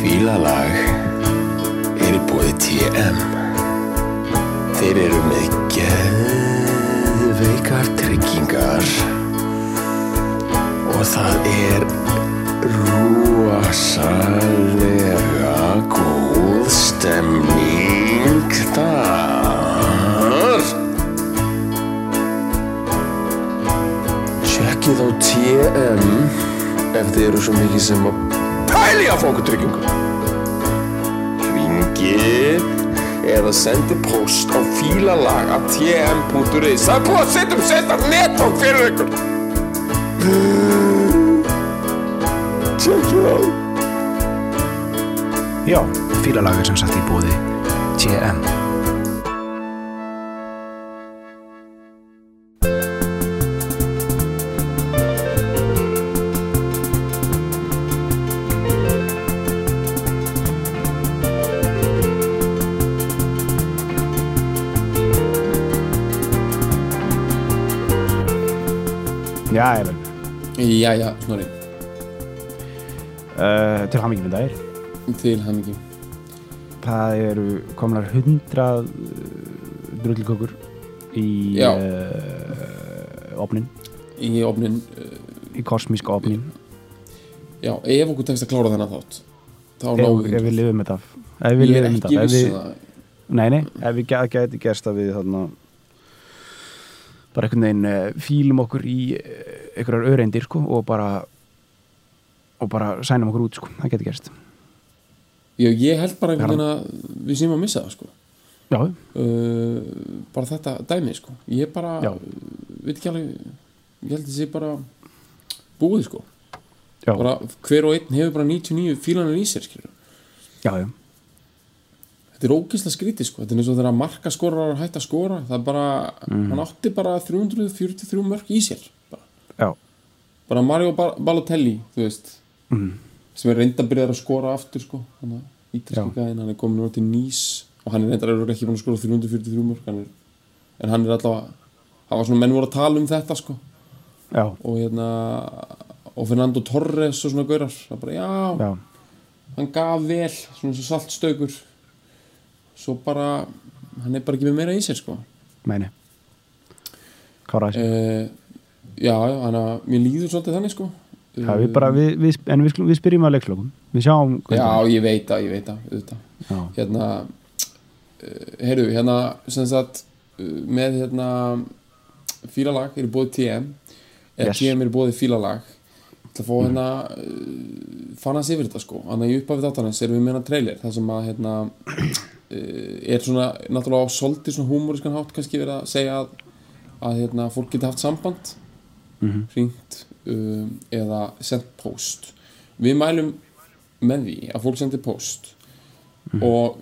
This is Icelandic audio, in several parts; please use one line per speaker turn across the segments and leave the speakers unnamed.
Fílalag er í bóði TM Þeir eru með geðveikar tryggingar og það er rúasalega góð stemning þar Tjekkið á TM ef þið eru svo mikið sem að pæli að fá okkur tryggingum ringi eða sendi post á fílalag af tm.is það er búið að setja upp setjast netfang fyrir ykkur check it out
Já, fílalag er sem sagt í bóði TM Já, ég vel
Jæja, Snorri,
uh, Til hamingi með dagir
til hamingi
Það eru komnar hundrað drullikokur í
Já.
uh, opnin,
í ofnin uh,
í kosmíska opnin
Já, ef okkur tekst að klára þennan þátt þá náum
ef,
við
ef við lifum þetta af ef við
Ég er
lifum þetta
ekki
af ef
viss
við,
við... það
nei, nei, ef við gæ- gæti gerst að við þarna bara einhvern veginn eh, fílum okkur í eh, einhverjar öreindir sko og bara og bara sænum okkur út sko, það gæti gerst
Ég, ég held bara einhvern veginn að við séum að missa það sko.
já,
uh, bara þetta dæmi sko. ég bara
Já.
veit ekki alveg ég held að þessi bara búið sko.
já,
bara, hver og einn hefur bara 99 fílanar í sér skilur.
já, já,
þetta er ógislega skrítið sko. þetta er eins og þegar marka skorar hætt að skora það er bara,
Mm.
hann átti bara 343 mörg í sér bara
já,
bara Mario Bal Balotelli þú veist
Mhm.
sem er reynda að byrja að skora aftur sko. hann er
Já.
ítalski gæðin, hann er komin úr til Nýs og hann er reyndar örugglega ekki búin að skora 343 mörg hann er, en hann er allavega hann var svona menn voru að tala um þetta sko.
já,
og hérna og Fernando Torres og svona gaurar það bara já,
já.
hann gaf vel svona svo saltstökur svo bara hann er bara ekki með meira í sér sko.
meini klára þessi
uh, já, hann að mér líður svolítið þannig sko.
já, við bara, við, við, en við, skulum- við spyrjum að leikslokum við sjáum
Eh, Já, ég veit það, ég veit það, auðvitað.
já,
Hérna, uh, heyrðu, hérna, sem sagt, uh, með hérna, fílalag eru bóðið TM, eða
Yes. Mm.
TM eru bóðið fílalag, til að fá hérna, uh, fannast yfir þetta sko, þannig að í upphafið þáttanins erum við meina trailer, það sem að, hérna, uh, er svona, náttúrulega á svolítið svona húmorískan hátt kannski verið að segja að, að hérna, fólk geti haft samband,
Mhm.
hringt um, eða sendt post við mælum með því að fólk sendir post
Mhm.
og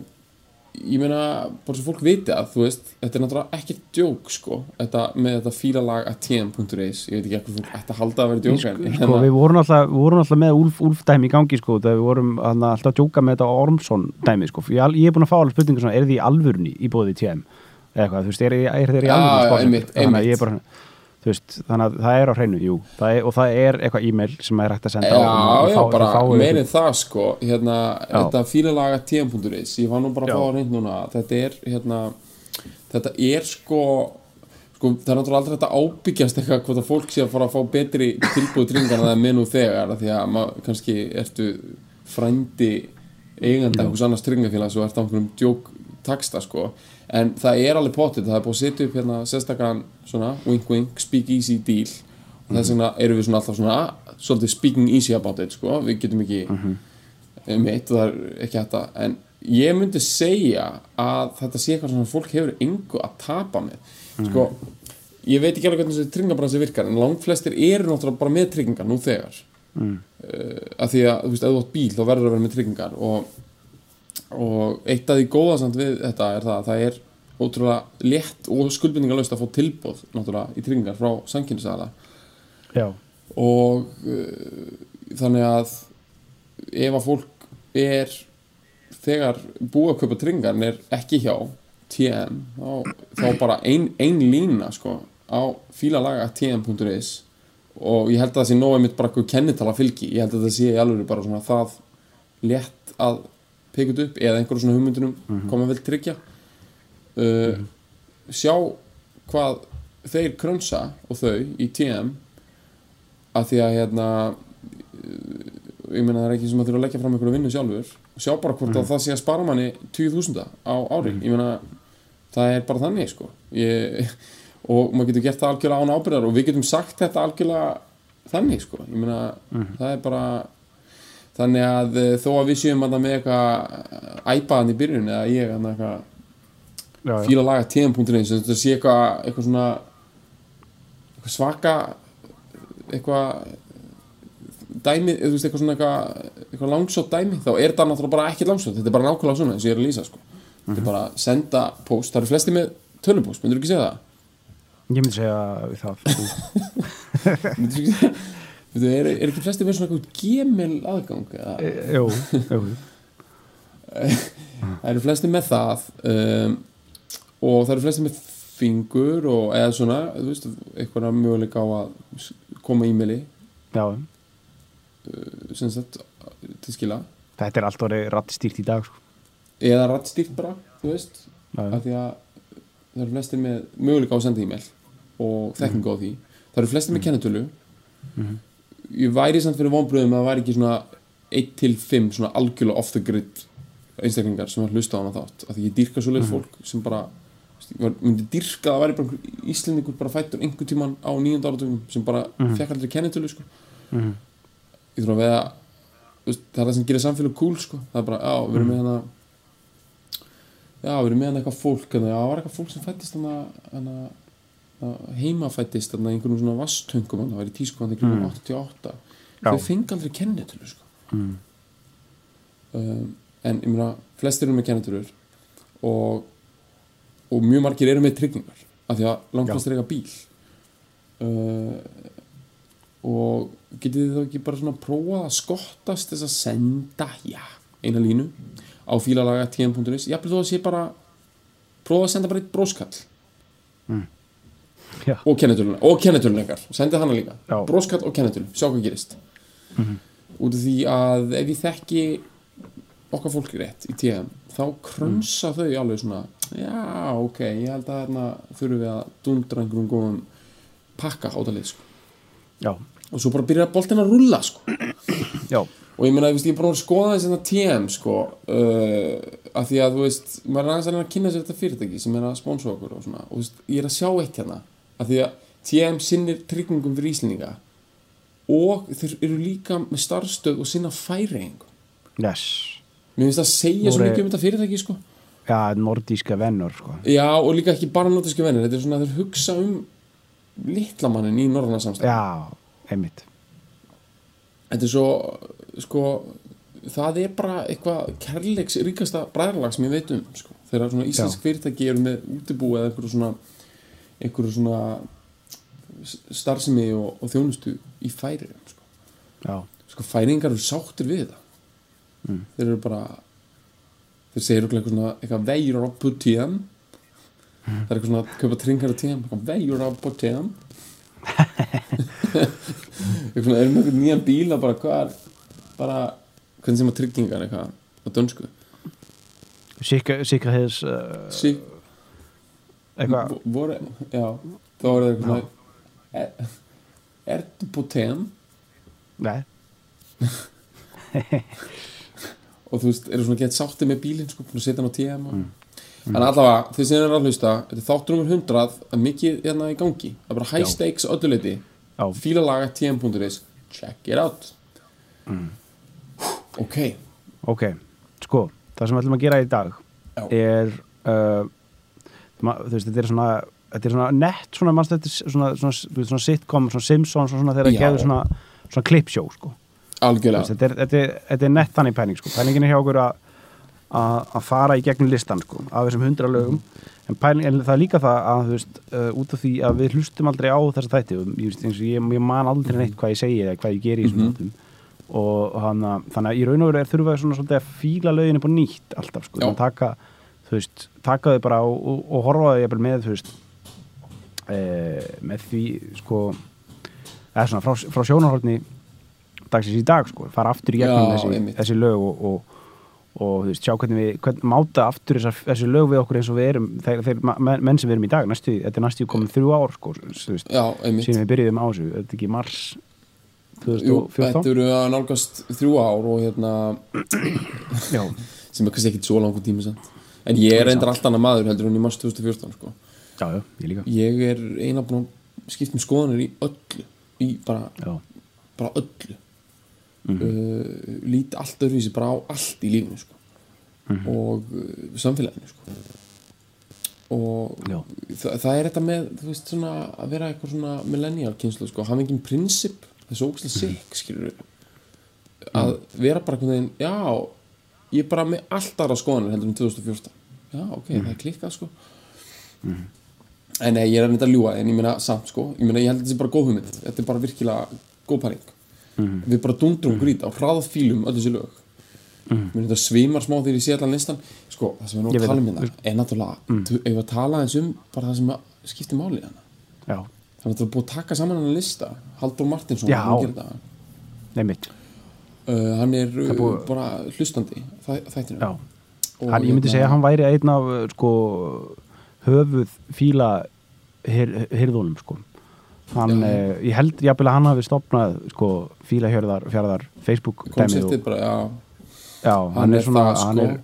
ég meina bara svo fólk viti að þú veist þetta er náttúrulega ekki djók sko þetta, með þetta fílalag að tm.is ég veit ekki eitthvað fólk ætti að halda að vera djók en- hérna- en
sko, við vorum alltaf, við vorum alltaf með Úlf, Úlf dæmi í gangi sko, þegar við vorum hana, alltaf að djóka með þetta Ormsson dæmi sko. ég, al- ég er búin að fá alveg spurningar svona, er þið í alvörni í bóði TM eða eitthvað, þú veist, er, er þeir í
Já,
alvörni
já,
sponsor?
einmitt,
þannig að
einmitt.
ég er bara þú veist, þannig að það er á hreinu, jú það er, og það er eitthvað e-mail sem er hægt að senda
já,
á og
já,
þá-
bara
þá fáið
meirið
ykkur-
það sko hérna,
Já.
þetta fílalag að tm.is ég var nú bara að
Já.
fá að reynd núna að þetta er hérna, þetta er sko sko, það er náttúrulega aldrei þetta ábyggjast eitthvað hvort að fólk sé að fara að fá betri tilbúið tryggingar en það er með nú þegar af því að maður kannski ertu frændi eiganda einhvers annars tryggingafélags og ert á einhverjum djók taksta sko, en það er alveg potið það er búið að setja upp hérna sérstakann svona, wink wink, speak easy deal og þess vegna erum við svona alltaf svona svolítið speaking easy about it sko við getum ekki mitt og um það er ekki hægt að en ég myndi segja að þetta sé eitthvað sem fólk hefur engu að tapa með sko, ég veit ekki alveg hvernig þessi tryggingabransi virkar en langflestir eru náttúrulega bara með tryggingar nú þegar mm. að því að, þú veist, ef þú átt bíl þá verður að vera með tryggingar og, og eitt af því góða samt við þetta er það að það er ótrúlega létt og skuldbendingalöst að fá tilbóð náttúrulega í tryggingar frá sankynisæða
já,
og eh, uh, þannig að ef að fólk er þegar búið að kaupa tryggingarn er ekki hjá TM þá, þá bara ein, ein lína sko, á fílalaga.tm.is og ég held að það sé nógu mitt bara eitthvað kennitala fylgi, ég held að það sé í alveg bara svona það létt að pekja þetta upp eða einhverjum svona hugmyndunum koma vel tryggja uh, sjá hvað þeir krönsa og þau í TM að því að hérna uh, ég meina það er ekki sem að þurfa að leggja fram einhverju vinnu sjálfur sjá bara hvort
Mhm.
að það sé að spara manni 20.000 á ári ég meina það er bara þannig sko ég, og maður getur gert það algjörlega án ábyrðar og við getum sagt þetta algjörlega þannig sko ég meina
Mhm.
það er bara þannig að eh, þó að við séum að með eitthvað æpaðan í byrjun eða ég hann eitthvað
já, já.
fíla laga tm.ins þetta sé eitthvað eitthvað svona eitthvað svaka eitthvað dæmi, þú veist, eitthvað svona eitthvað, eitthvað langsótt dæmi, þá er það náttúrulega bara ekki langsótt þetta er bara nákvæmlega svona eins og ég er að lýsa sko. þetta er bara að senda post, það eru flesti með tölupóst, myndur ekki segja það?
Ég myndi segja það sko.
Myndirðu ekki segja- Veitu, er, er ekki flesti með svona eitthvað gemil aðgang eða?
E, Jú, jú
það eru flesti með það um, og það eru flesti með fingur og eða svona þú veist, eitthvað möguleika á að s- koma e-maili
Já,
sem sagt til skila
þetta er allt orðið rattstýrt í dag sko.
eða rattstýrt bara, þú veist
Já, já.
af því að það eru flesti með möguleika á að senda e-mail og þekkingu á því það eru flesti með kennetölu ég væri samt fyrir vonbröðum að það væri ekki svona 1 til 5 svona algjörlega off the grid einstaklingar sem var hlusta á hana þátt af því ég dýrka svoleið fólk sem bara þú veist, ég var- myndi dýrka að það væri bara einhver íslendingur bara fættur einhver tíman á nýjönda áratugum sem bara fekk aldrei kennetölu sko. ég þurfa að veða þú veist, það er það sem gerir samfélag cool sko. það er bara, já, við erum með hana já, við erum með hana eitthvað fólk hana, já, það var eitthvað fólk sem fættist hana, hana heimafættist hana í einhverjum svona vastöngum hana, það var í tísku hana í kringum 88
Mm. Já. Mm.
þau fengi aldrei kennitölu sko. um, en ég meina flestir eru með kennitölur og, og mjög margir eru með tryggingar af því að langt
Já.
flestir eiga bíl uh, og getið þið þá ekki bara svona prófað að skottast þess að senda já, eina línu á fílalaga tm.is jafnvel þó að sé bara prófað að senda bara eitt bróskall
Mm. Já.
og kennetöluna, og kennetöluna ykkar sendið hana líka,
Já. Mhm.
bróskall og kennetölu sjá hvað gerist út af því að ef ég þekki okkar fólk rétt í TM þá
Mm.
krönsa þau alveg svona já, ok, ég held að þarna þurfum við að dundra einhverjum góðum pakka átalið sko.
Já,
og svo bara byrjar boltinn að rúlla sko.
já,
og ég meina, þú veist, ég er bara að skoða þess að TM sko, uh, af því að þú veist, maður er aðeins að reyna að kynna sér þetta fyrirtæki sem er að sponsa okkur og svona og þú veist, ég er að sjá eitt hérna af því að TM sinnir tryggingum fyrir Íslendinga og þeir eru líka með starfstöð og sinna færeingum
yes
mér finnst það að segja svo
Voru-
mikið um þetta fyrirtæki sko.
Já, nordíska vennur sko.
já, og líka ekki bara nótiski vennir þetta er svona að þeir hugsa um litlamannin í norðarna samstæð
Já, einmitt
þetta er svo, sko það er bara eitthvað kærleiks ríkasta bræðarlag sem ég veit um sko. þegar svona íslensk fyrirtæki eru með útibú eða einhverju svona einhverju svona s- starfsemi og, og þjónustu í færi sko.
Já,
sko færingar eru sáttir við það þeir eru bara þeir segir okkur eitthvað svona eitthvað veirur á putíðan það er eitthvað svona að kaupa tringar á tíðan eitthvað veirur á putíðan eitthvað svona erum eitthvað nýjan bíla bara hvað er bara hvernig sem að tryggingar eitthvað á dönsku
Sikka, sikka hefðis uh,
sí,
eitthvað
vo- voru, já þá er það eitthvað svona er, ertu putíðan
Nei,
og þú veist, eru svona gett sátti með bílinn sko, búin að setja hann á TM og...
Mm.
en allavega, þið sem eru að hlusta þetta er þáttur nummer 100, það er mikið hérna í gangi það er bara high
Já.
stakes öllu leiti
Já.
fílalaga tm.is check it out
Mm.
ok,
ok Sko, það sem við ætlum að gera í dag
Já.
er uh, ma, þú veist, þetta er svona þetta er svona nett svona, manstu, þetta er svona, svona, svona, svona sitcom, svona Simpsons og svona þegar
Já.
það gefur svona, svona klippsjó sko. Þú veist,
algjörlega
þetta, er, þetta, er, þetta er nett þannig pæling sko. pælingin er hjá okkur að að að fara í gegnum listan sko, af þessum hundra lögum en, pæling, en það er líka það að þú veist, uh, út af því að við hlustum aldrei á þessa þætti og, ég, veist, eins og ég, ég man aldrei neitt hvað ég segi eða hvað ég geri í þessum mm og hann að, þannig að í raun og veru er þurfa svona svolítið að fíla lögin upp á nýtt alltaf sko,
Já.
Þannig að taka þú veist, taka þau bara og, og, og horfa þau jafnvel með, þú veist e, með því, sko eða svona frá, frá sjónarhorni dagsins í dag, sko, fara aftur í gegnum
Já,
þessi,
einmitt.
þessi lög og, og, og þú veist, sjá hvernig við, hvernig máta aftur þessar, þessi lög við okkur eins og við erum þeir, þeir ma- men- menn sem við erum í dag, næstu, þetta er næstu komin þrjú ár, sko, þú veist
já, einmitt
síðan við byrjuðum á þessu, er þetta ekki mars
Jú, þetta
2014?
eru að nálgast þrjú ár og hérna
Já,
sem er kannski ekkit svo langur tími samt en ég er reyndar allt annað maður heldur hún í mars 2014 sko.
já, já, ég líka
ég er eina búin að skipta um skoðanir í öllu í bara,
Já,
bara öllu uh, lít allt öðruvísi bara á allt í lífinu sko. og uh, samfélaginu sko. og
já,
Þa, það er þetta með, þú veist, svona að vera eitthvað svona millennial kynslu, sko, hafa engin prinsip, það er svo ógæslega sikk, skilur að vera bara einhvern veginn, já, ég er bara með allt aðra skoðanir heldur en 2014 já, ok, það er klikkað, sko en nei, ég er neitt að ljúa en ég meina samt, sko, ég meina, ég held að þetta er bara góð hugmynd þetta er bara virkilega góð pæling
Mhm.
við bara dundrum grít á hraðafílum öll þessi lög mér þetta svimar smá þegar ég sé allan listan sko, það sem við erum
Mhm. Ég
að
veit
tala um
það. Mhm.
hérna er náttúrulega, mm. ef við að tala eins um bara það sem að skipti máli hana
já,
það er náttúrulega búið að taka saman hann lista Haldur Martinsson,
Já.
hann gerir það
neymitt
uh, hann er uh,
búið-
bara hlustandi þæ, þættinu
Já,
Og
hann, ég myndi
hérna-
segja að hann væri einn af uh, sko, höfuð fíla her, herðunum sko. hann,
Já.
eh, ég held jafnvel að hann hafi stopnað sko, fíla hérðar, fjárðar Facebook dæmið
konceptið
og-
bara, já,
já, hann,
hann
er
er
svona
það, sko.
hann er,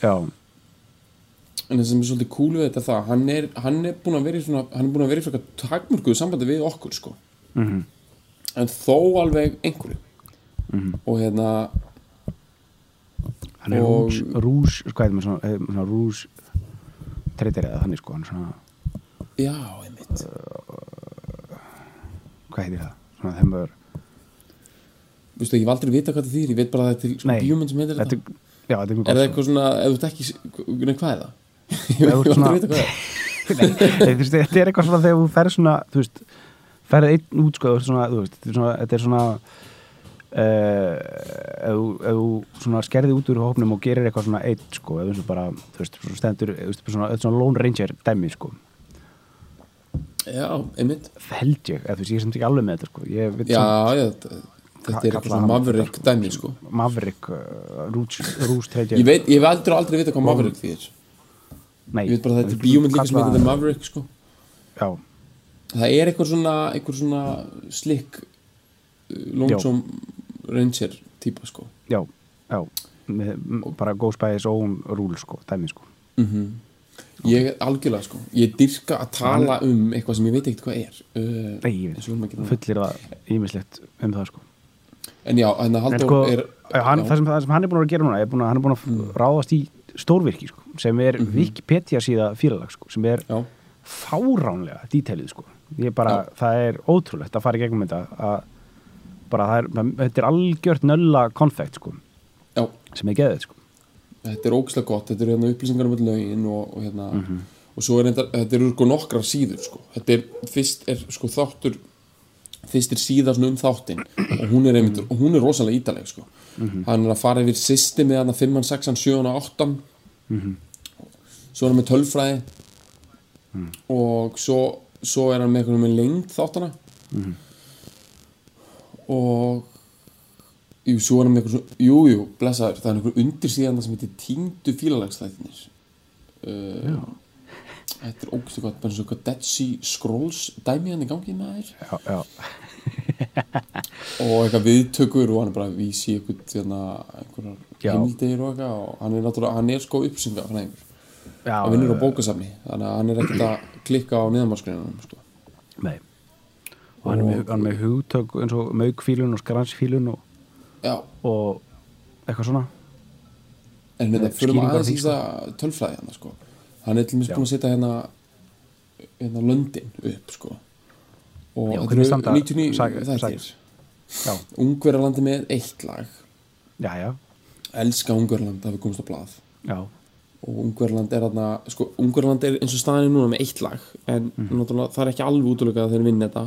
já,
en það sem er svolítið cool við þetta er það hann er, hann er búin að vera í svona hann er búin að vera í frekar takmörkuðu sambandi við okkur sko.
Mhm.
-hmm. en þó alveg einhverju
Mhm.
-hmm. og hérna
hann er
Og-
rús, rús sko, hvað heitir maður svona, heitir maður svona rús treytir eða þannig sko, hann er svona
já, einmitt
hvað heitir það, svona þeim maður
Vistu, ég hef aldrei vita hvað það þýr, ég veit bara að þetta er
Nei,
sko, bíómynd sem heitir þetta
þetta, já, þetta er mjög
er
gott
það
sko.
eitthvað svona, ef þú ert ekki nei, hvað er það? ég
Ef þú ert
hef aldrei
svona-
vita hvað það er
Nei, þú veist, þetta er eitthvað svona þegar þú ferð svona þú veist, ferð einn út sko, þú veist, svona, þú veist, þetta er svona, þetta er svona uh, ef þú- ef þú svona skerði út úr hópnum og gerir eitthvað svona einn sko, eða eins og bara, þú veist, svona stendur þú veist, svona, þetta er svona Lone Ranger dæmi sko
já, einmitt
held ég, eða þú veist, ég er samt ekki alveg með þetta sko ég veit
já,
samt,
já, þetta, þetta er
Ka-
eitthvað
kalla
svona
hann-
maverick dæmi sko.
Maverick, uh, Rús, Rús Treger
ég veit, ég hef aldrei, aldrei vita hvað maverick þýr
nei,
ég veit bara að þetta er bíómynd líka sem heitir The maverick sko.
já,
það er eitthvað svona, eitthvað svona slick uh, longsome ranger típa sko
já, já með, m- bara goes by his own rule sko, dæmi sko
ég er algjörlega sko, ég dyrka að tala um eitthvað sem ég veit ekkert hvað er uh,
Nei, ég
eins og við erum að
veit,
gera.
fullir það ímislegt um það sko
en já, en
En
Haldur
sko,
er Mm.
já, hann,
já,
það, sem, það sem hann er búin að gera núna er búin að, hann er búin að ráðast í stórvirki sko, sem er Wikipedia síða félalag sko, sem er
Mhm. já,
fáránlega detailið sko. Ég bara,
Já.
það er ótrúlegt að fara í gegnum þetta að bara það er, þetta er algjört nölla konfekt sko,
já,
sem er geðið sko.
þetta er ógislega gott þetta eru hérna upplýsingar um öll lögin og, og hérna, og svo er þetta, þetta eru sko nokkrar síður sko, þetta er, fyrst er sko þáttur fyrst er síða svona um þáttinn og hún er einmitt, og hún er rosalega ítaleg sko, hann er að fara yfir systemi hann að 5, 6, 7, 8 svo er hann með tölfræði og svo, svo er hann með einhvern með lengd þáttana og jú, svo er hann með einhvern svona, jú, jú, blessaður það er einhver undirsíðan sem heitir týndu fílalagsþættinir uh, þetta er ógæstu gott bara eins og eitthvað Dead Sea Scrolls dæmi hann í gangi með þér
Já, já,
og eitthvað viðtökur og hann er bara að vísi eitthvað þérna, einhverjar
Já.
heimildir og eitthvað og hann er náttúrulega, hann er sko uppsynga hann einhver
já
hann vinnur á bókasafni þannig að hann er ekkert að klikka á neðanmarskreinunum sko.
Nei Og hann er með, hann er með hugtök eins og maukfílun og skransfílun og,
já,
og eitthvað svona
en þetta
Nei,
fyrir
skýringar
maður aðeins í
fíkst.
það tölfræði hann sko. hann er til
Já.
mér búin að setja hérna hérna löndin upp sko. og
Já, hvernig
þetta
standa
eru 99
sag-
þættir
sagðir? Já,
Ungverjalandi með eitt lag
já, já,
elska Ungverjaland að við komumst á blað
já.
og Ungverjaland er þarna sko, Ungverjaland er eins og staðan er núna með eitt lag en
Mhm.
náttúrulega það er ekki alveg útlökað að þeir vinna þetta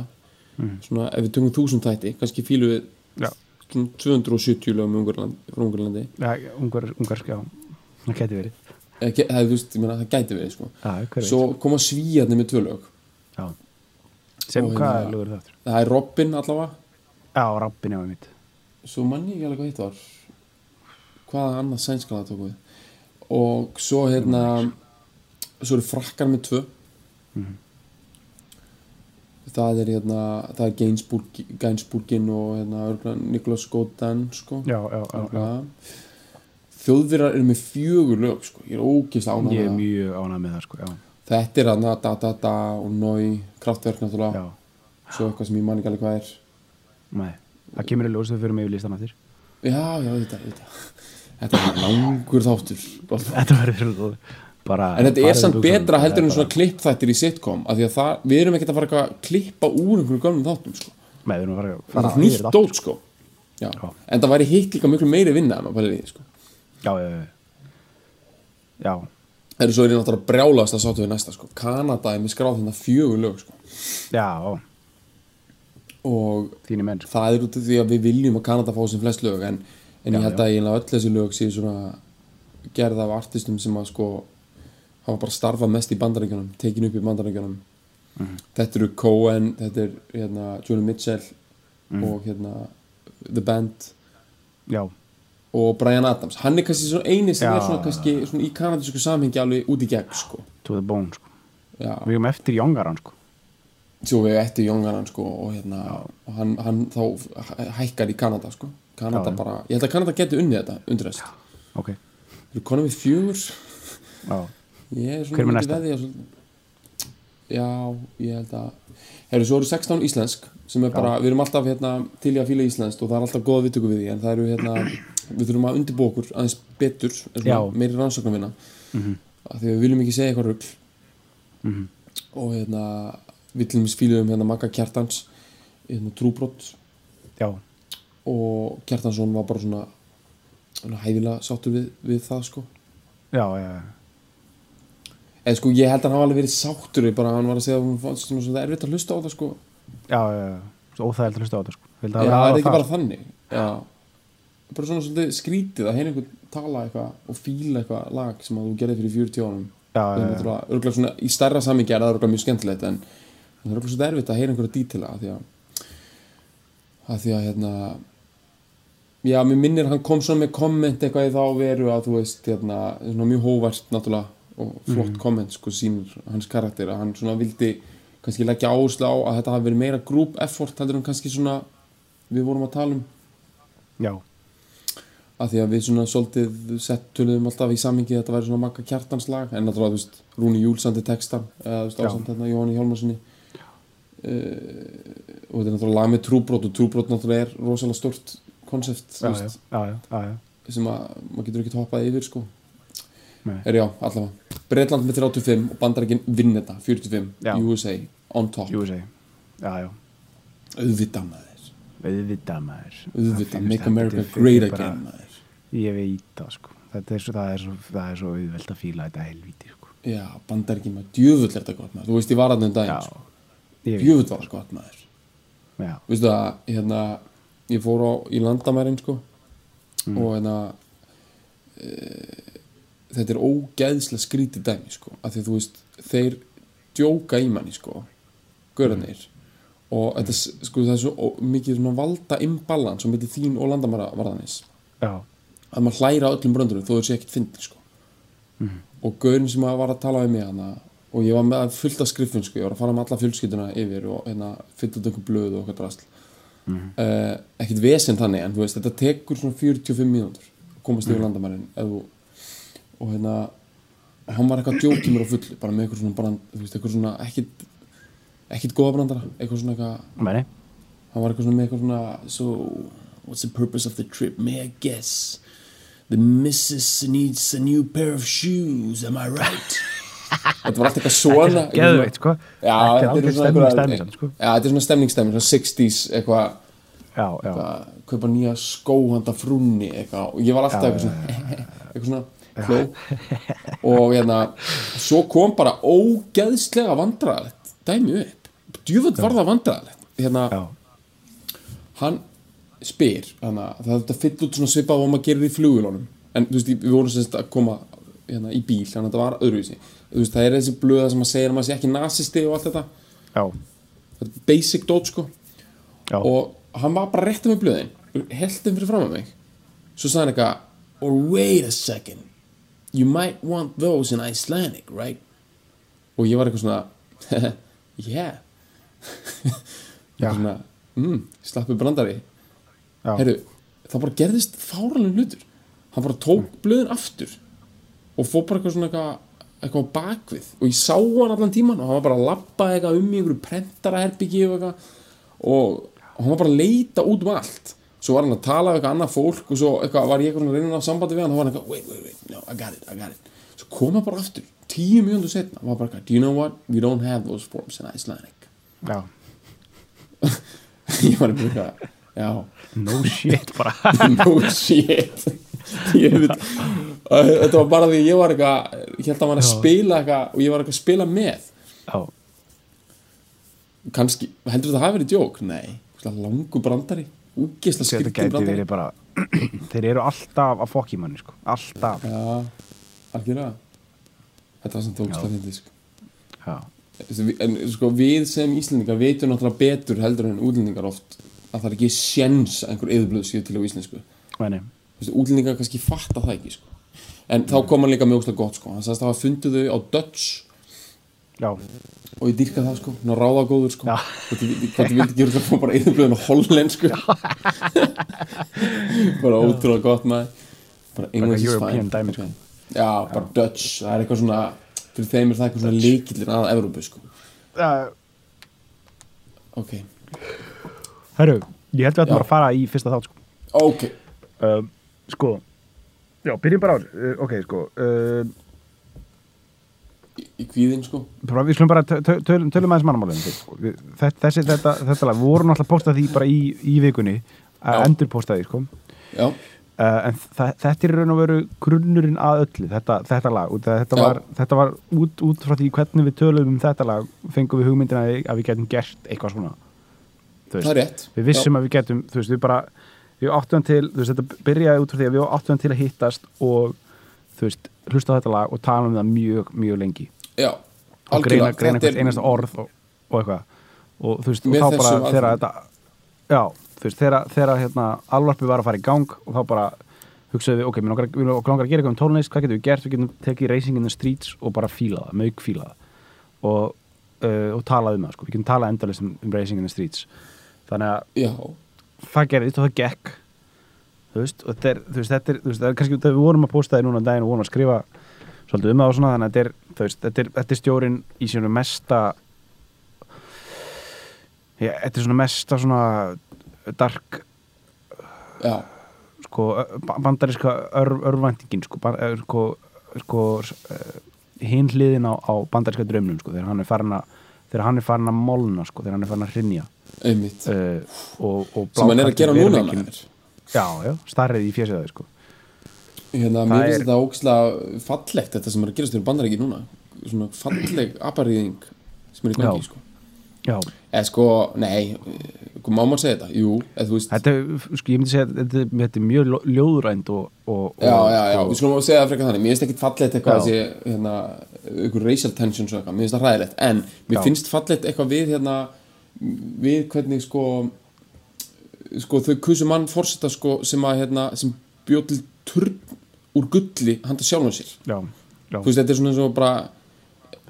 svona ef við tökum þúsund þætti kannski fílu við
Já.
svona 270 lögum í Ungurland- um frá Ungurlandi
Já, ungar, ungarsk, já Það geti verið
Eh, ge- það, er, þú veist, ég meina, það gæti verið sko.
Já, hver veit
svo koma svíjarnir með tvö lög
Já Sem
Og
hvað
hérna-
er lögur það aftur?
það er Robin allavega
Já, rappin já, mitt
svo manni ég ekki alveg hvað hitt var hvaða annað sænskala tók við og svo hérna svo eru frakkar með tvö
Mhm.
það er hérna það er Gainsburg, Gainsburgin og hérna örugglega Nicholas Godin sko
Já, já, já, já.
Örugglega. þjóðverjar eru með fjögur lög sko, ég er ógeðslega ánægð
Ég
með
er
það.
mjög ánað með það, sko Já,
þetta er hérna da da da og nói, kraftverk náttúrulega
já,
svo eitthvað sem ég man ekki alveg hvað er
nei Það kemur í ljósið fyrir mig yfir listan aftur
Já, já, þetta, þetta Þetta er langur þáttur En
Þetta verður þú bara
þetta
bara
er samt
um buxunum.
betra heldur en
Þetta er
svona klippþættir í sitcom af því að það, við erum ekkert að fara eitthvað að klippa úr einhverjum gömlum þáttum sko.
bara- Nei, við erum að fara að
Það
fara
er nýtt
yfir þetta.
dót sko. Já.
Já.
En það væri hitt líka miklu meiri vinna en að pæla í því, sko.
Já, já, já Já,
Það eru svo er ég náttúrulega brjálaðast að sátu við næsta sko. Kanada er með skráð þarna fjögur lög sko.
já,
og
þínu menn, sko
það er út af því að við viljum að Kanada fá sem flest lög en, en ég held að eiginlega öll þessi lög séu svona gerð af artistum sem að sko hafa bara starfað mest í bandaríkjunum tekin upp í bandaríkjunum
Mhm.
þetta eru Cohen, þetta er hérna, Joni Mitchell
Mhm.
og hérna The Band
Já,
og Brian Adams hann er kannski svona eini sem
Já.
er svona, kannski, svona í kanadísku samhengi alveg út í gegn sko
to the bone, sko
Já.
Við erum eftir jóngaran, sko
svo við eftir Jóngaran sko og hérna og hann, hann þá hæ- hækkar í Kanada sko Kanada
Já, já.
bara, ég held að Kanada geti unnið þetta undrest,
Ok,
þeir eru konum við fjögur
já,
ég er svona
Hver er með
mikið
næsta?
veðja svolítið. já, ég held að herru, svo eru 16 íslensk sem er bara, við erum alltaf hérna til í að fíla íslenskt og það er alltaf góða vittöku við því en það eru hérna, við þurfum að undirbúa okkur aðeins betur, er svona
Já. Mhm.
meiri rannsóknarvinna mm -hmm. því að við viljum ekki segja eitthvað rugl og hérna við til dæmis fíluðum hérna Magga Kjartans hérna trúbrott
já,
og Kjartansson var bara svona, svona hæfilega sáttur við, við það sko
já, já, já.
eða sko ég held að hann hafa alveg verið sáttur við bara að hann var að segja að hún fannst svona svona erfitt að hlusta á það sko
já, já, já. Svo óþægild að hlusta á þetta sko Ég held
já,
að
það
hafa
er ekki
það,
bara þannig já. bara svona svolítið skrítið að heyra einhvern tala eitthvað og fíla eitthvað lag sem að þú gerði fyrir 40 árum
Já,
það er
já, já.
náttúrulega örgulega svona í stærra samingi er það örgulega mjög skemmtilegt en en það er örgulega svona erfitt að heyra einhverja dítila að því að að því að hérna já, mér minnir hann kom svona með komment eitthvað í þá veru að þú veist hérna, svona mjög hóvært náttúrulega og
Mhm.
flott komment sko sínur hans karakter að hann svona vildi kannski leggja áherslu á að þetta hafi verið meira group effort heldur en kannski svona við vorum að tala um
Já,
að því að við svona svolítið settulegum alltaf í samingi að þetta væri svona makka kjartanslag en náttúrulega, þú veist, Rúni Júlsandi textan eða, þú veist,
Já.
ásand þarna Jóhanni Hjálmarssoni uh, og þetta er náttúrulega lag með trúbrot og trúbrot náttúrulega er rosalega stort konsept,
já,
þú
já,
veist,
já, já, já, já.
sem að maður getur ekki hoppað yfir, sko
Nei.
er já, allavega, Breitland með 35 og Bandarækin vinn þetta, 45
Já.
USA, on top,
Jú, segi Já, já,
auðvitað maður
auðvitað maður
auðvitað,
Það
make
finnst
America
heldur fyrir
great
bara-
again maður
Ég veit það sko Þetta er svo, það er svo, það er svo auðvelt að fíla þetta helvíti sko
já, Bandarækin maður, djöfull er þetta gott maður þú veist, ég var að þetta um daginn, sko
ég veit
Jöfull var það gott maður
Já,
Vistu að, hérna Ég fór á, í landamærin sko Og hérna e, Þetta er ógeðslega skrítið dæmi sko Af því að þú veist, þeir Djóka í manni sko Görðanir Og þetta, s- sko, það er svo ó- mikið svona valda imbalans Svo myndi þín og landamæra varðanis
já,
að maður hlæra öllum bröndurum þó þau sé ekkert fyndin sko. og gaurin sem að var að tala við mig hana, og ég var með fullt af skriffin sko. ég var að fara með alla fjölskylduna yfir og hérna, fyllt út einhver blöð og eitthvað drasl uh, ekkert vesen þannig en þú veist, þetta tekur svona 45 mínútur að komast yfir landamærin þú, og hérna hann var eitthvað að djóka í mér á fullu bara með eitthvað svona, brand, þú veist, eitthvað svona ekkit, ekkit góða brandara eitthvað svona eitthvað
meni
hann var eitthvað svona með eitthvað svona so what's the purpose of the trip may I guess the missus needs a new pair of shoes am I right þetta var allt eitthvað svona
Geðveikt sko
já,
Þetta er
þetta
aldrei
er svona
stemning
einhverjar-
stemning sko
já, þetta er svona stemningstemning svona 60s eitthvað
Já, já,
eitthvað, kaupa nýja skóhanda frúnni eitthvað og ég var alltaf eitthvað svona eitthvað svona kló og hérna svo kom bara ógeðslega vandræðalegt dæmi upp djúvöld var það vandræðalegt hérna
já,
hann spyr hana, það er þetta fyll út svona svipað og maður gerir í flugulónum en þú veist, við vorum semst að koma hérna, í bíl, þannig að þetta var öðruvísi þú veist, það er þessi blöða sem að segja að maður sé ekki nasisti og allt þetta,
já,
þetta er basic dot sko
já,
og hann var bara réttið með blöðin heldum fyrir fram að mig svo sagði hann eitthvað or wait a second you might want those in Icelandic, right? og ég var eitthvað svona yeah Ég
Já.
var svona, mm, slappu brandari
já,
Heru, það bara gerðist fáralegin hlutur hann bara tók blöðin aftur og fór bara eitthvað svona eitthvað, eitthvað á bakvið og ég sá hann allan tíman og hann var bara að labba eitthvað um í einhverju prentaraherbyggi og eitthvað og hann var bara að leita út um allt svo var hann að tala við eitthvað annað fólk og svo eitthvað, var ég eitthvað svona að reyna á sambandi við hann og hann var eitthvað, wait, wait, wait, no, I got it, I got it svo kom hann bara aftur, tíu mjöndu setna hann var bara, eitthvað, do you know what, we don't have those forms in Icelandic
já
ég var bara eitthvað, já
no shit bara
no shit ég veit Æ, þetta var bara því ég var eitthvað ég held að maður að spila eitthvað og ég var eitthvað að spila með
já,
kannski, heldur þetta hafi verið djók? Nei, Svona langu brandari úgesla
þetta
skrifti
gæti
brandari
verið bara þeir eru alltaf að fokk í manni sko, alltaf
já, algjörlega þetta var sem tókst að fyndi sko.
já,
Þessi, við- en sko, við sem íslendingar veitum náttúrulega betur heldur en útlendingar oft að það er ekki sjens að einhver yðurblöð séu til á íslensku
meni,
Þú veist, útlendingar kannski fatta það ekki sko. en þá kom hann líka mjög óslega gott sko. hann sagðist að hafa fundið þau á Dutch
já
og ég dýrka það sko, ná ráðagóður sko
Já.
hvort ég vildi ekki verið að fá bara yfirblöðin á hollensku bara ótrúlega gott maður bara English is
European
fine
dæmi,
Ok. já, bara Dutch, það er eitthvað svona fyrir þeim er það eitthvað svona líkillin að Evrópu sko
uh,
ok,
herru, ég held við ættum
Já.
bara að fara í fyrsta þátt sko
ok,
um, sko já, byrjum bara á uh, ok, sko uh,
í, í kvíðin sko
bara, við slum bara tö- tö- tölum, tölum aðeins mannamálinu fyrst, sko. Við- þe- þessi, þetta, þetta lag, við vorum alltaf að posta því bara í, í vikunni að
Já.
endur posta því, sko
já,
Uh, en þa- þetta er í raun og veru grunnurinn að öllu, þetta, þetta lag út, af þetta,
Já.
var, þetta var út, út frá því hvernig við tölum um þetta lag fengum við hugmyndina að við- að við getum gert eitthvað svona Þú
það er rétt
við vissum að við getum þú veist, við bara, við áttum til þú veist, þetta byrjaði út frá því að við áttum til að hittast og þú veist, hlusta á þetta lag og tala um það mjög, mjög lengi
já, já,
og greina, greina
Þetta er-
hvert einasta orð og, og eitthvað og þú veist,
Með
og þá bara
þessu
þegar
alfarið.
þetta já, þú veist, þegar, þegar hérna, alvarpi var að fara í gang og þá bara hugsaðum við, ok, mér langar, við langar að gera eitthvað um tónlist, hvað getum við gert, við getum tekið racing in the streets og bara fíla það, mög fíla það og, uh, og tala um það sko. við getum talað endalist um, um racing in the streets þannig að
já,
það gerðist og það gekk þú veist, og þetta er, þú veist, þetta er, þú veist, það er kannski þegar við vorum að posta þið núna um daginn og vorum að skrifa svolítið um það og svona, þannig að þetta er, þú veist, þetta er, þetta er stjórin í sínum mesta já, þetta er svona mesta svona dark,
já,
sko, ö- ba- bandaríska ör, örvæntingin, sko, ba- ö, sko, sko hinn hliðin á, á bandaríska draumnum, sko, þegar hann er farin að þegar hann er farin að molna, sko, þegar hann er farin að hrinja
einmitt sem
uh, og, og
hann er að gera núna
veruleikinn-
maður
Já, já, starrið í fjesið á þau sko
Hérna, mér finnst
er-
þetta ógslag fallegt þetta sem er að gerast fyrir bandaríki núna svona falleg aparíðing sem er í gangi
Já.
sko.
Já,
eða sko, nei, eh, má maður segja þetta jú, eða þú veist
þetta, er, sko, ég myndi segja að þetta, er- þetta er mjög ljó- ljóðrænt og, og, og
já, já, já, við skulum að segja það frekar þannig mér finnst ekkit fallegt eitthvað
Já.
þessi, hérna, ykkur racial tensions og eitthvað, mér finnst það hræðilegt en mér
Já.
finnst fallegt eitthvað við hérna, við hvernig sko sko þau kusu mann fórseta sko sem að hérna, sem bjó til turn úr gulli handa sjálfum sér
já, já,
þú veist, þetta er svona eins og bara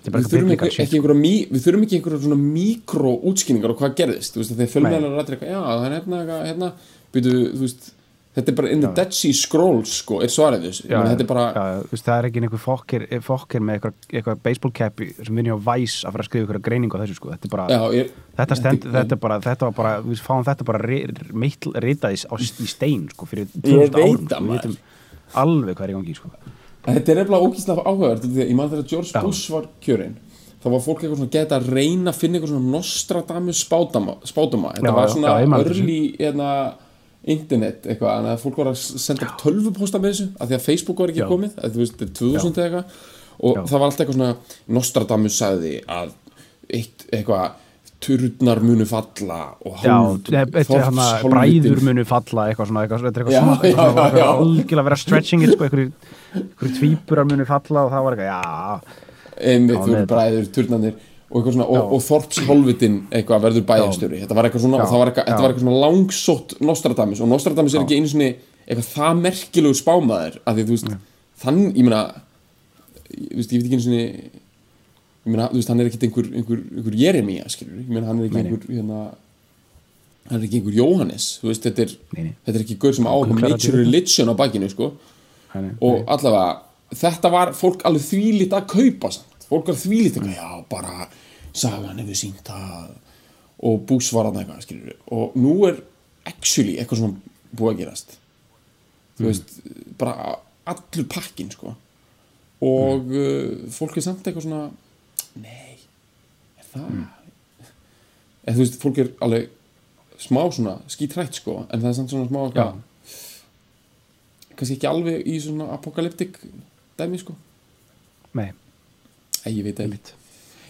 er bara
við þurfum
eitthvað
ekki,
shit.
ekki einhverja mí, við þurfum ekki einhverja svona mikro útskýningar og hvað gerðist, þú veist, þegar fjölmiðlar rættir eitthvað, já, það er hérna, eitthvað, hérna býtu, þú veist, þetta er bara in the Dead Sea Scrolls, sko, er svarið þessu já, þetta er bara,
já, þú veist, það er ekki einhver fokkir, fokkir með eitthvað, eitthvað baseball capi sem vinni á væs að fara að skrifa eitthvað greiningu á þessu sko, þetta er bara,
já, ég,
þetta stend, þetta er bara, þetta var bara, við fáum þetta bara reytaðis í stein sko fyrir 2000 árum,
veit
sko,
það,
við
maður.
veitum alveg hvað er í gangi sko,
þetta er nefnilega ógíslega áhugavert, því að ég man þegar George
Já.
Bush var kjörinn þá var fólk eitthvað svona geta að reyna að finna eitthvað svona Nostradamus spátama, spátama. þetta
Já,
var
já,
svona
já, ég man eftir þessu.
örli hérna, internet eitthvað, þannig að fólk var að senda upp tölvupósta með þessu, af því að Facebook var ekki
Já.
komið að þú veist, þetta er 2000 eða eitthvað og
Já.
það var alltaf eitthvað svona Nostradamus sagði að eitt, eitthvað turnar munu falla og
Já,
hálf-
þetta er hann að
þorpshálfvitinn-
bræður munu falla eitthvað svona, eitthvað, þetta er
Já,
eitthvað
já,
svona
já, já.
algjörlega að vera stretching it, sko, einhverju, einhverju tvíburar munu falla og það var eitthvað,
einmitt,
Já,
þú
með
eru
þetta.
bræður, turnanir og, eitthvað svona, og, og þorpsholvitin eitthvað verður bæjarstjóri þetta var eitthvað svona,
Já.
og það var eitthvað, þetta
Já.
var eitthvað svona langsótt Nostradamus og Nostradamus er ekki einu sinni eitthvað það merkilegur spámaður að því þú veist, þann, ég meina ég, veist, ég veit ekki einu sinni ég meina, þú veist, hann er ekkit einhver, einhver, einhver Jeremia, skilur, ég meina, hann er ekki
Nei, nei.
einhver hérna, hann er ekki einhver Jóhannes, þú veist, þetta er
Nei, nei.
þetta er ekki gaur sem á eitthvað
Klara
nature
Dýrðar.
religion á bakinu, sko
já, nei,
og allavega þetta var fólk alveg þvílitt að kaupa samt. fólk var þvílitt að kaupa já bara sagan hefur sínt að og bús var hann eitthvað skilur og nú er actually eitthvað svona búið að gerast
Mm.
þú veist bara allur pakkin sko og
Mm.
uh, fólk er samt eitthvað svona nei er það eða þú veist fólk er alveg smá svona skítrætt sko en það er samt svona smá eitthvað
Já.
kannski ekki alveg í svona apokalyptik dæmi sko
nei,
Æ, ég veit það ekki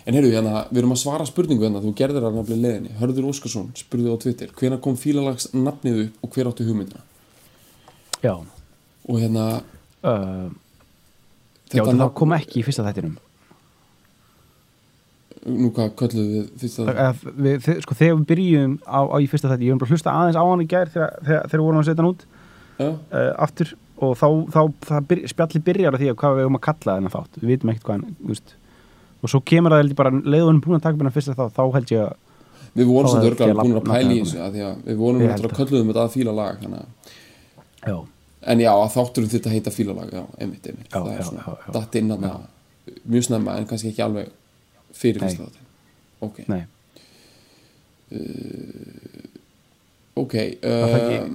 En heyrðu, hérna, við erum að svara spurningu hérna, þú gerðir það nafnilega leðinni Hörður Óskarsson spurði á Twitter hvenær kom fílalags nafnið upp og hver átti hugmyndina
já,
og hérna,
uh, já,
þetta
það
nafn
kom ekki í fyrsta þættinum
nú hvað kölluðu við fyrst að
Eða við, þið, sko, þegar við byrjum á, á í fyrsta þætti, ég erum bara að hlusta aðeins á hann í gær þegar, þegar, þegar við vorum að setja hann út
Já,
uh, aftur og þá, þá, þá byr, spjalli byrjar að því að hvað við erum að kalla þennan þátt við vitum ekkert hvað hann, þú veist og svo kemur það held ég bara, leiðu hann búin að taka byrja fyrsta þá, þá held ég að,
við vorum
Þá
svolítið
er
örglega
félag-
búin að pæla í
nafnið
þessu af því að við vorum
Ég
náttúrulega
held
kölluðum þetta að fílalag hana.
já,
en já, að þátturum þetta heita fílalag já, einmitt, einmitt,
Já,
það er
já,
svona
já, já.
datt inn hana mjög snemma en kannski ekki alveg fyrir
Nei.
fyrst að ok,
nei,
ok
það er ekki
um,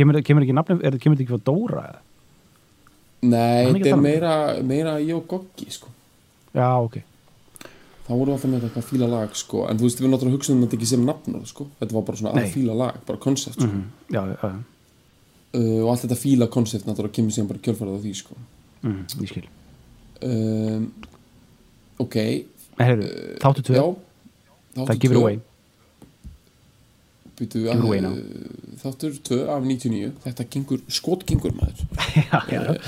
kemur, kemur ekki nafnum, er, kemur þetta ekki frá Dóra eða? Hann
Nei,
er ekki að
þetta er
tala um
meira, meira ég og Goggi sko.
já, ok,
þá vorum við alltaf með eitthvað fíla lag sko. en þú veist, við náttúrulega hugsaðum þetta ekki sem nafn sko. þetta var bara svona að
Nei. Mhm.
fíla lag, bara konsept sko.
já, já, já
uh, og allt þetta fíla konsept náttúrulega kemur síðan bara kjölfarið á því sko.
mm, ég skil,
um, ok
en heyrðu, þáttu tvö
Eh, já, þáttur
það gefur
tvö,
away,
býtu,
Give it away now.
uh, þáttur 2 af 99 þetta gengur, skot gengur maður
já, já, já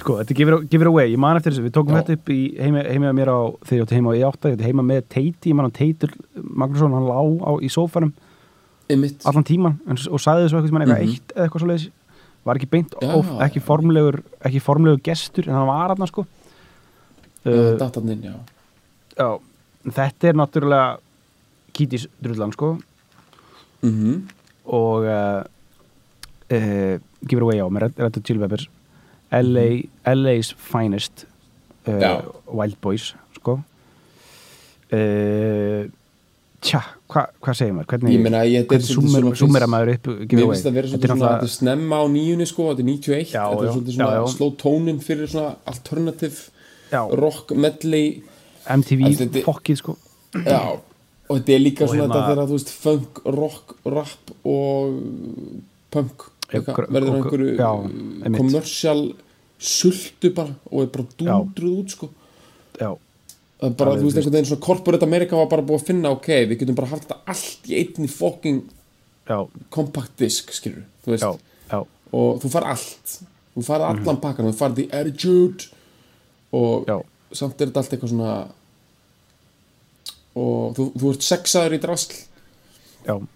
Sko, þetta gefur, gefur away, ég man eftir þessu, við tókum
Já.
þetta upp í heima, heima mér á, þegar ég átti heima á E8, ég átti heima með Teiti, ég man að Teitur Magnússon, hann lá á, í sófanum
Einmitt.
allan tíman en, og sagði þessu eitthvað, eitthvað eitt eða eitthvað svoleiðis var ekki beint,
Mhm. Já.
of, ekki formlegur ekki formlegur gestur, en hann var aðna sko
uh,
uh,
dataninn, já
já, þetta er náttúrulega kýtis drullan sko
mm
mhm. og uh, uh, Give It Away á með Red, Red Hot Chili Peppers LA, LA's Finest
Já.
uh, Wild Boys sko uh, tja, hva- hvað segir maður? Hvernig,
Ég meina, ég- þetta er
hvernig
svolítið
súmer,
svona-
súmera maður upp Give It
Mér
Away?
finnst það vera
Þetta er
svolítið svona
náttúrulega-
þetta er snemma á nýjunni sko, þetta er 91
Já,
þetta er
já,
svolítið svona
já,
já,
já.
sló tónin fyrir svona alternative
Já.
rock medley
MTV
Ætli þetta-
fokkið sko
já, og þetta er líka
Og
svona
hérna-
þetta þegar þú veist funk, rock, rap og punk eitthvað,
gr-
verður
og-
einhverju
já,
uh,
einmitt.
commercial sultu bara og er bara dúndruð út sko
já,
Það er bara,
Alveg
þú veist,
víst.
einhvern veginn svona corporate America var bara búið að finna, ok, við getum bara haft þetta allt í einni fucking
já,
compact disk, skilur þú veist,
já, Mhm. já,
og þú far allt þú far allan pakkan, þú far the attitude og
Já.
samt er þetta allt eitthvað svona og þú, þú ert sexaður í drasl
já,
og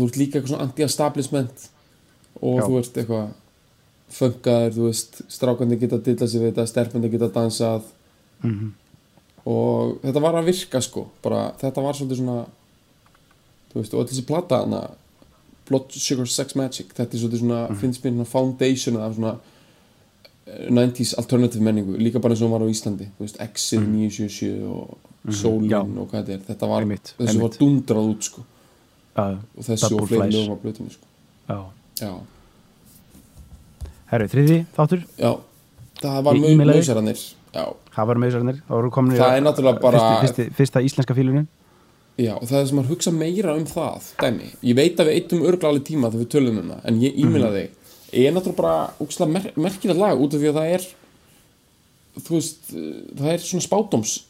þú ert líka eitthvað svona anti-establishment og
Já.
þú ert eitthvað funkaður, þú veist, strákandi geta dilla sér við þetta, stelpandi geta dansað
Mhm.
og þetta var að virka sko, bara þetta var svolítið svona þú veist, og öll þessi plata hana Blood Sugar Sex Magic, þetta er svolítið svona
Mhm.
finnst mér svona foundation af svona eh, 90s alternative menningu líka bara eins og hún var á Íslandi, þú veist Exit 977 og Soulin
Mhm. Já.
og hvað þetta er, þetta var,
Einmitt,
þessu var
einmitt.
dundrað út sko
já,
og þessu
Double
og fleiri
Flies.
lögum á blötunni sko.
já.
já,
herru, þriði þáttur
já, það var
Ég
mjög
e-mailaði.
lausarannir já,
það var meðsarnir, það voru komin
Það er náttúrulega bara-
fyrsti, fyrsti, fyrsta íslenska fílunin
já, og það er sem að hugsa meira um það dæmi, ég veit að við eittum örgla alveg tíma þegar við tölum um það, en ég
Mhm.
e-mailaði ég er náttúrulega bara úkslega mer merkilega lag út af því að það er þú veist, eh, það er svona spátdóms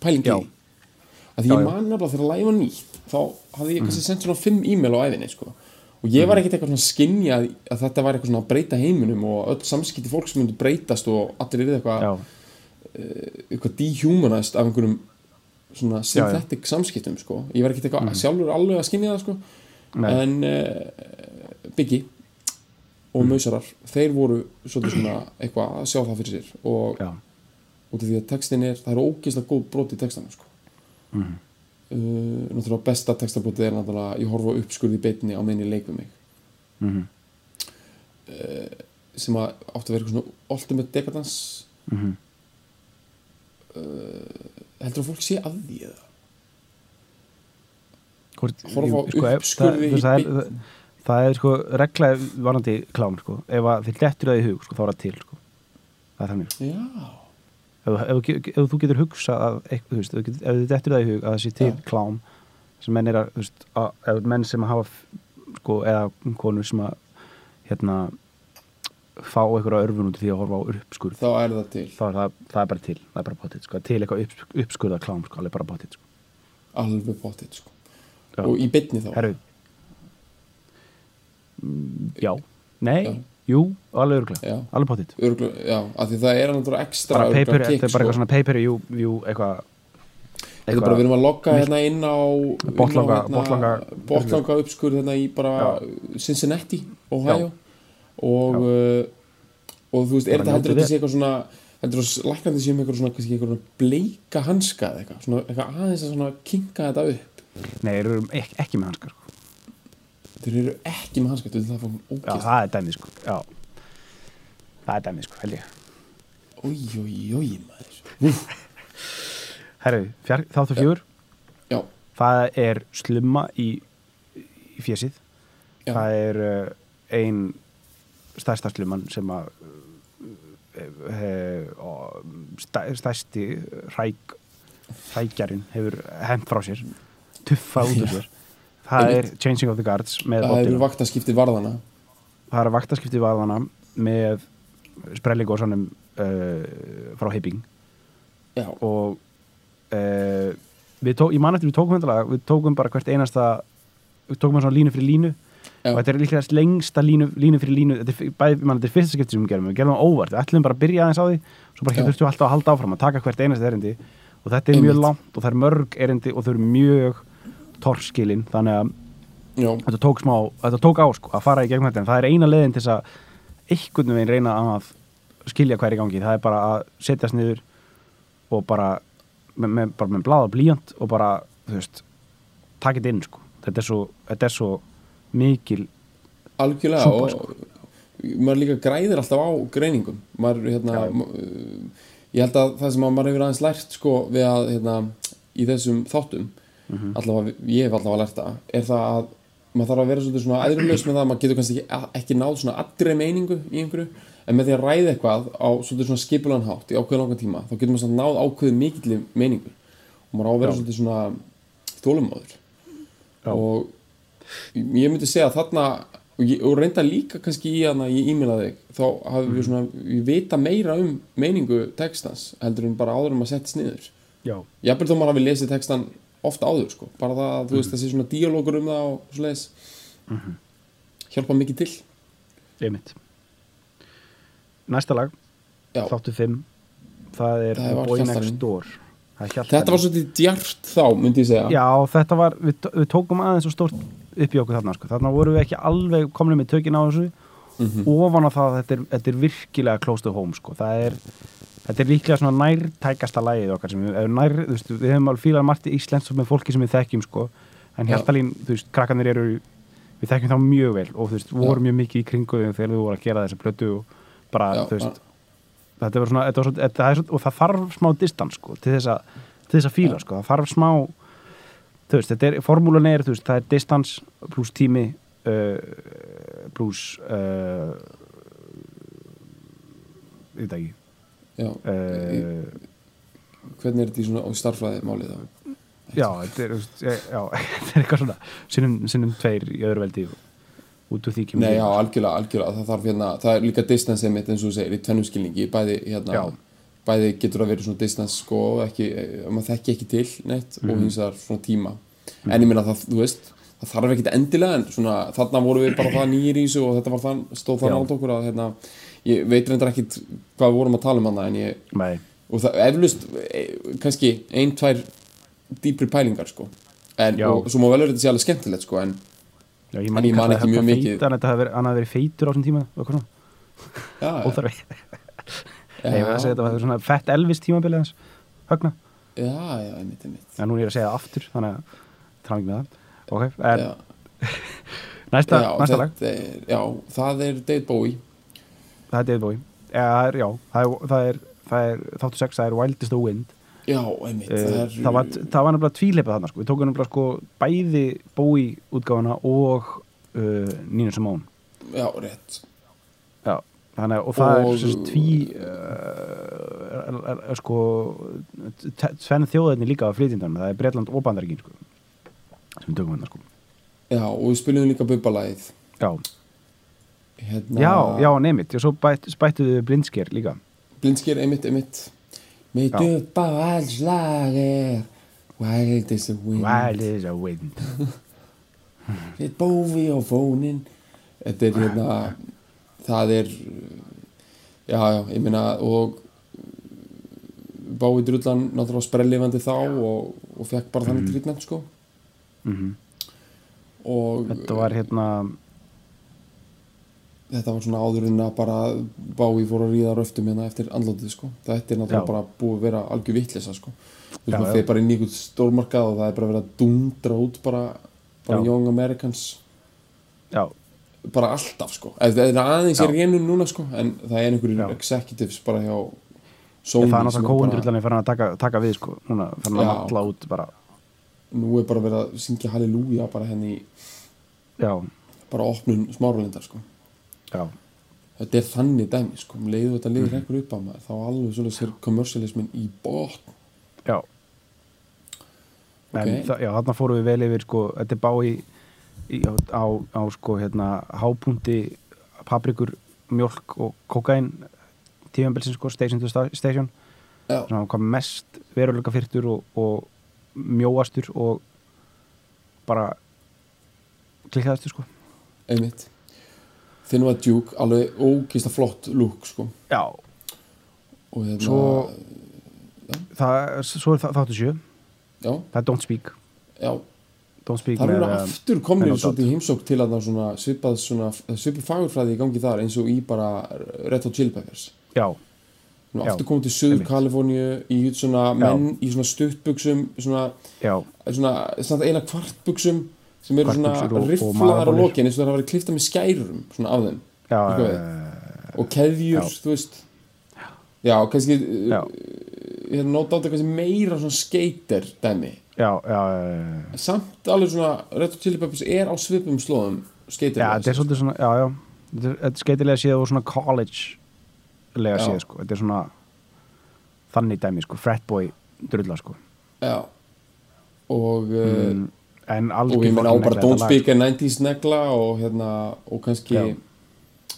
pælingi
Já. Mhm.
að að því ég man nefnilega þegar lægi var nýtt þá hafði ég kannski sendt svona fimm e-mail á æfinni sko. og ég var ekkert eitthvað svona að skinja að, að þetta var eitthvað svona að breyta heiminum og öll samskipti fólks myndi breytast og allir eru eitthvað,
já,
eitthvað dehumanized af einhverjum
já.
svona
Mm.
synthetic samskiptum sko. ég var ekkert eitthvað sjálfur alveg að skinja það sko.
Nei.
en uh, Biggi
Mm.
og Mausarar, þeir voru svolítið svona eitthvað að sjá það fyrir sér og
já,
út af því að textin er, það er ógeðslega góð brot í textanum sko.
Mhm.
uh, náttúrulega besta textabrotið er náttúrulega ég horfa uppskurði í beinni á meðin ég leik við mig
Mhm.
uh, sem að átti að vera eitthvað svona ultimate decadence
Mhm.
uh, heldur að fólk sé að því eða
Hvort, sko,
Horfa á
ef- það-
uppskurði í
þú veist, það, er,
beinni.
það, það er sko regla varandi klám sko. ef að þið lettur það í hug sko, þá er það til sko. það er þannig sko.
já,
ef, ef, ef, ef þú getur hugsað að, eitthvað, þú veist, ef þú getur- ef þið lettur það í hug að það sé til
Já.
klám sem menn, er að, þú veist, að, ef menn sem hafa f- sko, eða konur sem að hérna fá einhverja örfun út af því að horfa á uppskurð
þá er það til
þá er það, það er bara til, það er bara potið sko. til eitthvað upp, uppskurða klám, sko, alveg bara potið sko.
alveg potið sko.
Já.
og í beinni þá
Herru Mm, Já, nei
Já.
Jú, alveg örgulega,
Já.
alveg potið
Örglu, já, af því það er náttúrulega ekstra
Bara
örugglega
paper, þetta
kick,
er bara
sko.
eitthvað svona paper Jú, jú, eitthvað
Þetta er bara við erum að logga hérna inn á
Botnlanga-
inn á hérna,
botnlanga-
botlanga uppskurð hérna í bara Cincinnati, Ohio og uh, og þú veist, er
Bara
þetta heldur
njótið
þetta sé eitthvað svona heldur þetta læknandi sé með eitthvað svona kannski eitthvað svona bleika hanska eða eitthvað svona eitthvað aðeins að svona kinka þetta upp
Nei, við erum ekki, ekki með hanskar sko.
þeir eru ekki með hanska, þú veist það fór
Já,
ógist
það er dæmið sko Já Það er dæmið sko, held ég
Ói, ói, ói, maður Úf,
Herru, fjár, þáttu fjör
Já,
Það er slumma í, í fjesið
Já.
Það er uh, ein stærsta slumman sem að uh, he, og stæ, stærsti ræk, rækjarinn hefur hent frá sér tuffað út úr sér Það er Changing of the Guards með
það
Bob
eru
Dylan.
vaktaskipti varðana
Það er vaktaskipti vaðana með sprellingósanum uh, frá Hibbing
Já,
og uh, við tók, ég man eftir við tókum þetta lag við tókum bara hvert einasta við tókum bara svona línu fyrir línu
Já.
og þetta er líklega lengsta línu, línu fyrir línu þetta er, bæ, man, þetta er fyrsta skipti sem við gerum við gerum það óvart, við ætlum bara að byrja aðeins á því svo bara
Já.
þurftum við alltaf að halda áfram að taka hvert einasta erindi og þetta er mjög
Einmitt.
langt og það er mörg erindi og þau eru mjög torskilin þannig að
já,
þetta tók smá, þetta tók á sko að fara í gegnum þetta en það er eina leiðin til þess að einhvern veginn reyna að skilja hvað er í gangi, það er bara að setjast niður og bara með, með, bara með blad og blíjant og bara þú veist, taka þetta inn sko þetta er svo, þetta er svo mikil
algjörlega
Súpa,
og maður líka græðir alltaf á greiningum maður, hérna, ma- uh, ég held að það sem að maður hefur aðeins lært sko, við að hérna, í þessum þáttum allavega, ég hef allavega lært það er það að maður þarf að vera svolítið svona æðrulegs með það maður getur kannski ekki, ekki náð svona allri meiningu í einhverju en með því að ræða eitthvað á svolítið svona skipulan hátt í ákveðin langan tíma þá getur maður samt náð ákveðin mikilli meiningu og maður á að vera svolítið svona þólumóður
Já.
og ég myndi segja að þarna og, ég, og reynda líka kannski í hana ég ímilaði þig, þá hafum
Mhm.
við svona við vita meira um meiningu textans heldur en bara áður um að setja sniður
já,
jafnvel þó maður hafi lesið textan ofta áður sko, bara það að þú
Mhm.
veist þessi svona díalókur um það og svoleiðis hjálpa mikið til
einmitt næsta lag,
Já.
þáttu 5 það er
Það var
Boy Next
Hjaltalín.
Door Það er Hjaltalín.
þetta var svolítið djart þá, myndi ég segja
Já, þetta var, við, t- við tókum aðeins og stórt upp í okkur þarna, sko. þarna vorum við ekki alveg komin með tökin á þessu
Mhm.
ofan á það, þetta er, þetta er virkilega close to home, sko, það er þetta er líklega svona nærtækasta lagið okkar sem við, ef nær, þú veist, við hefum alveg fílað margt í Íslands með fólki sem við þekkjum, sko en
Já.
Hjaltalín, þú veist, krakkanir eru við þekkjum þá mjög vel og þú veist, vorum mjög mikið í kringu þeim þegar við vorum að gera þessa plötu og bara,
Já,
þú veist
bara-
þetta var svona, þetta var svona, þetta er svona og það þarf smá distans, sko, til þess að til þess að fíla, sko, það þarf smá þú veist, þetta er, formúlan er, þú veist, það er distans pluss tími uh, pluss uh, ég veit það ekki
já.
uh,
hvernig er þetta í svona á starfræði málið þá
já, þetta er, þú veist, ég- já, þetta er eitthvað svona sinnum, sinnum tveir í öðru veldi út úr því kemur
Nei, já,
til.
algjörlega, algjörlega, það þarf hérna, það er líka distance einmitt eins og þú segir í tvennum skilningi, bæði hérna
Já.
bæði getur að vera svona distance sko og ekki, eh, maður þekki ekki til neitt
Mhm.
og hins vegar svona tíma en ég meina það, þú veist, það þarf ekki endilega en svona þarna vorum við bara það nýjir í þessu og þetta var þann, stóð það
Já.
nátt okkur að hérna, ég veit reyndar ekkit hvað við vorum að tala um hana en ég,
Nei,
og það eflust eh, kannski ein, tvær dýpri pælingar sko en,
Já.
og svo má vel vera þetta sé alveg skemmtilegt sko en
já, ég
En ég man
hvað
ekki
þetta
mjög
feitan-
mikið.
Þetta hafi verið, hann hafi verið feitur á þessum tíma og hvað,
já,
óþarfi Nei, ég var að segja þetta var svona fett Elvis tímabilið hans Högna,
já, já, einmitt, einmitt
en núna er ég að segja það aftur þannig að tráðum ekki með það Ok, en
já,
næsta,
já,
næsta
þetta
lag,
er, já, það er Dave Bowie
það er David Bowie Já, það er, já, það er, það er, það er þáttu sex, það er Wildest of Wind
já, einmitt
Eh,
það, er,
það var, það var nefnilega tvíleipið þarna sko. við tókum nefnilega sko bæði Bowie útgáfuna og uh, Nina Simone
já, rétt
já. þannig að og það
Og-
er sérst tví uh, er, er, er, sko t- tvenn þjóðinni líka á flytjindanum það er Bretland og Bandaríkin sko sem við tökum hérna sko
já, og við spilum líka bubbalagið
já,
hérna,
já, já neymit og svo bætt, bættu við blindsker líka
blindsker, einmitt, einmitt með
Já.
uppáhaldslagir Wild is the wind
Wild is a wind
Við bófi og fónin Þetta er hérna Það er Já, já, ég meina og Bói drullan náttúrulega sprellifandi þá og, og fekk bara þannig treatment sko
Mhm.
og
þetta var hérna
þetta var svona áður en að bara Bói fór að ríða röftum hérna eftir andlótið sko þetta er náttúrulega
Já.
bara búið að vera algjör vittlisa sko þú veist
Já,
maður
já.
þeir bara inn í einhvern stórmarkað og það er bara verið að dundra út bara, bara
Já.
Young Americans
já,
bara alltaf sko Ef það er aðeins í
Já.
reynum núna sko en það er einhverjum
Já.
executives bara hjá
það er
Sony sem
náttúrulega kóundur
bara,
bara... fyrir hann að taka, taka við sko núna, fyrir hann að
Já.
matla út bara
nú er bara verið að syngja Halleluja bara henni í
já,
bara opnun smáralindar sko
já,
þetta er þannig dæmi sko um leiðu þetta leiður
Mhm.
mm. upp á maður þá alveg svolítið sér kommersialismin í botn
já en
Ok.
það, já, þarna fórum við vel yfir sko, þetta er bá í, í á, á, á sko hérna hápunti paprikur, mjólk og kokain tífambilsin sko, station to sta- station
já,
svona hvað mest veruleika fyrtur og, og mjóastur og bara klikkaðastur sko
einmitt þinn var Duke, alveg ógista flott lúk sko
já,
og hérna,
Svo- það, svo er það, þáttu sjö
já,
það er Don't Speak,
já
Don't Speak
Það eru
eh,
aftur komnir
með Lodot.
svolítið í heimsók til að það svona svipað svona, svipið fagurfræði í gangi þar eins og í bara Red Hot Chili Peppers.
já,
Nú
Já,
aftur komið til Suður
einmitt.
Kaliforníu í svona menn í svona stuttbuksum, svona,
já,
svona, svona eina kvartbuksum sem eru
Kvartbuxur
svona
og- og
rifflaðar á
magabolur.
lokin eins og það hafa verið klifta með skærum svona af þeim
já
Eitthvað við. og keðjur,
Já.
þú veist. Já, og kannski,
já,
já. hérna nót átta kannski meira svona skater dæmi.
já, já, já
Samt alveg svona Red Hot Chili Peppers er á svipum slóðum skater.
Já, þetta er svolítið svona, já, já Þetta er- Þetta er skeitilega séð og svona college-lega
Já.
séð, sko Þetta er svona þannig dæmi, sko, fratboy drulla, sko
Já og, mm,
En algjör
og ég meina á
fucking
bara
negla
Don't
þetta lag,
Speak a 90s negla og hérna og kannski
Já.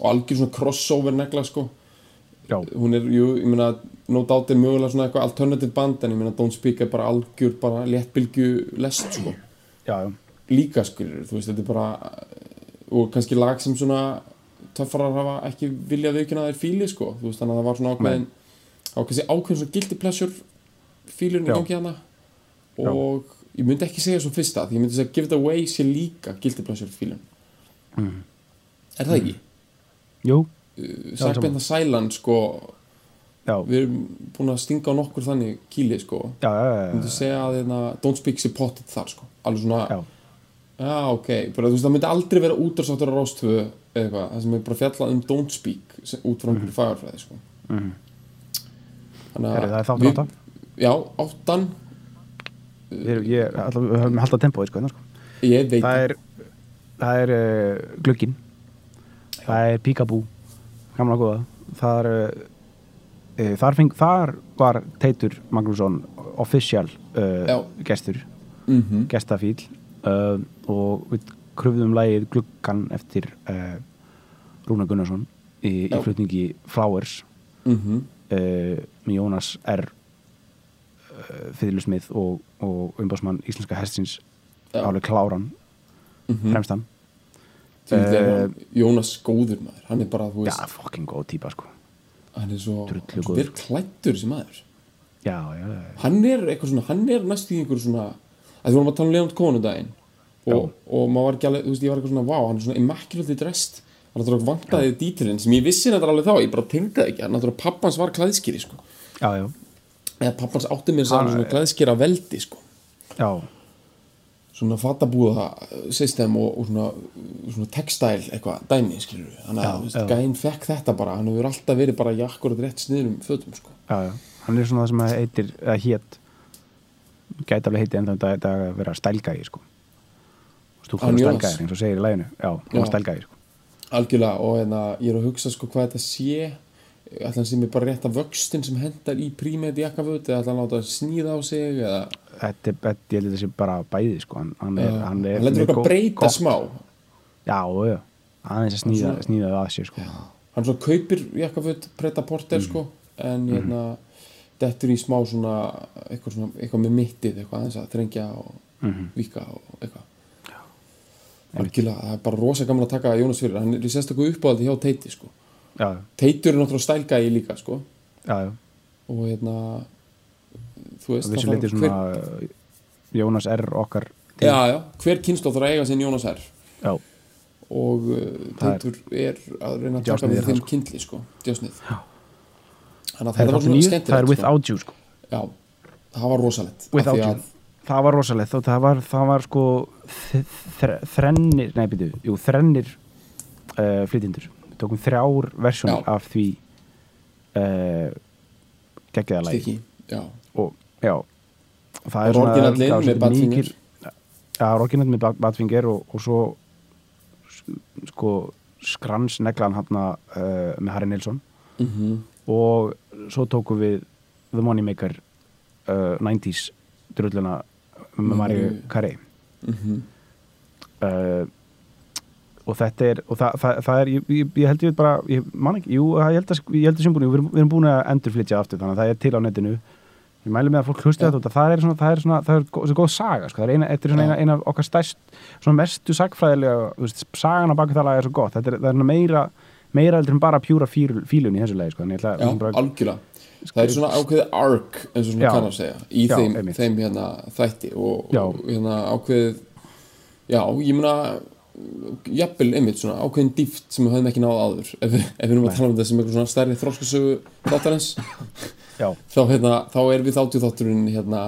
og algjör svona crossover negla sko
sko. Já,
hún er, jú, ég meina No Doubt er mögulega svona eitthvað alternative band en ég meina Don't Speak er bara algjör bara léttbylgju lest sko
já, já,
líka skilur, þú veist, þetta er bara eh, og kannski lag sem svona töffarar hafa ekki viljað viðkynna þér fíli sko, þú veist, þannig að það var svona ákveðin þá var kannski ákveðin svona guilty pleasure fílurinn í
Já.
gangi hana og ég myndi ekki segja svo fyrsta því ég myndi segja give it away sé líka guilty pleasure fílurinn er það ekki?
jú,
Mm.
Mhm. Já,
Sæpinna Sælan sko
já,
við erum búin að stinga á nokkur þannig kýli sko,
já, já,
ég myndi
já,
segja að hérna, Don't Speak sé pottit þar sko, alveg svona
Eh. já,
Já, ok, bara þú veist, það myndi aldrei vera útarsáttur á Rástvö eða eitthvað, það sem er bara fjallað um Don't Speak sem- út frá einhverju mm fagurfræði, sko Þannig
Herri, Mhm. það er þáttur
við-
átta.
Já, áttan,
Við erum, ég, alltaf, við höfum haldað tempóið, sko, hérna, sko
ég veit
Það er, það er uh, glugkin Það er píkabú Gamla góða Það er uh, Þar, feng, þar var Teitur Magnússon official
Já.
uh, gestur
mm
gestafíl uh, og við kröfðum lagið gluggan eftir uh, Rúna Gunnarsson í, í
Já.
flutningi Flowers
mhm,
uh, með Jónas R uh, Fyðlusmið og, og umbásmann Íslenska hestins
Já. Mhm.
álega kláran fremstan
Þú veit, er
Eh,
hann Jónas góður maður hann er bara, þú
já,
veist,
fucking góð típa sko
hann er svo,
drullu
hann er svo
góður.
vel klættur sem maður
já, já, já,
hann er eitthvað svona, hann er næst í einhver svona að því vorum að tala um Leonard Cohen um daginn og, og maður var ekki alveg, þú veist, ég var eitthvað svona vá, hann er svona immaculately dressed hann náttúrulega vantaði dítilinn sem ég vissi þetta alveg þá ég bara tengdaði ekki, hann náttúrulega pappans var klæðskýri sko.
já, já,
eða pappans átti mér sem svona klæðskýra veldi sko.
já.
svona fatabúða system og, og svona, svona textile eitthvað dæmi, skilur við þannig að þú veist, gæinn fekk þetta bara, hann hefur alltaf verið bara í akkurat rétt sniðnum fötum sko.
já, já. hann er svona það sem að heitir eða hét gæti alveg heiti ennþá þetta að vera stælgæði sko
Hann
stúlkur og
Jónas?
stælgæði eins og segir í læginu já, hann
Já.
var stælgæði sko
Algjörlega og hérna, ég er að hugsa sko hvað þetta sé ætla hann sem er bara rétt að vöxtin sem hendar í prímet jakkaföt eða ætla hann láta að snýða á sig eða
þetta, er- þetta, ég held að þetta sé bara bæði sko hann, hann er,
Já.
hann er
hann letur
með
okkur
gott-
breyta
gott-
smá
já, já, aðeins að snýða,
Svona-
snýða það að sér sko já, Mm.
hann svo kaupir jakkaföt preta porter sko en hérna dettur í smá svona eitthvað, svona, eitthvað með mittið eitthvað aðeins að þrengja og
Mhm.
vika og eitthvað Algjörlega, það er bara rosa gaman að taka Jónas fyrir hann er í sérstakku uppáhaldi hjá Teiti sko
já,
Teitur er náttúrulega stælgæði líka sko
já, já.
og hérna þú veist
og þessu
það
leiti
þarf-
svona uh, Jónas R. okkar til-
já, já, hver kynnslóð þarf að eiga sinn Jónas R
já,
og uh,
Það er-
Teitur er að reyna að taka
Djásnið er
við
það,
þeim
sko.
kindli sko, djásnið þannig að
það
þetta
er,
var svona
nýð, það er
skemmtilegt sko.
without you sko
já, það var rosalegt af
without
því
you,
að-
það var rosalegt og það var, það var sko þ- þr- þrennir, nei býtu, jú þrennir uh, flytindur við tókum þrjár versjónir
Já.
af því uh, geggiða lægi
Stiki, já,
og já og það
Og orginallinn
það var
með
svolítið
Badfinger.
mikil- já, orginallinn með Batfinger og, og svo s- sko skransneglan hann uh, með Harry Nilsson
mhm,
og svo tókum við The Moneymaker uh, 90s drulluna með Mario
Mariu.
Carey
mhm
uh, og þetta er og það, það, það er, ég, ég, ég held ég bara ég man ekki, jú, ég held að, ég held að sjömbúinu við, erum- við erum búin að endurflytja aftur þannig að það er til á netinu ég mæli með að fólk hlusti
Já.
þetta út að það er svona, það er svona, það er góð, góð saga sko. það er eina, þetta er svona
Já.
eina, eina af okkar stærst svona mestu sagfræðilega, þú veist, sagan á baki það laga er svo gott, þetta er, það er svona meira meira heldur en bara pjúra fíl, fílun í þessu lagi sko. þannig ég ætla
já,
ég bara-
algjörlega það er svona ákveði arc eins og svona
Já.
kann að segja í
Já,
þeim,
einmitt.
þeim hérna, þætti og,
Já.
og hérna ákveðið já, ég meina jafnvel einmitt svona ákveðin dýft sem við höfum ekki náð áður ef, við- ef við erum að tala um þetta sem eitthvað svona stærri þróskasögu þáttarins
já,
þá, hérna, þá er við þáttu þátturinn hérna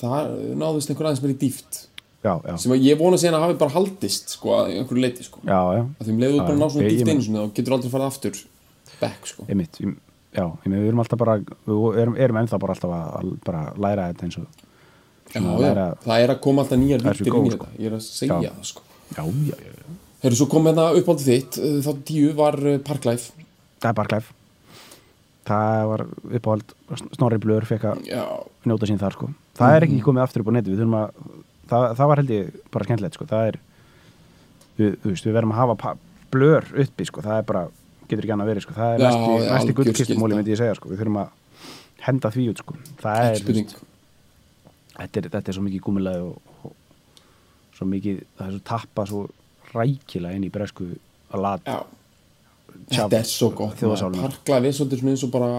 það náðist einhver aðeins meiri dýft
já, já,
sem að ég vona síðan að hafi bara haldist sko, að einhverju leiti sko
já, já
að því um leiðu
Já,
bara að ná svona
ég- ég
dýft
meina-
einu sinni þá getur aldrei farið aftur back sko
einmitt, ég- já, ég meina, við erum alltaf bara við erum, erum ennþá bara alltaf að, að bara læra þetta eins og
Já,
svona
já,
læra
það er að koma alltaf nýjar
Það er svo
vittir
góð,
inn í
sko.
þetta, ég er að segja
Já.
það sko
já, já, já, já.
Herru, svo kom hérna uppáldið þitt, þá tíu var eh, Parklife
það er bara klæf það var uppáhald Snorri Blur fekk að
Já,
njóta sín þar sko það er
Mhm.
ekki komið aftur upp á netu við þurfum að, það, það var held ég bara skemmtilegt sko það er, við, þú veist, við verðum að hafa pa- blör uppi sko það er bara, getur ekki annað verið sko það er
Já,
næsti,
já,
næsti
algjör
gullkistumóli
skylda.
myndi ég segja sko við þurfum að henda því út sko það er,
ekki
þú veist,
spurning
þetta er, þetta er svo mikið gúmilaði og, og svo mikið, það er svo tappa svo rækilega inn í bresku að lat
Já, þetta er svo gott maður.
þjóðasálina
Parklife er svolítið svona eins og bara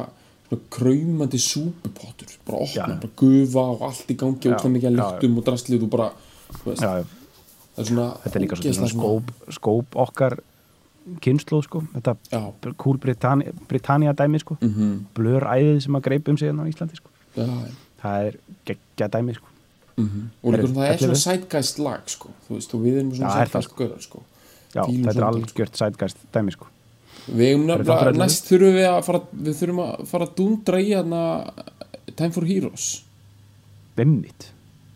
svona kraumandi súpupottur bara opna,
Já.
bara gufa og allt í gangi
Já,
og það mikið að
já,
lyktum og drastlið og bara, þú veist,
já, já,
það er svona
þetta er líka
ógeðslega
svolítið svona skóp, skóp okkar kynnslóð sko, þetta
Já.
cool Britannia, Britannia dæmi sko -hmm. blör æðið sem að greipum sig hérna á Íslandi sko
Já,
það er geggja dæmi sko
og líka
Herru,
svona það er
ætlum
svona
við?
sætgæst lag sko, þú veist, og við erum svona
Já, er það,
sætgæst görar sko
já,
Fílum
þetta er
svona-
algjört sætgæst dæmi sko
Við eigum
þáttur
nefnilega,
ellefu?
næst þurfum við að fara, við þurfum að fara að dundra í hana Time for Heroes.
vimmit,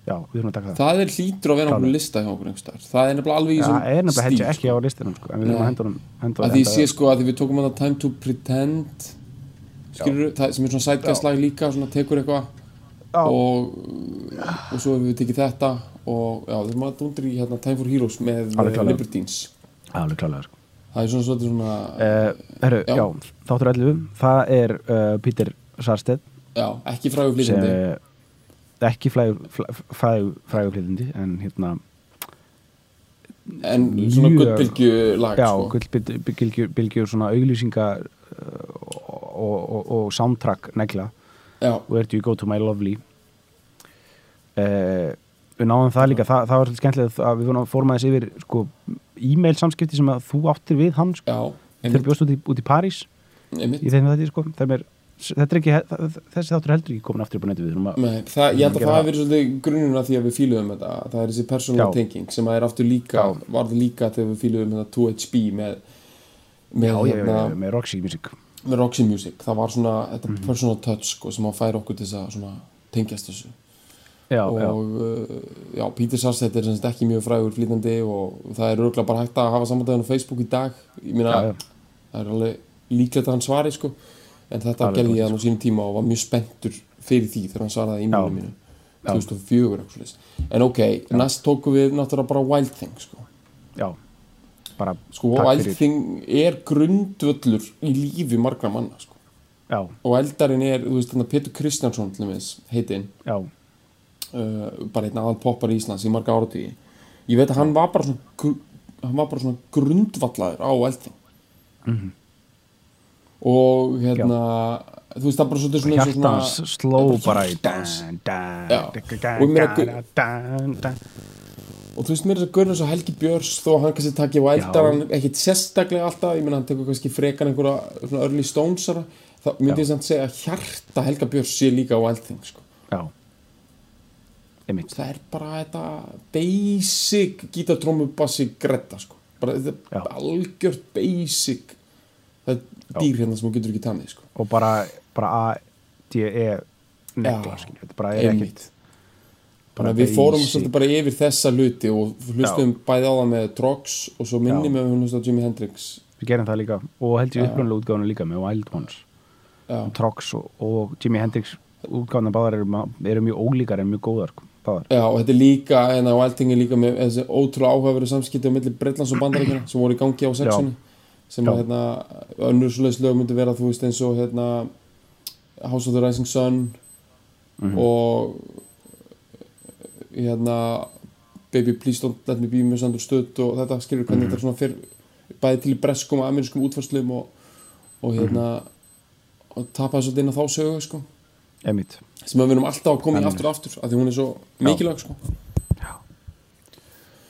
já, við þurfum að taka það
Það er hlýtur að vera
Klálega.
okkur lista hjá okkur einhver staðar. Það er nefnilega alveg í
Já,
þessum
það er nefnilega held ég ekki
sko.
á listinum sko en við þurfum
Nei.
að henda honum henda-
Að því
henda-
sé sko að því við tókum hana Time to Pretend, skilur það sem er svona
Já.
sætgæstlag líka, svona tekur eitthvað
Já.
og, og svo hefur við tekið þetta og já, þurfum að dundra í hérna Time for Heroes með
Alveg
eh,
klálega.
Libertines.
Já, alveg klálega sko
það er svona svolítið svona
uh, herru,
Já.
já. þáttur 11 það er uh, Peter Sarstedt
já, ekki frægur
sem
flýtandi
er ekki fræguflýðindi en hérna
en svona
mjög-
guttbylgju lag
já,
sko.
gullbylgjur bylgjur svona auglýsingar uh, og, og, og soundtrack negla
já,
Where do you go to my lovely uh, við náðum það líka það, það var svolítið skemmtilegt að við vorum- fórum aðeins yfir sko, e-mail samskipti sem að þú áttir við hann sko,
já,
þegar
einmitt,
bjóst út í, út í París
einmitt.
í þeim þetta sko, þeim er, þetta er ekki, þessi þáttur er heldur ekki komin aftur upp á netu við þurfum að-
Nei, það, ég held að
Gera
það
það.
hafi verið svolítið grunnuna því að við fíluðum þetta það er þessi persónulega
Já.
tenging sem að er aftur líka,
Já.
varð líka þegar við fíluðum þetta 2HB með, með,
já, já, já,
hérna,
já, Mhm. með Roxy Music
með Roxy Music það var svona þetta personal touch sko, sem að færa okkur til þess að svona, tengjast þessu
já,
og
já,
já. já, Peter Sarsett er sem sagt ekki mjög frægur flýtandi og það er örgulega bara hægt að hafa sambandaðan á Facebook í dag ég meina,
já, já.
það er alveg líklegt að hann svari sko en þetta
Alveg
gerði
pottþétt,
ég hann á sínum tíma og var mjög spenntur fyrir því þegar hann svaraði e-mailum
Já.
mínu 2004 eitthvað svoleiðis. en ok, næst tókum við náttúrulega bara Wild Thing sko,
já. bara
sko
takk
Wild
fyrir.
Thing er grundvöllur í lífi margra manna sko
já,
og eldarinn er, þú veist, þannig að Petur Kristjánsson til þess heitinn,
já,
uh, bara einn aðal poppar í Íslands í marga áratugji ég veit að hann var bara svona gr- hann var bara svona grundvallaður á elding
Mhm.
og hérna þú veist það er bara svolítið svona, eins og
hjartans
svona
sló
það er bara
bara í dan,
hjartans.
dan,
Já.
dan,
Og ég meina,
dan, dan, dan.
og þú veist mér er þess að gaurinn svo Helgi Björns þó að hann kannski takki á eldar hann ekkit sérstaklega alltaf, ég meina hann tekur kannski frekan einhverja svona early stonesara það myndi ég samt segja að hjarta Helga Björns sé líka á elding sko
já einmitt,
það er bara þetta basic gítar, trómu, bassi, gretta sko. bara þetta
Já.
er algjört basic það er dýr hérna sem þú getur ekki tannið sko.
og bara bara A, D, E negla,
Já.
skilju, þetta bara er ekkert
Einmitt.
bara
Þannig að við fórum
basic.
svolítið bara yfir þessa luti og hlustum bæði á það með Trox og svo minni
Já.
með hún hlusta á Jimi Hendrix
við gerum það líka, og held ég upplunlega útgáðuna líka með Wild Ones,
Já.
Trox og, og Jimi Hendrix útgáðuna báðar eru, ma- eru mjög ólíkar en mjög góðar sko, báðar,
Já, og þetta er líka, en á Alting er líka með þessi ótrúlega áhugaveru samskipti á milli Bretlands og Bandaríkjana sem voru í gangi á sexunni sem að
Já.
hérna, önnur svoleiðis lög myndi vera þú veist eins og hérna House of the Rising Sun og hérna Baby Please Don't Let Me Be Misunderstood og þetta skilur hvernig þetta er svona fyrr bæði til í breskum og amerískum útfærslum og, og hérna og tapaði svolítið inn á þá sögu sko
einmitt
sem að við erum alltaf að koma í aftur og aftur af því hún er svo mikilvæg sko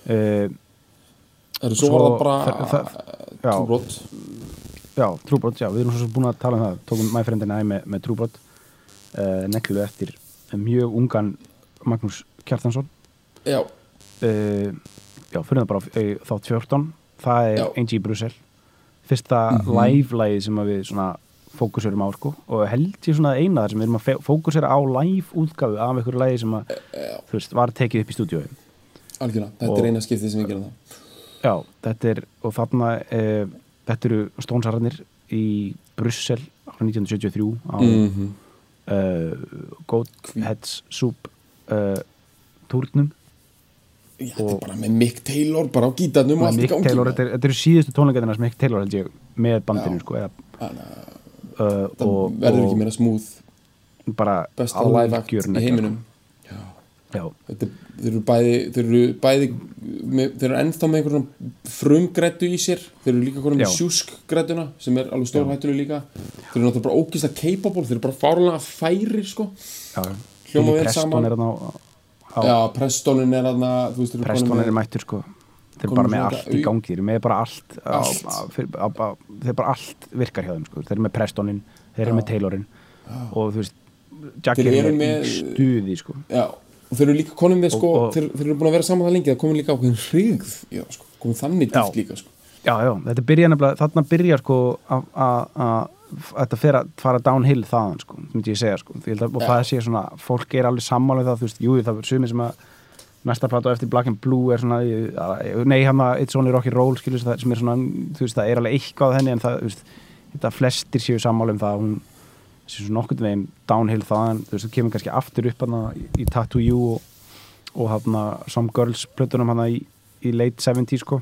uh,
Það eru svo
Svo
var það
þa- þa-
bara
já.
trúbrot
já, Trúbrot, já, við erum svo sem búin að tala um það tókum mæfrendina æg með, með Trúbrot uh, neglu eftir mjög ungan Magnús Kjartansson
Já,
uh, já, fyrir það bara á- eh, þátt 14 það er
Já.
Angie Brussel fyrsta live-lægi sem að við svona fókusurum á sko og held ég svona eina þar sem við erum að fe- fókusera á live útgafu af einhverju lægi sem að þú veist, var tekið upp í stúdíói
algjörlega, þetta
Og-
er eina skiptið sem ég gera það
Já, þetta er, og þarna uh, þetta eru stónsararnir í Brussel árið 1973 á mm
Mhm.
-hmm. Goatheads Soup uh, túrnum
Já, þetta er bara með Mick Taylor bara á gítarnum og
og
allt í
Mick
gangi
Taylor,
maður.
þetta, er, þetta eru síðustu tónleikarnir hans Mick Taylor held ég með bandinu sko, eða, uh,
Það
og,
verður ekki
og
meira smúð
bara
besta live act
algjör
í
negla,
heiminum
sko. Já,
þetta, er- Þeir eru bæði þeir eru bæði, með, þeir eru ennþá með einhverjum frumgrættu í sér þeir eru líka hverjum með
Já.
sjúskgrættuna sem er alveg stórhættuleg líka þeir eru náttúrulega bara ógist að capable þeir eru bara fárlega færir sko
já. Billy
Hljóma vel
Preston
saman.
er þarna á, á,
Já, Prestonin er aðna
Preston er mættur sko þeir eru
Komum
bara með
svona
allt
þetta
í
au-
gangi þeir eru með bara allt, á-
Allt.
á- fyrir- á- á- þeir eru bara allt virkar hjá þeim sko þeir eru með Prestonin, þeir eru með Taylorin og þú veist, Jackir
Þeir eru
er
með-
í stuði sko
Já, og þeir eru líka konum við sko,
Og- og-
þeir, þeir eru búin að vera saman það lengi það komin líka ákveðin hrigð já, sko, komin þannig
Já.
dýrt líka sko.
já, já, þetta byrja nefnilega, þarna byrja sko að- að að- þetta fer að fara downhill þaðan sko, myndi ég segja sko Ég held að, og það sé svona, fólk er alveg sammála um það, þú veist, jú, það er sumið sem að næsta plata á eftir Black and Blue er svona ég- nei, hann að It's Only Rocky Roll skilur, sem það- sem er svona, þú veist, það er alveg eitthvað að henni en það, þú veist, þetta flestir séu sammála um það að hún sé svona nokkurn veginn downhill þaðan, þú veist, þú kemur kannski aftur upp hana í, í Tattoo You og, og hana Some Girls plötunum hana í, í late 70s sko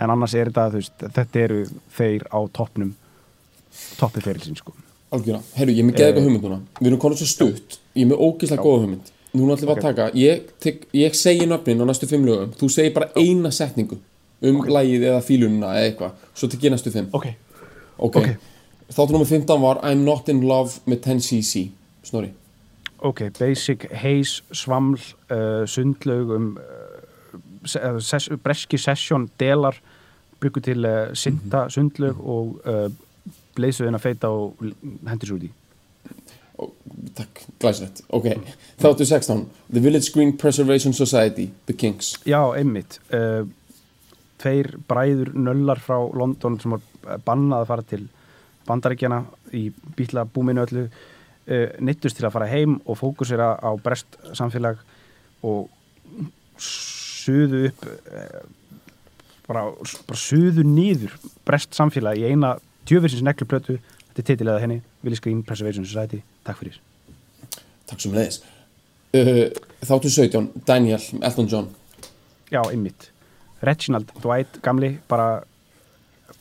en annars er þetta, þú veist, þetta eru þeir á toppnum toppi ferilsinn, sko
Algjörna, herru, ég er með geða
Eh.
eitthvað hugmynd núna Við erum konum svo stutt, ég er með ógeðslega góða hugmynd Núna ætlum við að taka, ég, tek, ég segi nöfnin á næstu fimm lögum Þú segir bara eina setningu um lagið eða fílunina eða eitthvað Svo tek ég næstu fimm
Ok,
Ok,
Ok.
þáttu nummer 15 var I'm not in love með 10cc Snorri,
ok, basic, heis, svaml uh, sundlaug um uh, se- eða ses, breski session delar, byggu til uh, synda, sundlaug og uh, bleysuðin að feita og l- hendur svo út í
takk, glæsilegt Ok,
Mm.
þáttu 16 The Village Green Preservation Society, The Kings
Já, einmitt uh, Tveir bræður nöllar frá London sem var bannað að fara til bandaríkjana í bíla búminu öllu uh, neittust til að fara heim og fókusera á brest samfélag og suðu upp uh, bara, bara suðu nýður brest samfélag í eina tjöfisins negluplötu þetta er titilega henni, Willis Green Preservation Society Takk fyrir
Takk sem leiðis uh, Þáttu 17, Daniel, Elton John
Já, einmitt. Reginald Dwight, gamli, bara,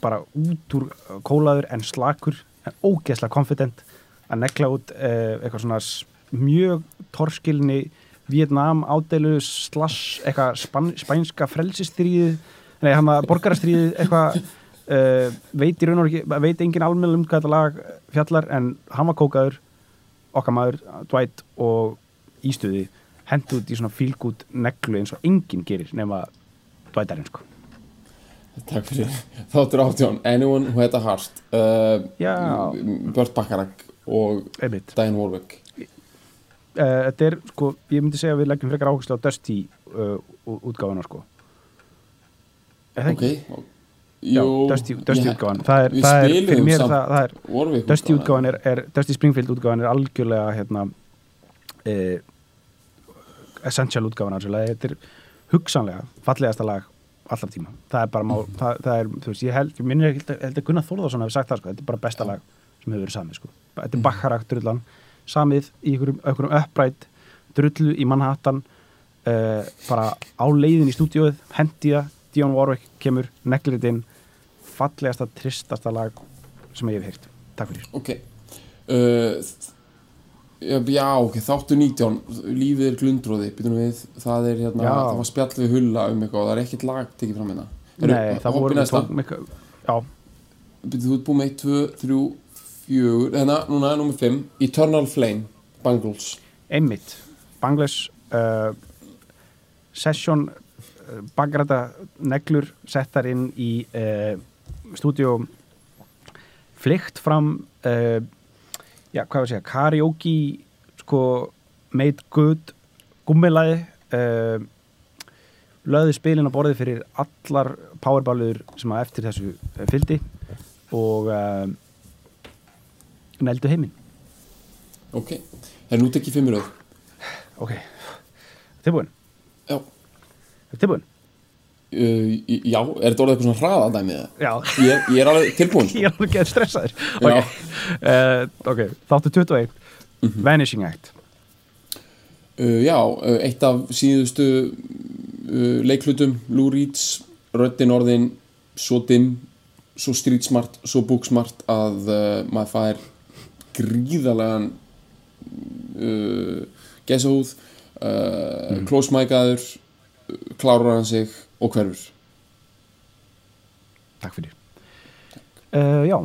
bara út úr uh, kólaður en slakur, en ógeðslega confident að negla út uh, eitthvað svona s- mjög torskilni Vietnam ádeilu slash eitthvað span, spænska frelsistríðið, nei, hann að borgarastríðið eitthvað uh, veit í raun og ekki, veit engin almenn um hvað þetta lag fjallar en hann var kókaður okkar maður, Dwight og Ístuði hendu út í svona fílgút neglu eins og enginn gerir nema Dwightarinn sko
Takk fyrir. Þáttur áttjón, Anyone Who Had a Heart, uh,
Já.
Bört Bakarak og
einmitt,
Diane Warwick.
uh, þetta er sko ég myndi segja að við leggjum frekar áherslu á Dusty uh, ú- útgáfuna sko er það
Ok.
ekki? Já, Dusty, Dusty
ég-
útgáfan það er,
við
það er, fyrir
spiluðum
mér
samt
það, það er
Warwick
Dusty útgáfan er, er Dusty Springfield útgáfan er algjörlega hérna uh, essential útgáfan af þessu lagi. þetta er hugsanlega fallegasta lag allar tíma það er bara má, það, það er, þú veist, ég held, ég minnir ekki held að- held að Gunnar Þórðarsson hafi sagt það sko, þetta er bara besta lag sem hefur verið samið sko, þetta er bakkarak drullan samið í einhverjum, einhverjum upprætt drullu í Manhattan uh, bara á leiðin í stúdíóið hendi það, Dionne Warwick kemur neglitinn, fallegasta tristasta lag sem ég hef heyrt takk fyrir
Ok. Uh, þ- já, ok, þáttur 19, Lífið er glundróði, býtum við, það er hérna,
Já.
það var spjall við hulla um eitthvað og það er ekkert lag tekið fram hérna. Eru-
Nei, það
hopp í
voru við
næsta.
tókum eitthvað Já,
Býtum þú ert búið með 1, 2, 3, 4, hérna, núna, nummer 5, Eternal Flame, Bangles.
einmitt Bangladesh uh, session uh, bagræta neglur settar inn í uh, stúdíó flykt fram uh, já, hvað var að segja, karaoke sko, made good gummilaði uh, löði spilin á borðið fyrir allar powerballuður sem að eftir þessu eh, fylgdi og uh, neldu heiminn
Ok, það er nú tekið fimmur öð
ok, tilbúin
Já,
tilbúin
uh, í- já, er þetta orðið eitthvað svona hraða dæmið eða?
Já,
Ég, ég er alveg tilbúin sko.
ég er alveg geð stressaður
Já.
Ok, uh, ok, þáttu 21 Vanishing Act
uh, Já, uh, eitt af síðustu uh, leiklutum Lou Reeds, röddin orðin svo dimm, svo street smart svo book smart að uh, maður fær gríðalegan uh, gesahúð uh, mm. klósmækaður eh, klárar hann sig og hverfur
Takk fyrir uh, Já,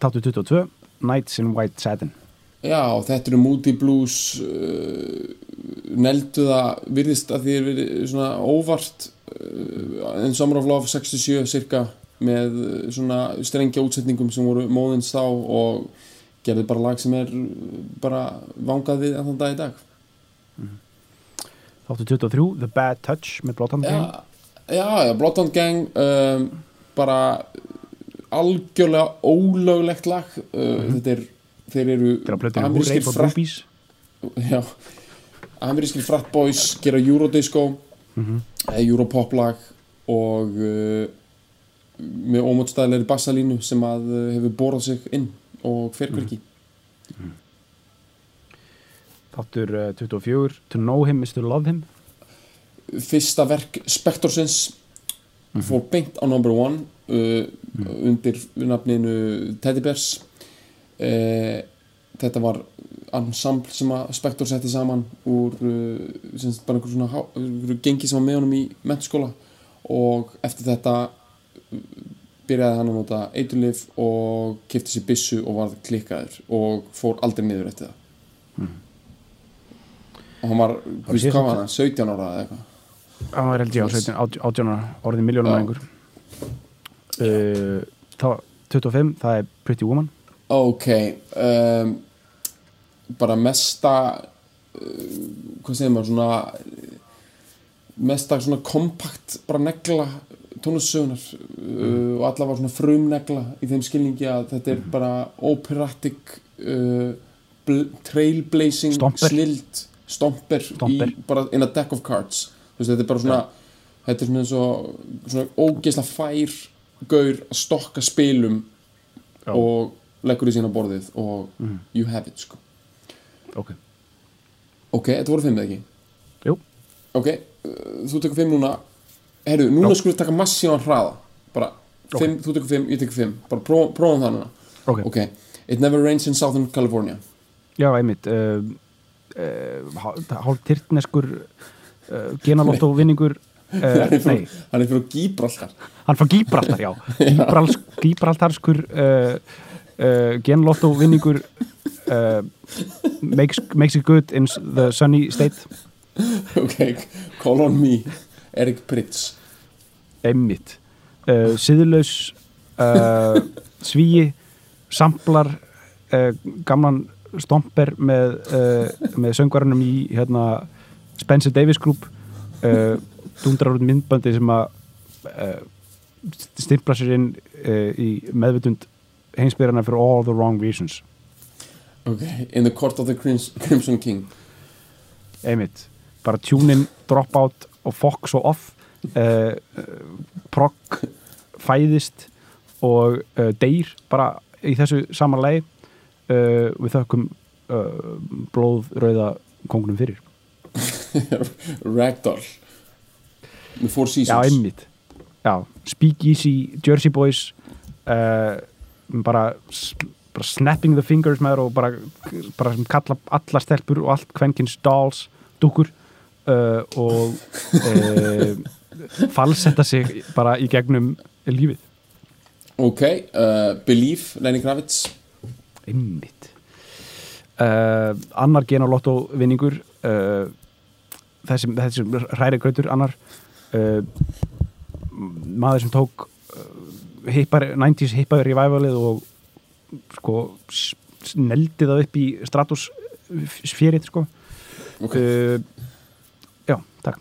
þáttu 22 Nights in White Satin
Já, þetta eru Moody Blues uh, neldu það virðist að því er verið svona óvart uh, en Summer of Love 67 cirka með uh, svona strengja útsetningum sem voru móðins þá og gerðu bara lag sem er uh, bara vangað við þann dag í dag
Þáttu 23 The Bad Touch með Blóthand
Já, já, já Bloodhound Gang um, bara algjörlega ólöglegt lag uh, þetta er, þeir eru
Þegar plötinu
amerískir
Húrreif og
frakk-
Boobies
Já, amerískir frat boys gera eurodisco eða europop lag og uh, með ómótstæðilegri bassalínu sem að uh, hefur borðað sig inn og fer hverki
Þáttur uh, 24 To Know Him is to Love Him
fyrsta verk Spektorsins fór beint á number one uh, undir nafninu Teddy Bears uh, þetta var ensemble sem að Spector setti saman úr uh, sem sagt bara einhver svona há- einhverju gengi sem var með honum í mentaskóla og eftir þetta uh, byrjaði hann að nota eiturlif og kipti sér byssu og varð klikkaður og fór aldrei niður eftir það og hann var,
Var
guðst
síðan-
hvað var hann, 17 ára eða eitthvað
hann var held ég á 17, 18 ára orðið miljónum
Já.
mæringur uh, þá 25, það er Pretty Woman
Ok um, Bara mesta uh, Hvað segir maður svona uh, Mesta svona kompakt Bara negla tónlissögunar uh, Og alla var svona frumnegla Í þeim skilningi að þetta er bara Operatic uh, bl- Trailblazing
Stomper.
Snild Stomper,
Stomper.
Í, bara in a deck of cards Þú veist, Þetta er bara svona Þetta er svona, eins og- svona ógeisla fær Gaur að stokka spilum og leggur í sína borðið og
Mhm.
you have it sko.
ok,
ok, þetta voru fimm eða ekki
jú,
ok, uh, þú tekur fimm núna herru, núna
Já.
skulum við taka massívan hraða bara, fimm, þú tekur fimm, ég tekur fimm bara pró, prófum það núna
ok,
ok, it never rains in southern California
já, einmitt uh, uh, hálf tyrtneskur uh, genalótt og vinningur uh,
hann er
nei,
fyrir, hann er fyrir Gíbraltar
hann frá Gíbraltar, já Gíbrals, Gíbraltarskur uh, uh, genlótt og vinningur uh, makes, makes it good in the sunny state
ok, call on me Eric Pritz
einmitt uh, síðlaus uh, svíi samplar uh, gamlan stomper með, uh, með söngvarunum í hérna, Spencer Davis Group uh, dundrar út myndbandi sem að uh, stimpla sér inn uh, í meðvitund heimsbyrjana for all the wrong reasons
ok, in the court of the Crims- Crimson King
einmitt, bara tune in, drop out og fuck so off uh, progg fæðist og uh, deyr bara í þessu samanlegi uh, við þökkum uh, blóðröða kongunum fyrir
Ragdoll the Four
já,
Seasons
einmitt já, speakeasy, Jersey Boys uh, bara, s- bara snapping the fingers maður og bara, bara sem kalla alla stelpur og allt kvenkins dolls dúkur uh, og uh, falsetta sig bara í gegnum lífið
ok, uh, Believe, Lenny Kravitz
einmitt uh, annar gen á lottóvinningur uh, þessi, þessi hræri grötur annar uh, maður sem tók uh, hippar, 90s hippar revivalið og sko s- sneldi það upp í stratosférið sko
ok
uh, já, takk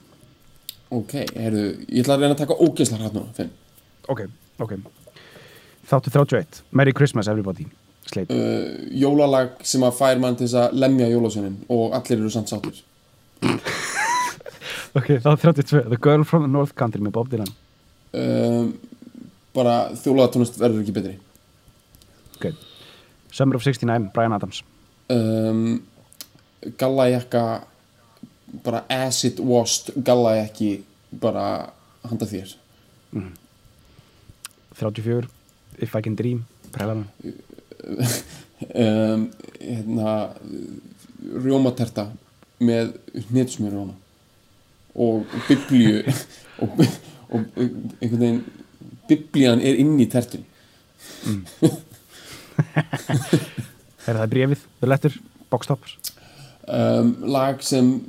Ok, heyrðu, ég ætla að reyna að taka ógeðsla hratt núna, Finn.
ok, ok þáttu 31, Merry Christmas everybody sleit,
Uh, jólalag sem að fær mann til þess að lemja jólasönin og allir eru samt sáttir.
ok, þáttu 32 The Girl from the North Country með Bob Dylan
Um, bara þjólaðatónist verður ekki betri.
Ok. Summer of 69, Brian Adams.
Um, gallajakka, bara acid washed gallajakki, bara handa þér.
34, If I Can Dream, Prevalon.
Um, hérna, rjómaterta með hnetsmjör róna og biblíu og, og einhvern veginn, biblían er inn í tertun.
Er það brefið, The Letter, Box Toppers.
um, lag sem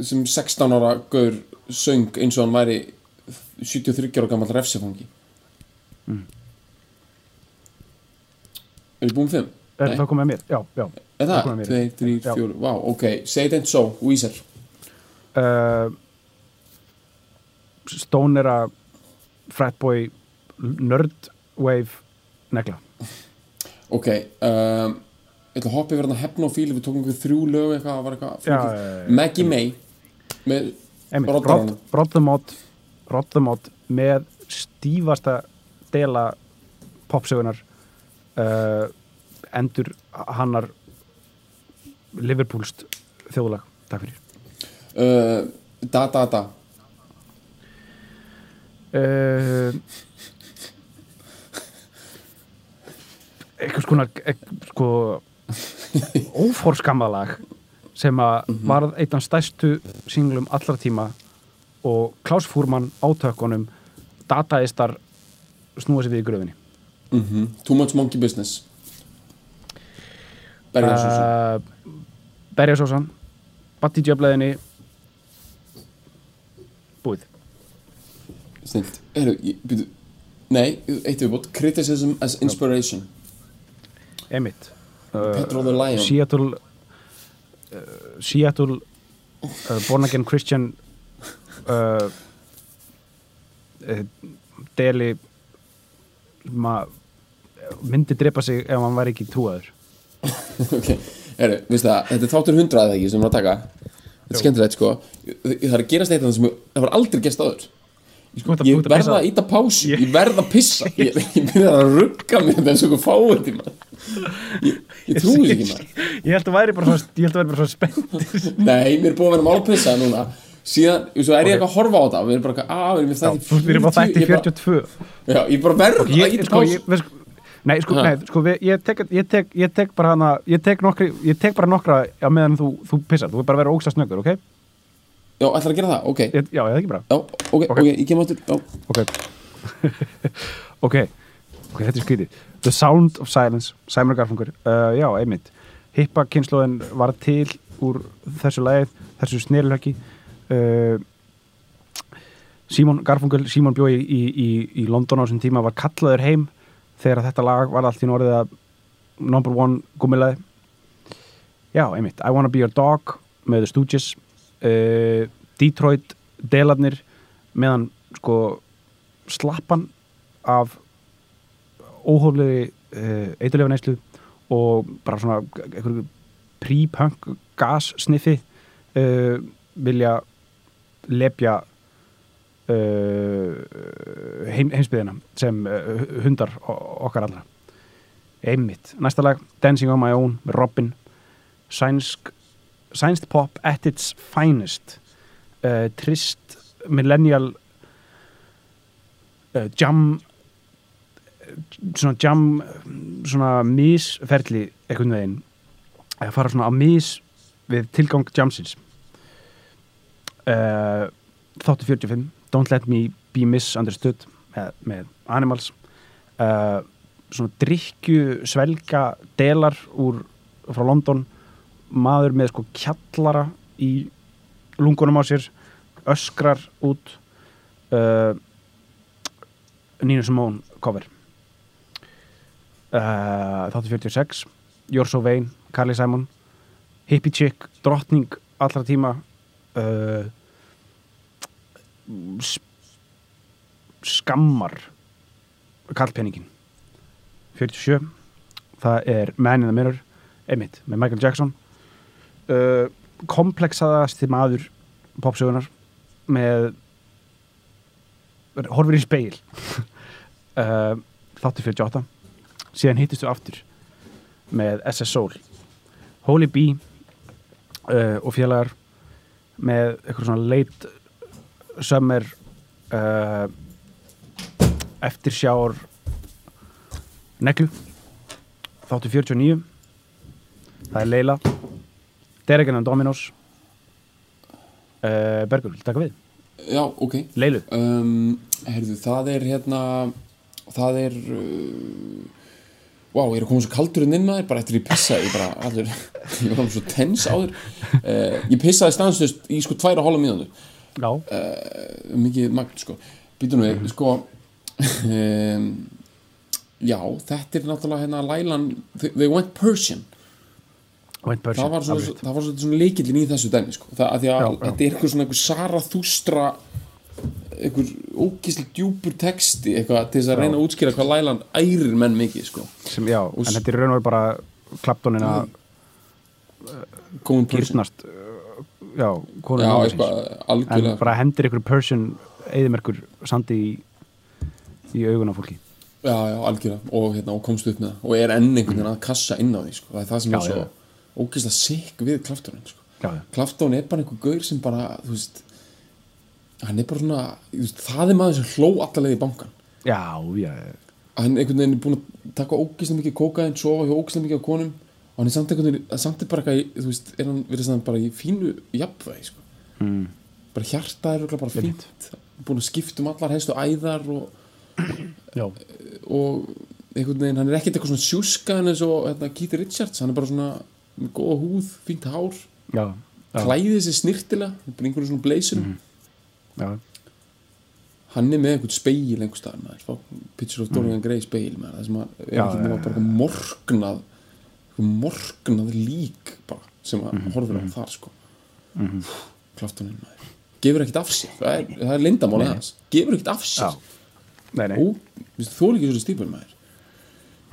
sem 16 ára gaur söng eins og hann væri 73 ára gammal refsifangi
Mm.
Er ég búin með fimm?
Er það
Nei,
komið að mér? Já, já.
er
þá
það?
komið að mér.
2, 3,
Já.
4, vá, ok Say it ain't so, Weezer
Uh, Stonera, Fratboy, Nerdwave, Negla.
Ok, um, ég ætla að hoppa yfir hann að hefna og fíli Við tókum einhver þrjú lög eitthvað, það var eitthvað
Já, já,
flókið.
já.
Maggie May með
Einmitt,
Roddarann.
Rod- Rod the Mod, Rod the Mod með stífasta dela popsögunar uh, endur hannar Liverpoolst
Eh,
þjóðlag. Takk fyrir.
uh, Da Da Da
uh, einhvers konar eh, sko ófórskamalag sem að varð einn af stærstu singlum allra tíma og Klaus Fúrmann átökunum dataistar snúa sér við í gröfinni
Mhm. Too much monkey business Berjarsson
uh, Berjasósan Batti Djöfleðinni Búið
uh, Snilt Heru, ég, byrju, Nei, eitt viðbót Criticism as inspiration
Emmitt
Petro the Lion
Seattle uh, Seattle uh, Born Again Christian uh, uh, Deli ma, myndi drepa sig ef hann var ekki trúaður
Ok, Heru, veistu það, þetta er þáttur hundrað eða ekki sem við erum að taka Þetta er skemmtilegt sko Ég- Það er að gerast eitt af það sem ég- það var aldrei gerst áður
Sko, þetta- þú ert
Ég
að
verða
pissa.
að íta pásu,
Ég-
ég verð að pissa Ég, ég byrja að rugga mér þetta eins og eitthvað fáið tíma Ég, ég trúi því ekki maður
Ég held að væri bara svona, ég held að væri bara svona spennt
Nei, mér er búið að vera málpissa núna Síðan, svo er ég eitthvað að horfa á þetta Við erum bara eitthvað, að, við erum við þætti
Þú erum bara þætti 42
Já, ég bara verð að
ég,
íta
sko,
pásu
ég, við, sko, nei, sko,
Ha.
nei, sko við, ég, tek, ég, tek, ég tek bara hana ég tek, nokkri, ég tek bara nokkra á meðan þú, þú pissar, þú er bara að vera ógsa snöggur ok?
Já, ætlar að gera það, ok
Ég, já, eða ekki bara
Já, ok, ok, ég kem áttur Já,
ok ok, ok, þetta er skrítið The Sound of Silence, Simon Garfunkel uh, já, einmitt, hippa kynnslóðin var til úr þessu lagið þessu snerilhöggi uh, Simon Garfunkel Simon bjói í, í, í London á þessum tíma var kallaður heim þegar þetta lag var allt í norðið að number one gummilaði já, einmitt, I Wanna Be Your Dog með The Stooges uh, Detroit, Delarnir meðan sko slappan af óhóflegi uh, eitulega neyslu og bara svona einhverju pre-punk gas sniffi uh, vilja lepja uh, heim, heimsbyðina sem uh, hundar o- okkar allra einmitt, næsta lag Dancing on my own með Robin sænsk sænst pop at its finest uh, trist millennial uh, jam svona jam svona misferli einhvern veginn að fara svona á mis við tilgang jamsins uh, þáttu 45 Don't Let Me Be Misunderstood með, með Animals uh, svona drikju svelga delar úr frá London maður með sko kjallara í lungunum á sér öskrar út uh, Nina Simone cover uh, þáttu 46 You're So Vain, Carly Simon Hippie Chick, drottning allra tíma uh, s- skammar kallpenningin 47 það er Man in the Mirror einmitt, með Michael Jackson uh, komplexaðasti maður popsögunar með horfir í speil uh, þáttu 48 síðan hittistu aftur með SS Soul Holy Bee uh, og félagar með eitthvað svona late summer uh, eftirsjár neglu þáttu 49 það er Leila Derekin and Dominos uh, Bergur, vil taka við?
já, ok
Leilu
um, Herðu, það er hérna Það er uh, Vá, ég er að koma svo kaldurinn inn maður Bara eftir ég pissa Ég bara allir Ég var alveg svo tens áður uh, Ég pissaði stanslust í sko tværa hóla mínútur
Já,
uh, Mikið magn sko Býtu nú
Mhm.
við, sko um, Já, þetta er náttúrulega hérna Lælan, they, they went Persian
Wayne Persian
það var svona,
afrétt.
það var svona, svona leikillin í þessu dæmi sko. það, að því að
Já, já.
þetta er eitthvað svona einhver saraþústra einhver ógislega djúpur texti eitthvað til þess að reyna að útskýra hvað lælan ærir menn mikið sko.
sem, Já, en þetta er í raun og veru bara klaptónin að
Góðum person.
gyrnast uh, já, konur
já,
náðsins
eitthvað
en
algjörlega
bara hendir ykkur Persian eðimerkur sandi í, í augun á fólki
já, já, algjörlega og, hérna, og komst upp með það og er enn einhvern veginn að kassa inn á því sko. það er það sem
Já,
er svo
já.
ógislega sikk við klaftunin sko.
já, já.
Klaftón er bara einhver gaur sem bara, þú veist hann er bara svona, þú veist, það er maður sem hló allalegið í bankan
Já, já,
hann einhvern veginn er búin að taka ógislega mikið kókaðin, sofa hjá ógislega mikið á konum og hann er samt einhvern veginn, samt er bara eitthvað í- þú veist, er hann verið samt bara í fínu jafnvægi, sko
Mm.
bara hjarta er örugglega bara fínt búin að skipta um allar hæstu æðar og,
já.
og einhvern veginn, hann er ekkert eitthvað svona sjúskaðin eins og hérna, Keith Richards, hann er bara svona með góða húð, fínt hár
já. já. Mhm.
klæðið sér snirtilega, bara einhvern svona bleysurum
já.
hann er með einhvern speil einhvern staðar maður, Fá- Picture of Dorian Gray speil maður, það sem að er
Já,
ekki
já,
nema bara eitthvað morgnað eitthvað morgnað lík bara, sem að
Mhm.
horfir á þar sko klaftuninn maður gefur ekkert af sér, það er, það er lindamála hans gefur ekkert af
Já.
sér
Nei, nei.
og þú er ekki svona stípur maður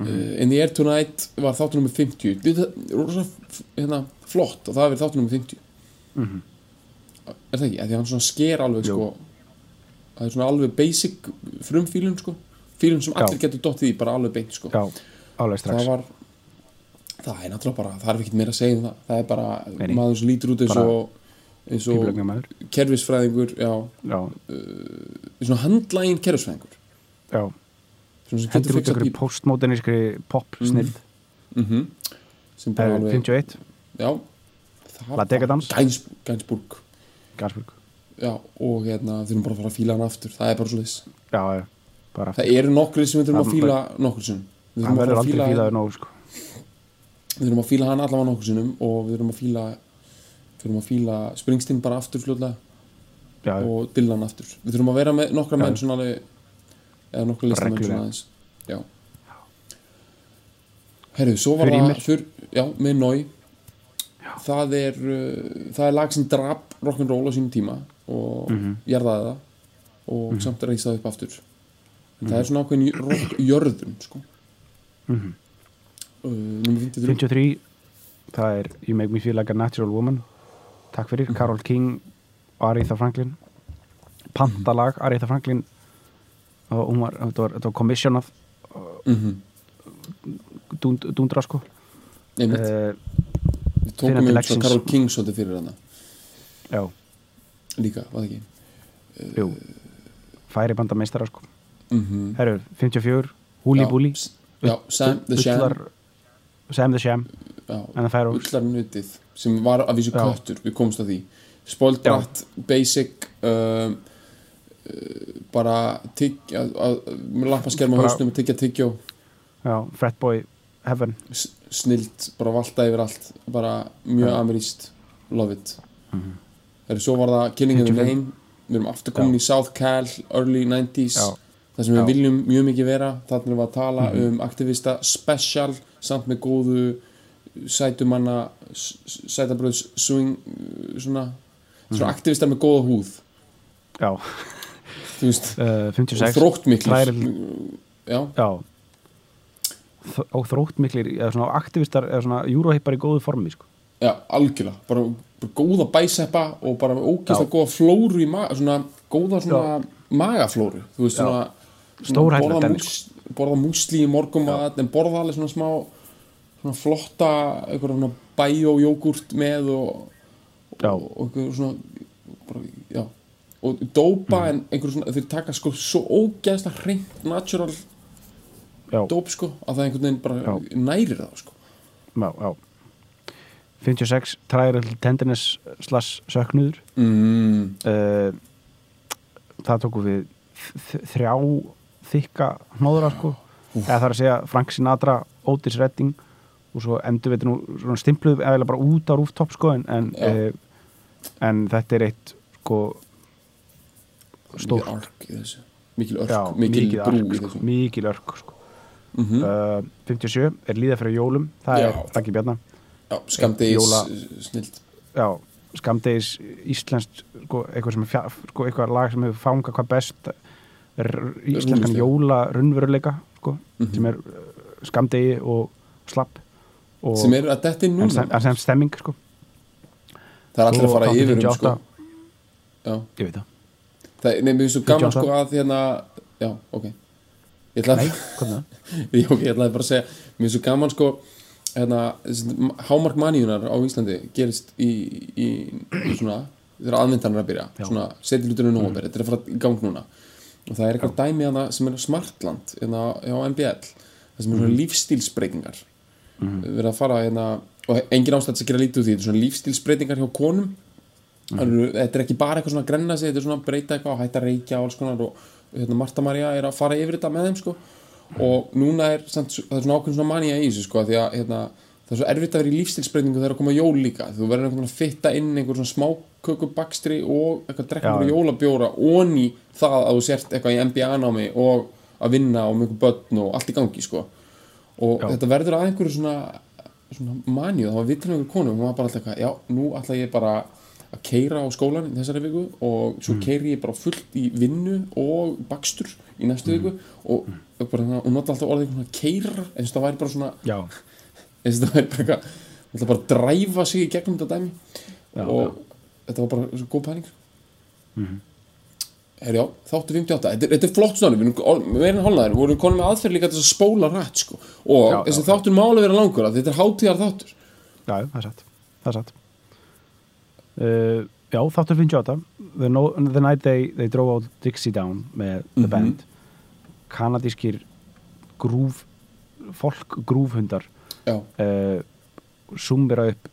Mhm.
uh, In the Air Tonight var þáttur nummer 50 þetta er rosa f- hérna, flott og það er verið þáttur nummer 50 er það ekki, Af því að hann svona sker alveg
Mhm. Jú.
sko, það er svona alveg basic frumfílun sko, fílun sem allir
Já.
getur dottið í bara alveg beint sko.
Já, alveg strax.
það var það er náttúrulega bara, það er ekkert meira að segja um það það er bara
Nei, nei.
maður sem lítur út eins
Bara
og eins
Píplögnar
og
maður.
kerfisfræðingur já,
Já,
svona handlægin kerfisfræðingur
já.
svona sem
Hendur
getur
út
fiksað
ykkur
bíl
postmodernískri pop Eh, snild.
sem
Það
bara
er
Mm. alveg
51,
já, það
La Decadence.
Gæns, Gænsburg
Gansburg.
já, og hérna, þurfum bara að fara að fíla hann aftur það er bara svo
Já, já, bara aftur.
það eru nokkri sem við þurfum að
Hann-
fíla nokkur sinnum
Hann
við þurfum að
verður
fara að
aldrei
fíla
fílaður nógu, sko.
við þurfum að fíla hann allavega nokkur sinnum og við þurfum að fíla þurfum að fíla Springsteen bara aftur fljóðlega
Já,
og Dylan aftur við þurfum að vera með nokkra
Já.
menn svona alveg eða nokkra listamenn
Reglulega.
svona aðeins já herru, svo var
Fyrir mér.
það fyrr, já, með Nói það er uh, það er lag sem drap rock'n'roll á sínum tíma og
Mhm.
jarðaði það og samt reysaði upp aftur en það er
Mhm.
svona ákveðin rockjörðun sko uh, nummer 53
53, það er You Make Me Feel Like a Natural Woman. Takk fyrir,
Mhm.
Karol King og Aretha Franklin. Pantalag, Aretha Franklin. Og hún var, þetta var, þetta var commissionað
Mhm.
dund, dundra, sko.
Einmitt,
Uh,
við tókum
Finnandi
einhvers og
Lexins.
Karol King svolítið fyrir hana
já,
Eh, líka, var það ekki
jú. Færi banda meistara, sko.
mm -hmm.
Herru, 54, Húli Búli.
Já, Sam the Sham
Ullar- Sam the Sham.
já,
En það fær
Ullar nutið sem var að vísu
Já.
köttur, við komumst að því Spoiled Brat, Basic um, uh, bara tygg, að, að, með lampaskerma
Bara-
hausnum, tyggja tyggjó
Já, Fretboy Heaven
s- snillt, bara valta yfir allt bara mjög ameríst love it
Mhm.
Þegar svo var það Killing in the
55.
Rain við erum aftur komin í South Cal, early 90s
Já.
það sem við
Já. Mhm.
viljum mjög mikið vera þarna erum við að tala um aktivista special, samt með góðu sætumanna s- s- sætabröðs swing uh, svona, svona
Mhm.
aktivistar með góða húð
Já,
þú veist,
uh,
og
56
þrótt miklu já,
Já Þ- Og þrótt miklir, eða svona aktivistar eða svona júróhippar í góðu formi sko.
Já, algjörlega, bara, bara góða bæseppa og bara ógeðslega
Já.
góða flóru í maga, svona góða svona magaflóru, þú veist svona
Stórhættulegt
borða,
dæmi,
mús, borða músli í morgumat en borða alveg svona smá svona flotta, einhverja svona bæjójógurt með og,
Já.
og, og einhverja svona bara, já, og
Mm.
dópa en einhverju svona, þeir taka sko svo ógeðslega hreint natural
Já,
dóp sko, að það einhvern veginn bara
Já.
nærir það sko,
já, já 56, Trial Tenderness slash söknuður
mm,
uh, Það tóku við þ- þrjá þykka hnóðra sko. eða það er að segja Frank Sinatra, Otis Redding og svo endur við þetta nú svona stimpluð eða bara út á rooftop sko, en, en,
Já.
uh, en þetta er eitt sko
mikið
stórt
ark í þessu mikil örk,
Já,
mikil
mikið
brú
örk,
í
sko,
þessu
mikil örk sko.
mm
uh, 57 er líða fyrir jólum það
Já.
er Raggi Bjarnar
já, skamdegis
Jóla-
eh, snillt
já, skamdegis íslenskt sko, eitthvað, sem er fjá, sko, eitthvað lag sem hefur fangað hvað best r- íslenskan
Rúmstef.
jóla runnveruleika sko,
Mhm.
sem er uh, skamdegi og slapp og
sem er að þetta er
en,
núna
sem, en sem stemming sko.
það er allir að
Svo
fara
þáttur
yfir um sko
58.
já,
ég veit það
það er nefnir svo gaman
58.
sko að hérna já, ok ég ætla að,
Nei, hvernig það?
já, ok, ég ætla að bara að segja mér er svo gaman sko hérna, þessi- hámark maníunar á Íslandi gerist í, í, í svona þegar aðvindan er að byrja svona setjum hlutunum nú að byrja, þetta er að fara í gang núna og það er eitthvað dæmi hana sem er smartland hérna á MBL það sem er svona lífstílsbreytingar við erum að fara hérna og engin ástætt að gera lítið úr því, þetta er svona lífstílsbreytingar hjá konum mm -hmm. þetta er ekki bara eitthvað svona að grenna sig, þetta er svona að breyta eitthvað og hætta að reykja og alls konar og hérna, Marta Maria er að fara yfir þetta með þeim sko. og núna er samt, það er svona ákveðin svona manía í þessu sko, af því að hérna, það er svo erfitt að vera í lífstilsbreytingu þegar að koma jól líka þú verður einhvern veginn að fitta inn einhver svona smákökubakstri og eitthvað að drekka
Já.
einhverju jólabjóra onni það að þú sért eitthvað í MBA námi og að vinna og mjög börn og allt í gangi sko. og þetta verður að einhverju svona, svona manju, það var vitlega einhver konu hún var bara alltaf eitthvað, já, nú ætla ég bara að keira á skólan í þessari viku og svo mm. keiri ég bara fullt í vinnu og bakstur í næstu viku og, og bara, hún nota alltaf orðið einhvern veginn að keira eins og það væri bara svona
já,
þess að það er bara eitthvað hún ætla bara að dræfa sig í gegnum þetta dæmi og þetta var bara svo góð pæling mm
Mhm.
herjá, þáttu 58 þetta, er- þetta er flott snáni, við erum ol- meira en hálnaður við erum konum með aðferð líka til þess að spóla rætt sko. og
Já, já,
þessi
já.
þáttur má alveg vera langur af því þetta er hátíðar þáttur
já, það er satt það er satt uh, já, þáttur 58 the, no, the night they, they drove out Dixie down með The Band kanadískir grúf fólk grúfhundar
já,
uh, sumvera upp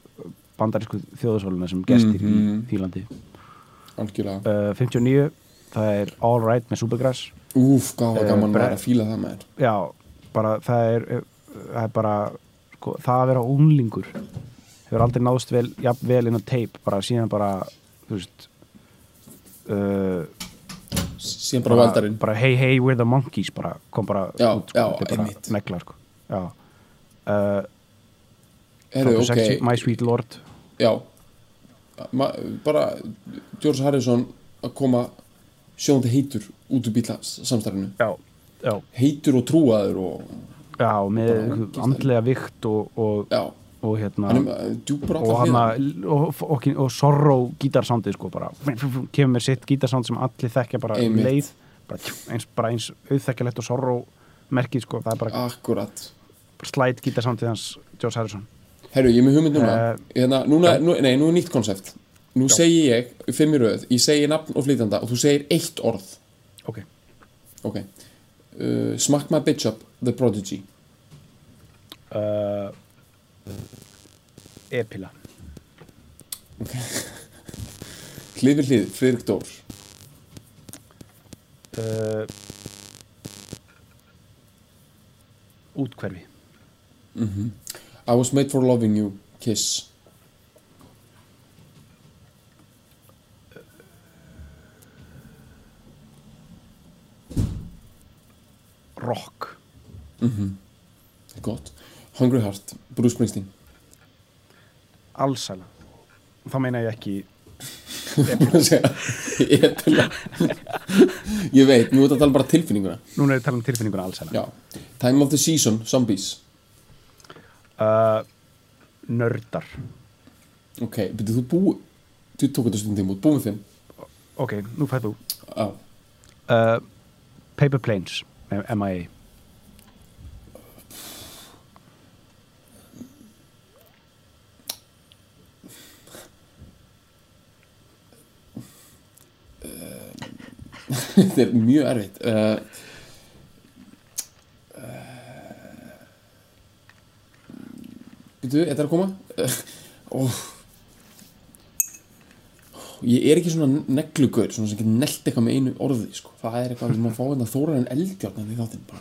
bandarísku þjóðasóluna sem gestir í Þýlandi
algjörlega
uh, 59, það er All Right með Supergrass
úf, hvað var
Eh,
gaman
bre-
maður að fíla það maður
já, bara það er, eh, það er bara sko, það að vera unglingur hefur aldrei náðst vel, jafn vel inn á teip bara síðan bara þú veist uh,
síðan bara valdarinn
bara hey hey we're the monkeys bara, kom bara
Já,
út, sko,
já,
þetta er
einmitt.
bara negla sko. já, uh,
herru,
þáttur 60,
ok,
My Sweet Lord
já Ma, bara George Harrison að koma sjóndi heitur út úr bíla samstarfinu
já, já,
heitur og trúaður og
já með andlega vikt og, og,
já, um, eh,
og hérna
hann er djúpar
og
allar
hann
hliðar.
að- og, og, og sorrow gítarsándið sko bara kemur mér sitt gítarsánd sem allir þekkja bara um
Einmitt.
leið bara, tjú, eins, bara eins auðþekkjalegt og sorrow merkið sko, það er bara
akkurat
slæt gítarsándið hans George Harrison
herru, ég er með hugmynd núna,
Eh,
hérna, núna nú, nei, nú er nýtt konsept nú segi ég, fimm í röð, ég segi nafn og flytanda og þú segir eitt orð
ok,
ok, uh, smack my bitch up the prodigy,
uh, epila
hlið við hlið Friðrik Dór,
uh, útkverfi
I was made for loving you kiss
rock,
gott, hungry heart Bruce Springsteen,
allsæla þá meina ég ekki
Búin að segja, ég er til að- ég veit, nú er þetta að tala bara tilfinninguna
núna er ég að tala um tilfinninguna allsæla
já, time of the season, zombies
uh, nördar
ok, betur þú búið þú tók þetta stundum út, búið með þeim
ok, nú fættu
Já,
uh, Paper Planes með MIA
þetta er mjög erfitt uh, Býtu, uh, þetta er að koma uh, oh. Ég er ekki svona neglugur svona sem getur nelt eitthvað með einu orði sko. það er eitthvað sem maður fá hérna þórar en eldjárn í þáttinn bara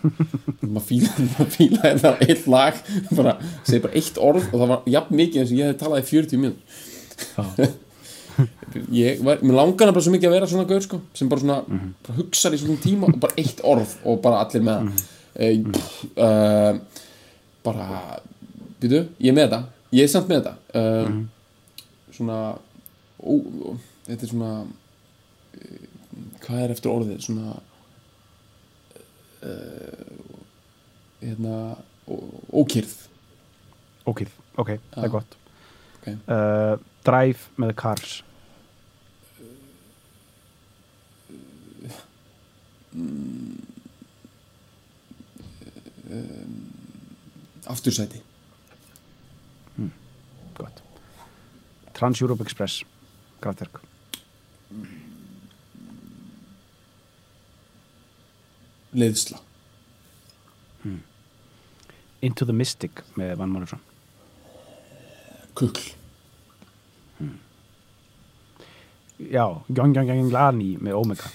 maður fíla, maður fíla þetta eitt lag bara, segi bara eitt orð og það var jafn mikið eins og ég hef talað í 40 minn ég var, mér langar bara svo mikið að vera svona gaur sko, sem bara svona, bara hugsar í svona tíma og bara eitt orð og bara allir með það mm bara býtu, ég er með þetta ég er samt með þetta uh, svona ó, ó, þetta er svona uh, hvað er eftir orðið svona uh, hérna ó- ókyrð
ok, ok, það er gott
Ok.
uh, Drive með Cars
aftursæti
gott. Trans-Europe Express grætverk
leiðsla
Into the Mystic með Van Málefsson
kukl
já, Gjong Gjong Gjong Lani með Omega,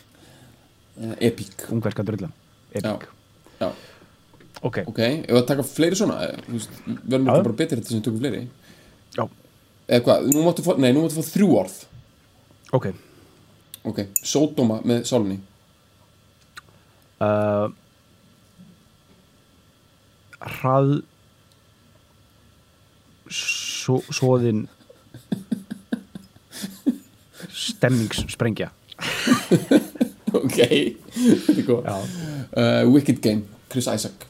uh, epík
ungverska drullan Epic,
já,
ok,
ok, ef við að taka fleiri svona eh, þú veist, við erum
Já.
ekki bara betri þetta sem við tökum fleiri
já,
eða hvað, nú máttu fá, nei, nú máttu fá þrjú orð
ok
ok, sódóma með sálunni
uh, hrað svo, svoðin stemningssprengja
ok, þetta er góð
já,
uh, Wicked Game, Chris Isaac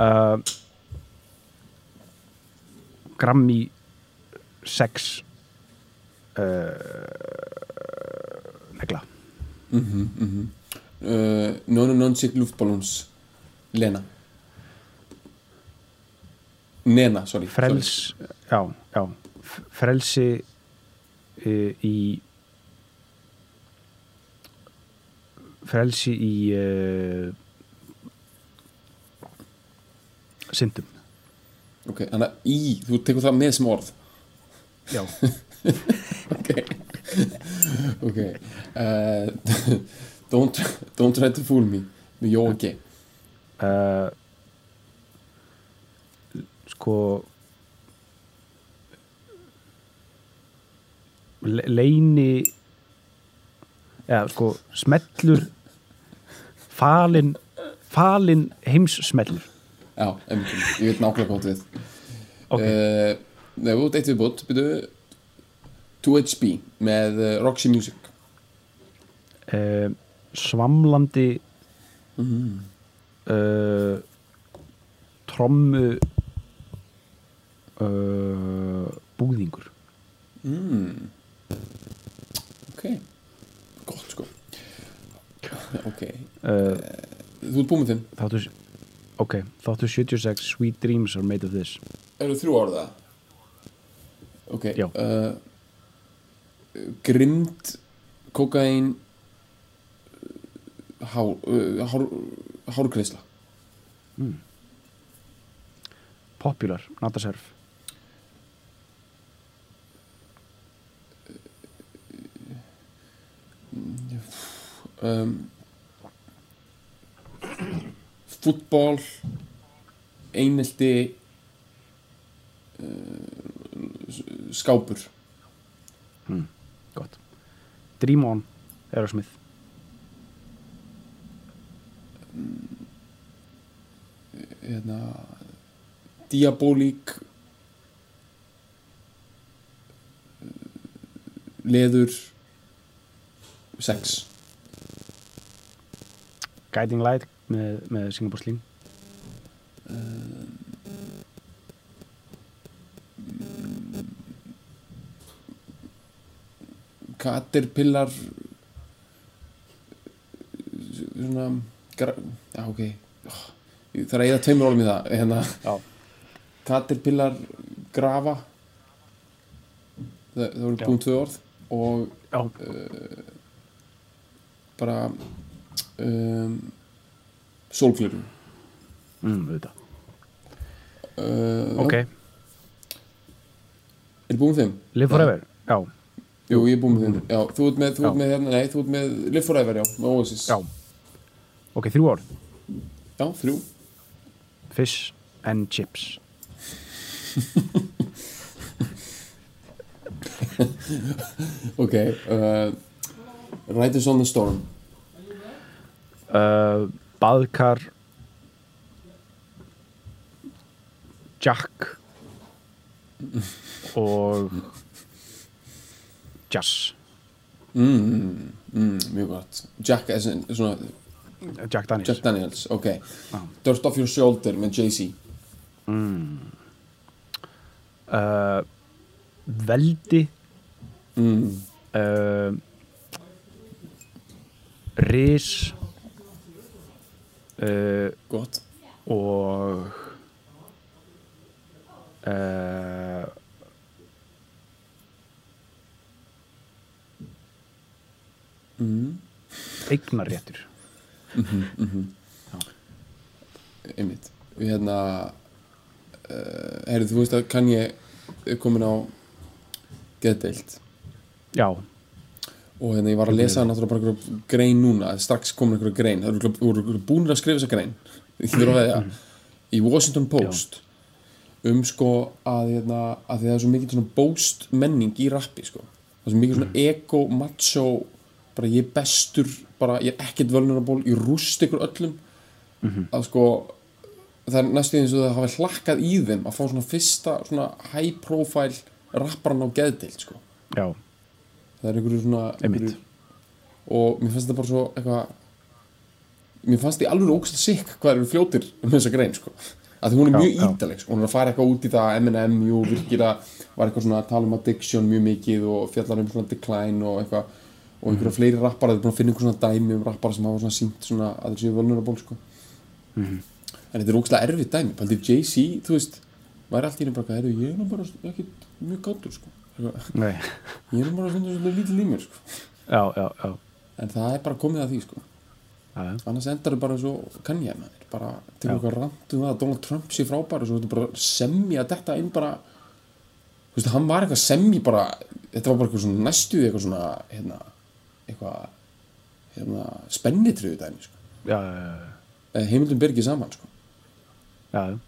uh, Grammy 6 uh, eh, negla
uh, Nonu Nonsick Luftballons Lena Nena, sorry
frels já, já, f- frelsi uh, í frelsi í uh, syndum
sorry. ok, þannig að í, þú tekur það með sem orð
já,
ok ok uh, don't, don't try to fool me með Jóa G
uh, sko le- leini eða sko smellur falin falin heimssmellur
já, einmitt, ég veit nákvæmlega hvað þú átt við
Ok.
uh, nei, þú ert eitt við bútt byrju 2HB með uh, Roxy Music
uh, svamlandi uh, trommu uh, búðingur
ok, gott sko ok,
uh,
þú ert búið með þeim
þáttu ok, þáttu 76 Sweet Dreams are made of this
Eru þrjú orða? Ok
Já.
uh, Grind Kokain há, uh, hár, Hárgreisla
Popular, Natasurf
um, Fútbol Einelti uh, Skápur
gott Dream On, Aerosmith
hérna, Diabolík uh, Leður Sex
Guiding Light með, með Singapore Sling
Caterpillar svona gra, já ok Oh, ég þarf að eða tveimur orðum í það hérna,
Já.
Caterpillar grafa það, það voru
Já.
búin tvö orð og
Já,
bara um, sólglörum
mm, auðvitað
uh,
Ok,
já, er búin þeim?
Live Forever, já,
Jú, ég er búin með þeim já, þú ert með, þú ert
Já.
með, hérna, nei, þú ert með Live Forever, já, með Oasis
já Ok, þrjú orð
já þrjú
Fish and Chips
ok uh, Riders on the Storm
uh, Baðkar Jack og Jazz
mm, mm, mjög gott Jack, eh, svona- svona,
Jack Daniels
Jack Daniels ok Dirt Off Your Shoulder með Jay-Z
uh, Veldi
mm,
uh, Ris uh,
gott
og uh,
mm,
eignaréttur
einmitt við hérna uh, herri, þú veist að kann ég komin á geðdeild
já,
og hérna ég var að lesa náttúrulega bara einhverja grein núna, strax komin einhverja grein það eru örugglega- voru búinir að skrifa þessa grein ég þurfa að veðja í Washington Post um sko að, hérna, að því það er svo mikið svona bóst menning í rappi sko það er svo mikið svona ego, macho bara ég er bestur, bara ég er ekkert völnaraból, ég rúst ykkur öllum að sko það er næstu eins og það hafi hlakkað í þeim að fá svona fyrsta svona high profile rapparan á geðdeild sko
já,
það er einhverju svona
Einmitt.
og mér fannst þetta bara svo eitthvað mér fannst því alveg ógst sikk hvað eru fljótir um þessa grein sko að því hún er
Já, já.
mjög ítaleg sko. hún er að fara eitthvað út í það M&M jú, virkilega var eitthvað svona að tala um addiction mjög mikið og fjallar um svona decline og eitthvað og
Mhm.
einhverja fleiri rappara þau er búin að finna einhver svona dæmi um rappara sem hafa svona sínt svona að þeir séu vulnerable sko
Mhm.
en þetta er ógst erfið dæmi paldið Jay-Z, þú veist væri allt í henni bara, eitthvað, "Heyrðu, ég er nú bara ekki mjög gáttur sko Eitthvað.
nei
Ég er nú bara að finna svolítið lítið límur sko.
já, já, já,
En það er bara komið að því sko.
já, já.
Annars endar þau bara svo kann ég maður. Bara tegur eitthvað rangt um það að Donald Trump sé frábær og svo þetta bara semja þetta inn bara Þú veist, hann var eitthvað semji bara Þetta var bara eitthvað svona næstuði eitthvað svona hérna, eitthvað hérna, spennitriðu dæmi sko.
já, já, já,
Eh, Heimildum byrgið saman sko.
já, já.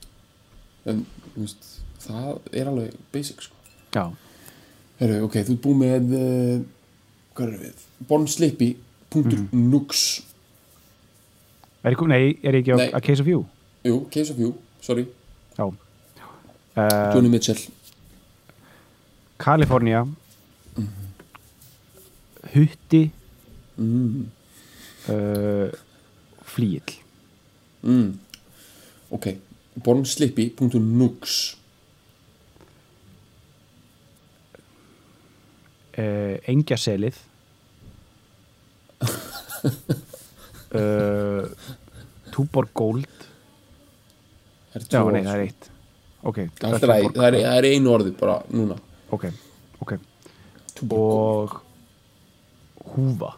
En þú veist, það er alveg basic sko.
já.
Herru, ok, þú ert búið með uh, hvað er við? Bornslipi.nux
Er ég, kom- nei, er ég ekki
Nei.
á A Case of You?
Jú, Case of You, sorry
Já uh,
Johnny Mitchell
Kalifornía Hutti uh, Flíill
mm. Ok, bornslipi.nux
uh, Engjaselið uh, Túborg Gold
er
Já,
tvö orð.
nei, það er eitt Ok,
Allt er að- Það er, það er einu orði bara núna
Ok, ok Og Húfa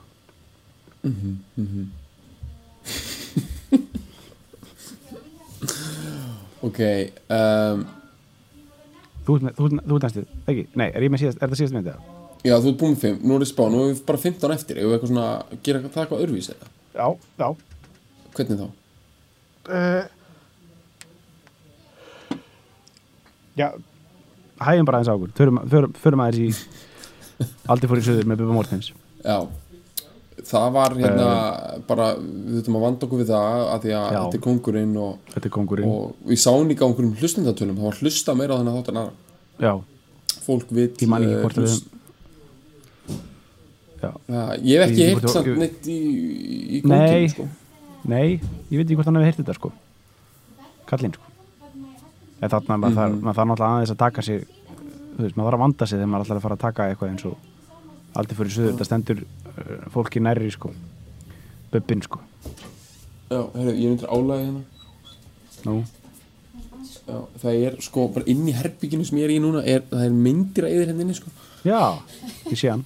Ok, um,
Þú ert með- þú ert með- þú ert næstu, ekki? Nei, er, ég með síðast, er það síðast myndið?
já þú ert búin með 5 Nú er það spá, nú erum við bara 15 eftir Ef við eitthvað svona, gera það eitthvað örvís eða
Já, já
Hvernig þá?
Eh, Já Hægjum bara aðeins á okkur Förum, förum, förum aðeins í Aldi fór í söður með Bubba Mortens
Já Það var hérna bara Við þurfum að vanda okkur við það að Því að
Ehm. Já. Mm.
þetta er kongurinn og,
Þetta er kongurinn
og við sáum líka á einhverjum hlustendatölum Það var hlusta meira á þennan þáttan aðra
Já,
Fólk vill
ég man ekki
eh,
hvort að
hlust-
við Já
Já, ég hef ekki
Ég- ég-
heyrt samt
ég-
neitt í,
Nei.
í konginu sko.
Nei, ég veit ekki hvort hann hefði heyrtið þetta sko Kallinn sko En þarna maður þarf maður þarf náttúrulega aðeins að taka sér Þú veist, maður þarf að vanda sér þegar maður ætlar að fara að taka eitthvað eins og Aldi fór í söður, þetta stendur uh, fólki nærri sko Bubbin sko
Já, heyrðu, ég er undir álæði hérna
Nú,
Já, það er sko, bara inn í herbygginu sem ég er í núna er, það er myndir að yfir hendinni sko.
já, ég sé hann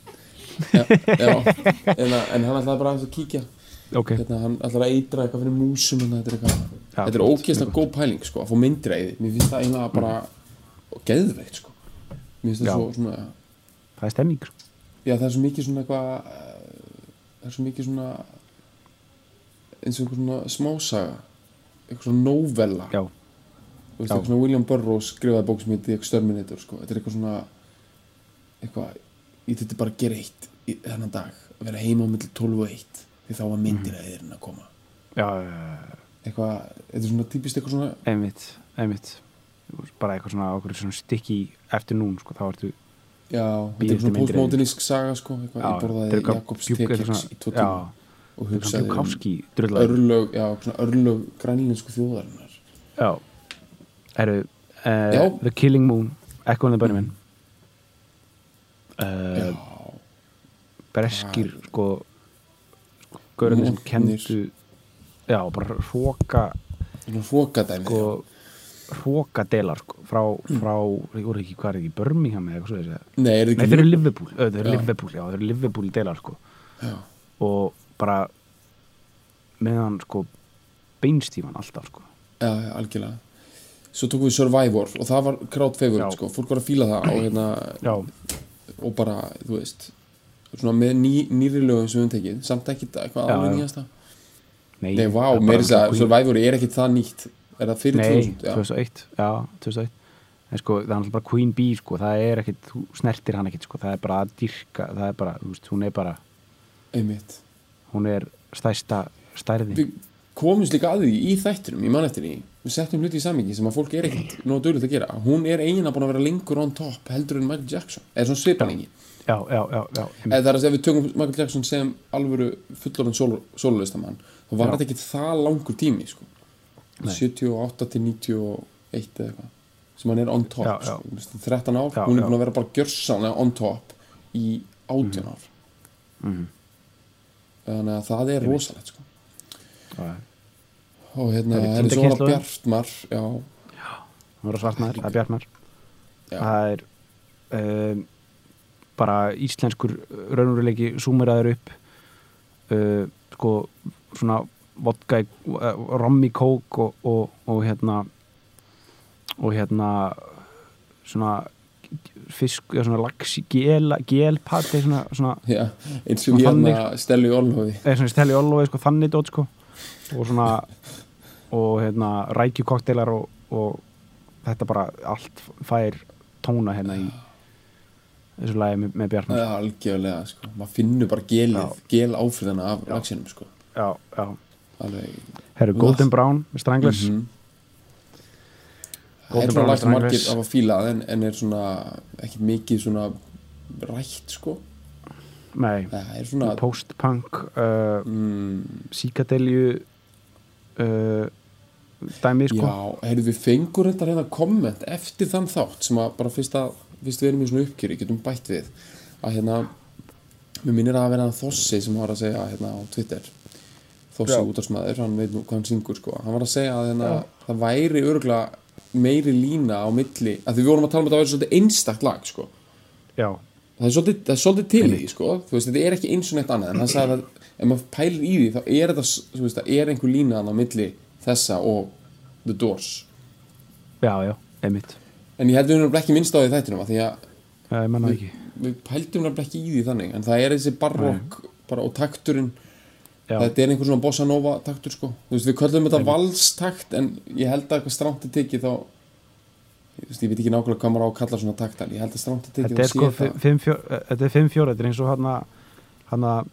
já, já, en, að- en hann ætlaði bara aðeins að kíkja
Ok,
hérna, hann ætlaði að eitra eitthvað fyrir músum hérna, þetta er, eitthvað,
Já,
þetta er
gott,
ógeðslega góð pæling sko, að fá myndir að yfir, mér finnst það eiginlega bara geðveikt sko. mér finnst það
Já.
svo svona
það er stemning sko
já, það er svo mikið svona eitthvað eh, það er svo mikið svona eins og einhver svona smásaga eitthvað svona novella
Já,
Þú veist,
Já.
eitthvað svona William Burroughs skrifaði bók sem heiti Exterminator, sko. Þetta er eitthvað svona, eitthvað, ég þetta bara að gera eitt í þennan dag, að vera heima á milli 12 og 1, því þá var myndir
Mhm.
að eðurinn að koma.
já, já, já
Eitthvað, þetta er svona típist eitthvað svona,
einmitt, einmitt bara eitthvað svona okkur svona stikki eftir núna sko, þá ertu
já, þetta
Bíð
er svona
eftir myndir
postmodernísk saga, sko, eitthvað, ég borðaði Jakobs tekeks í tvo
já,
tíma og
þetta er svona
hugsaði um
bjúkáski drullar
örlög, já, svona örlög grænlensku þjóðarinnar.
já, eru
Já.
uh, The Killing Moon, Echo and the Bunnymen
Já, Mm.
uh, breskir sko gaurandi sem
Mótnir.
kendu já, bara hróka
svona hrókadæmi,
sko, hrókadelar sko, frá,
Mm.
frá, ég voru ekki hvað er ekki, Birmingham eða eitthvað svo þessi
Nei, er
Nei,
þetta
þeir eru
ekki...
Liverpool, Ö, þeir eru
Já.
Liverpool, já, þeir eru Liverpool delar sko
Já.
og bara meðan sko beinstífan alltaf sko
já, já, algjörlega svo tókum við Survivor og það var crowd favorite
Já.
sko, fólk var að fíla það og, hérna,
já,
og bara, þú veist svona með ný, nýri lögum sem við höfum tekið samt ekkit eitthvað
Já,
alveg
já.
nýjasta
nei,
nei, vá,
það er
meiri þess
bara-
að Survivor er ekkit það nýtt er það fyrir
Nei,
2000? Já.
2001, já, 2001 en sko, það er alltaf bara Queen Bee sko, það er ekkit, þú snertir hann ekkit sko, það er bara að dyrka, það er bara, þú veist, hún er bara
einmitt
hún er stærsta stærði
við komumst líka að því í þættinum í mannættinni, við settum hluti í samingi sem að fólk er ekkert nóg dögulegt að gera hún er eiginlega búin að vera lengur on top heldur en Michael Jackson, eða svona svipalengi
já, já, já, já,
eða
einmitt.
það er að segja ef við tökum Michael Jackson sem alvöru fullorinn sólulistamann þá var þetta ekki það langur tími sko. 78 til 91 eða eitthvað sem hann er on top
Já, já.
Sko. Þú veist, 13 ár,
Já,
hún
já.
er búin að vera bara gjörsanlega on top í 18
Mhm.
ár þannig að það er rosalegt sko.
Já,
og hérna,
Það er
það er svo
tindakynslóðin.
bjartmar já,
hún er svartmaður, það er bjartmaður
Já.
það er um, bara íslenskur raunveruleiki súmeraður upp uh, sko svona vodka, í- uh, rommi kók og, og, og hérna og hérna svona fisk, eða svona laxi gel, gelpati svona, svona,
já, eins og
Og
ég hérna
þannig-
stelu í Olhofi
eða svona steli ollofi sko, þannig dót sko og svona og hérna rækjukokteilar og, og þetta bara allt fær tóna hérna í þessu lagi með, með Bjarnar
Já, algjörlega, sko. maður finnur bara gelið, gel áfriðana af laxinum sko.
já, já,
alveg
herru Golden Brown með Stranglers
er
Golden
svona
Brown
lagt margir
Stranglers.
af að fíla það en, en er svona ekkit mikið svona rætt sko
nei,
það er svona
post-punk uh,
mm,
síkadelju uh, dæmi sko
já, heyrðu við fengur þetta hérna komment eftir þann þátt sem að bara fyrst að fyrst við erum í svona uppkjöri, getum bætt við að hérna mér minnir að vera hann Þossi sem var að segja hérna á Twitter Þossi útarsmaður, hann veit nú hvað hann syngur sko hann var að segja að hérna, það væri örgulega meiri lína á milli að því við vorum að tala um að þetta væri svolítið einstakt lag sko
já,
það er svolítið, það er svolítið til í því sko. þú veist, þetta er ekki eins og neitt annað en hann sagði að ef maður pælir í því þá er þetta þú veist, það er einhver lína hann á milli þessa og The Doors
já, já, einmitt
en ég heldur nefnilega ekki minnst á því í þættinum af því að
Eh, ég manna ekki
við pældum nefnilega ekki í því þannig en það er þessi barrock bara, og takturinn
já,
þetta er einhver svona bossa nova taktur sko. þú veist, við köllum þetta valstakt en ég held að eitthvað strangt er tekið þá Þú veist, ég veit ekki nákvæmlega hvað maður á að kalla svona takt en ég held að strangt er tekið
þetta er
þá
sko
sé það.
5-4 þetta er 5-4, þetta er eins og hann hann að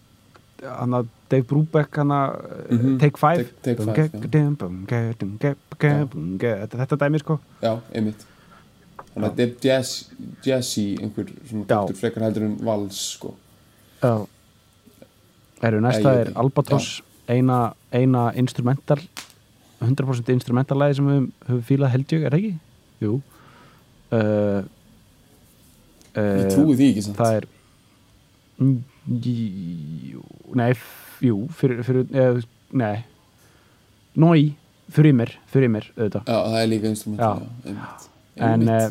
hann að Dave Brubeck hann að
Mhm.
Take 5
Take- Take Five, já.
þetta þetta dæmi sko
Já, einmitt Þannig að þetta er jazz, jazzy einhver svona
Já.
taktur frekar heldur en vals sko.
eru næsta
Æ, ég-
er Albatross eina, eina instrumental 100% instrumental lagi sem við höfum- höfum fílað held ég, er það ekki? Jú uh, eh,
Ég trúi því ekki samt
það er Mm, jú, nei, f- jú fyrir, fyrir eð, nei nói, fyrir mér fyrir mér, auðvitað
Já, það er líka instrument
Já.
einmitt,
en,
einmitt.
eh,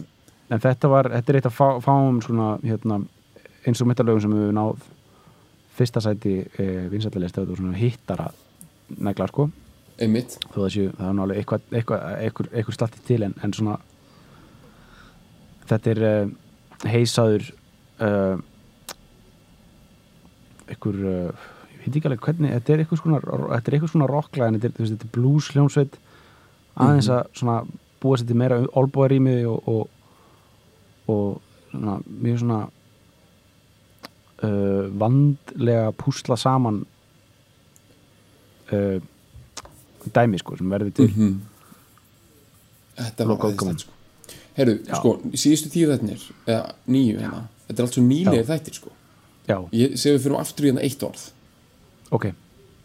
en þetta var, þetta er eitt af fá, fáum svona, hérna, eins og mittalögum sem við höfum náð fyrsta sæti eh, vinsættilegist þetta var svona hittara neglar sko
einmitt
þó það séu, það er nálega eitthvað, eitthvað, eitthvað, eitthvað slatti til en, en svona þetta er uh, heisaður uh, einhver uh, ég veit ekki alveg hvernig, þetta er eitthvað svona þetta er eitthvað svona rockla en þetta er, þú veist, þetta er blues hljómsveit aðeins að svona búa sér til meira olbúar í mig og og, og svona, mjög svona uh, vandlega púsla saman uh, dæmi sko sem verður til
Mhm. Þetta
Loka
var
ákvæmum.
aðeins sko. Herru, sko, síðustu tíu þættinir eða nýju hérna, þetta er allt svo nýlega þættir sko.
já,
Ég segi við fyrir aftur í hérna eitt orð
ok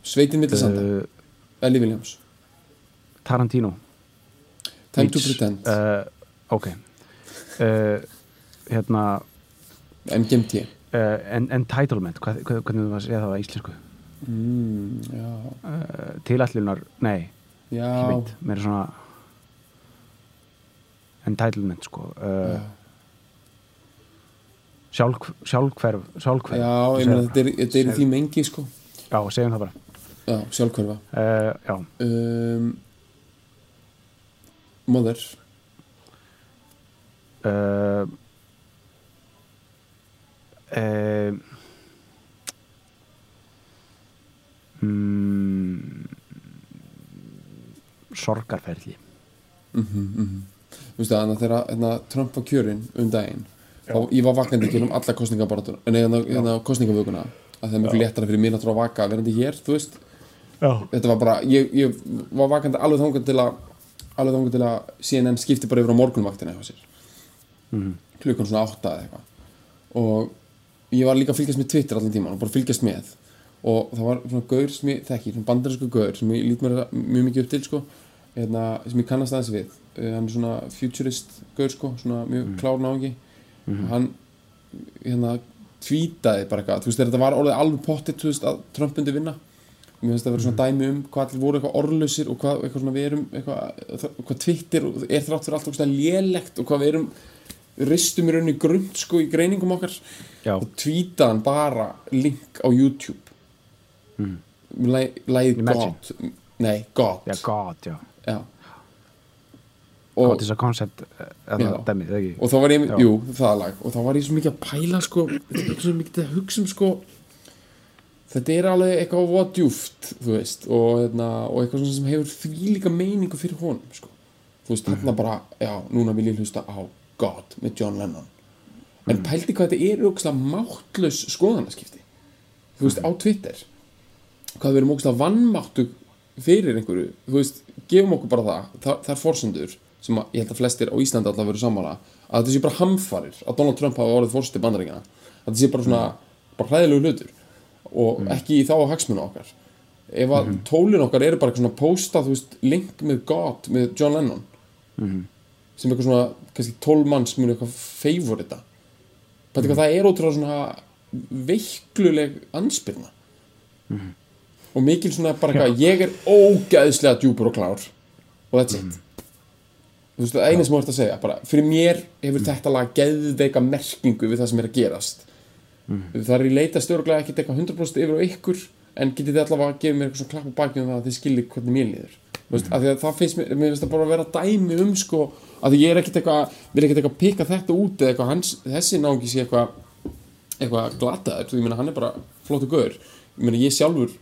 Sveitin Millisanda,
uh,
Ellie Williams
Tarantino
Time to
meets,
Pretend,
uh, ok uh, hérna
MGMT
uh, en- Entitlement, hvað, hvað, hvernig var að segja það á íslensku
mm, Já,
uh, tilallunar, nei,
já,
ég veit mér er svona Entitlement sko uh, sjálf, sjálfhverf sjálfhverf
já ég meina þetta er, þetta er í því mengi sko
já, segjum það bara
já, sjálfkörfa
uh, já,
um, Mother
uh, uh, mm, sorgarferli
Þú veist það, þannig að þegar hérna, Trump var kjörinn um daginn þá ég var vakandi ekki um alla kostningabarátur en hérna, hérna kostningavökunna að það er miklu léttara fyrir mér að trá að vaka verandi hér, þú veist
já,
þetta var bara, ég, ég var vakandi alveg þangað til að alveg þangað til að CNN skipti bara yfir á morgunvaktina hjá sér klukkan svona átta eða eitthvað og ég var líka að fylgjast með Twitter allan tíman og bara fylgjast með og það var svona gaur sem ég þekki, svona bandarinsku gaur sem ég lít mér mjög mikið upp til sko, eðna, sem ég kannast aðeins við Eh, hann er svona futurist gaur sko, svona mjög mm. klár náðingi hann hérna tvítaði bara eitthvað, þú veist þegar þetta var orðið alveg pottitt, þú veist að Trump myndi vinna mér finnst það að vera svona dæmi um hvað allir voru eitthvað orðlausir og hvað eitthvað svona við erum eitthvað, hvað Twitter er þrátt fyrir allt okkur lélegt og hvað við erum ristum í rauninni grund sko í greiningum okkar
já,
og tweetaði hann bara link á YouTube mm. lægið
Hmm. Imagine.
God nei, God
já, god, já
Já.
og
og,
þetta er koncept
Já.
dæmið, eða ekki
og þá var ég,
Já.
jú, það lag og þá var ég svo mikið að pæla sko svo mikið að hugsa um sko þetta er alveg eitthvað voða djúft þú veist, og, hérna, og eitthvað svona sem hefur því líka meiningu fyrir honum sko. þú veist, þarna bara, já, núna vil ég hlusta á God með John Lennon en pældi hvað þetta er ógæslega máttlaus skoðanaskipti þú veist, á Twitter hvað við erum ógæslega vannmáttu fyrir einhverju, þú veist, gefum okkur bara það þar, þar forsendur sem að, ég held að flestir á Íslandi alltaf veru sammála að þetta sé bara hamfarir, að Donald Trump hafa orðið fórsetið bandaríkina, að þetta sé bara svona bara hræðilegu hlutur og ekki í þá að hagsmuna okkar ef að tólin okkar eru bara eitthvað svona posta, þú veist, link með God með John Lennon sem eitthvað svona, kannski tólmanns muni eitthvað favorita Bæti hvað það er ótrúlega svona veikluleg anspyrna og mikil svona bara eitthvað ég er ógæðslega djúpur og klár og that's it þú veist það eina sem þú ert að segja bara, fyrir mér hefur þetta lag geðveika merkingu við það sem er að gerast það er í leita stjórnlega ekki teka 100% yfir á ykkur en getið þið allavega að gefa mér eitthvað svona klapp á bakið um það að þið skiljið hvernig mér líður Þú veist, af því að það finnst mér, mér finnst það bara að vera dæmi um sko, að því ég er ekkit eitthvað vil ekkit eitthvað pika þetta út eða eitthvað hans, þessi náungi sé eitthvað eitthvað glataður, þú ég meina hann er bara flottu gaur, ég meina ég sjálfur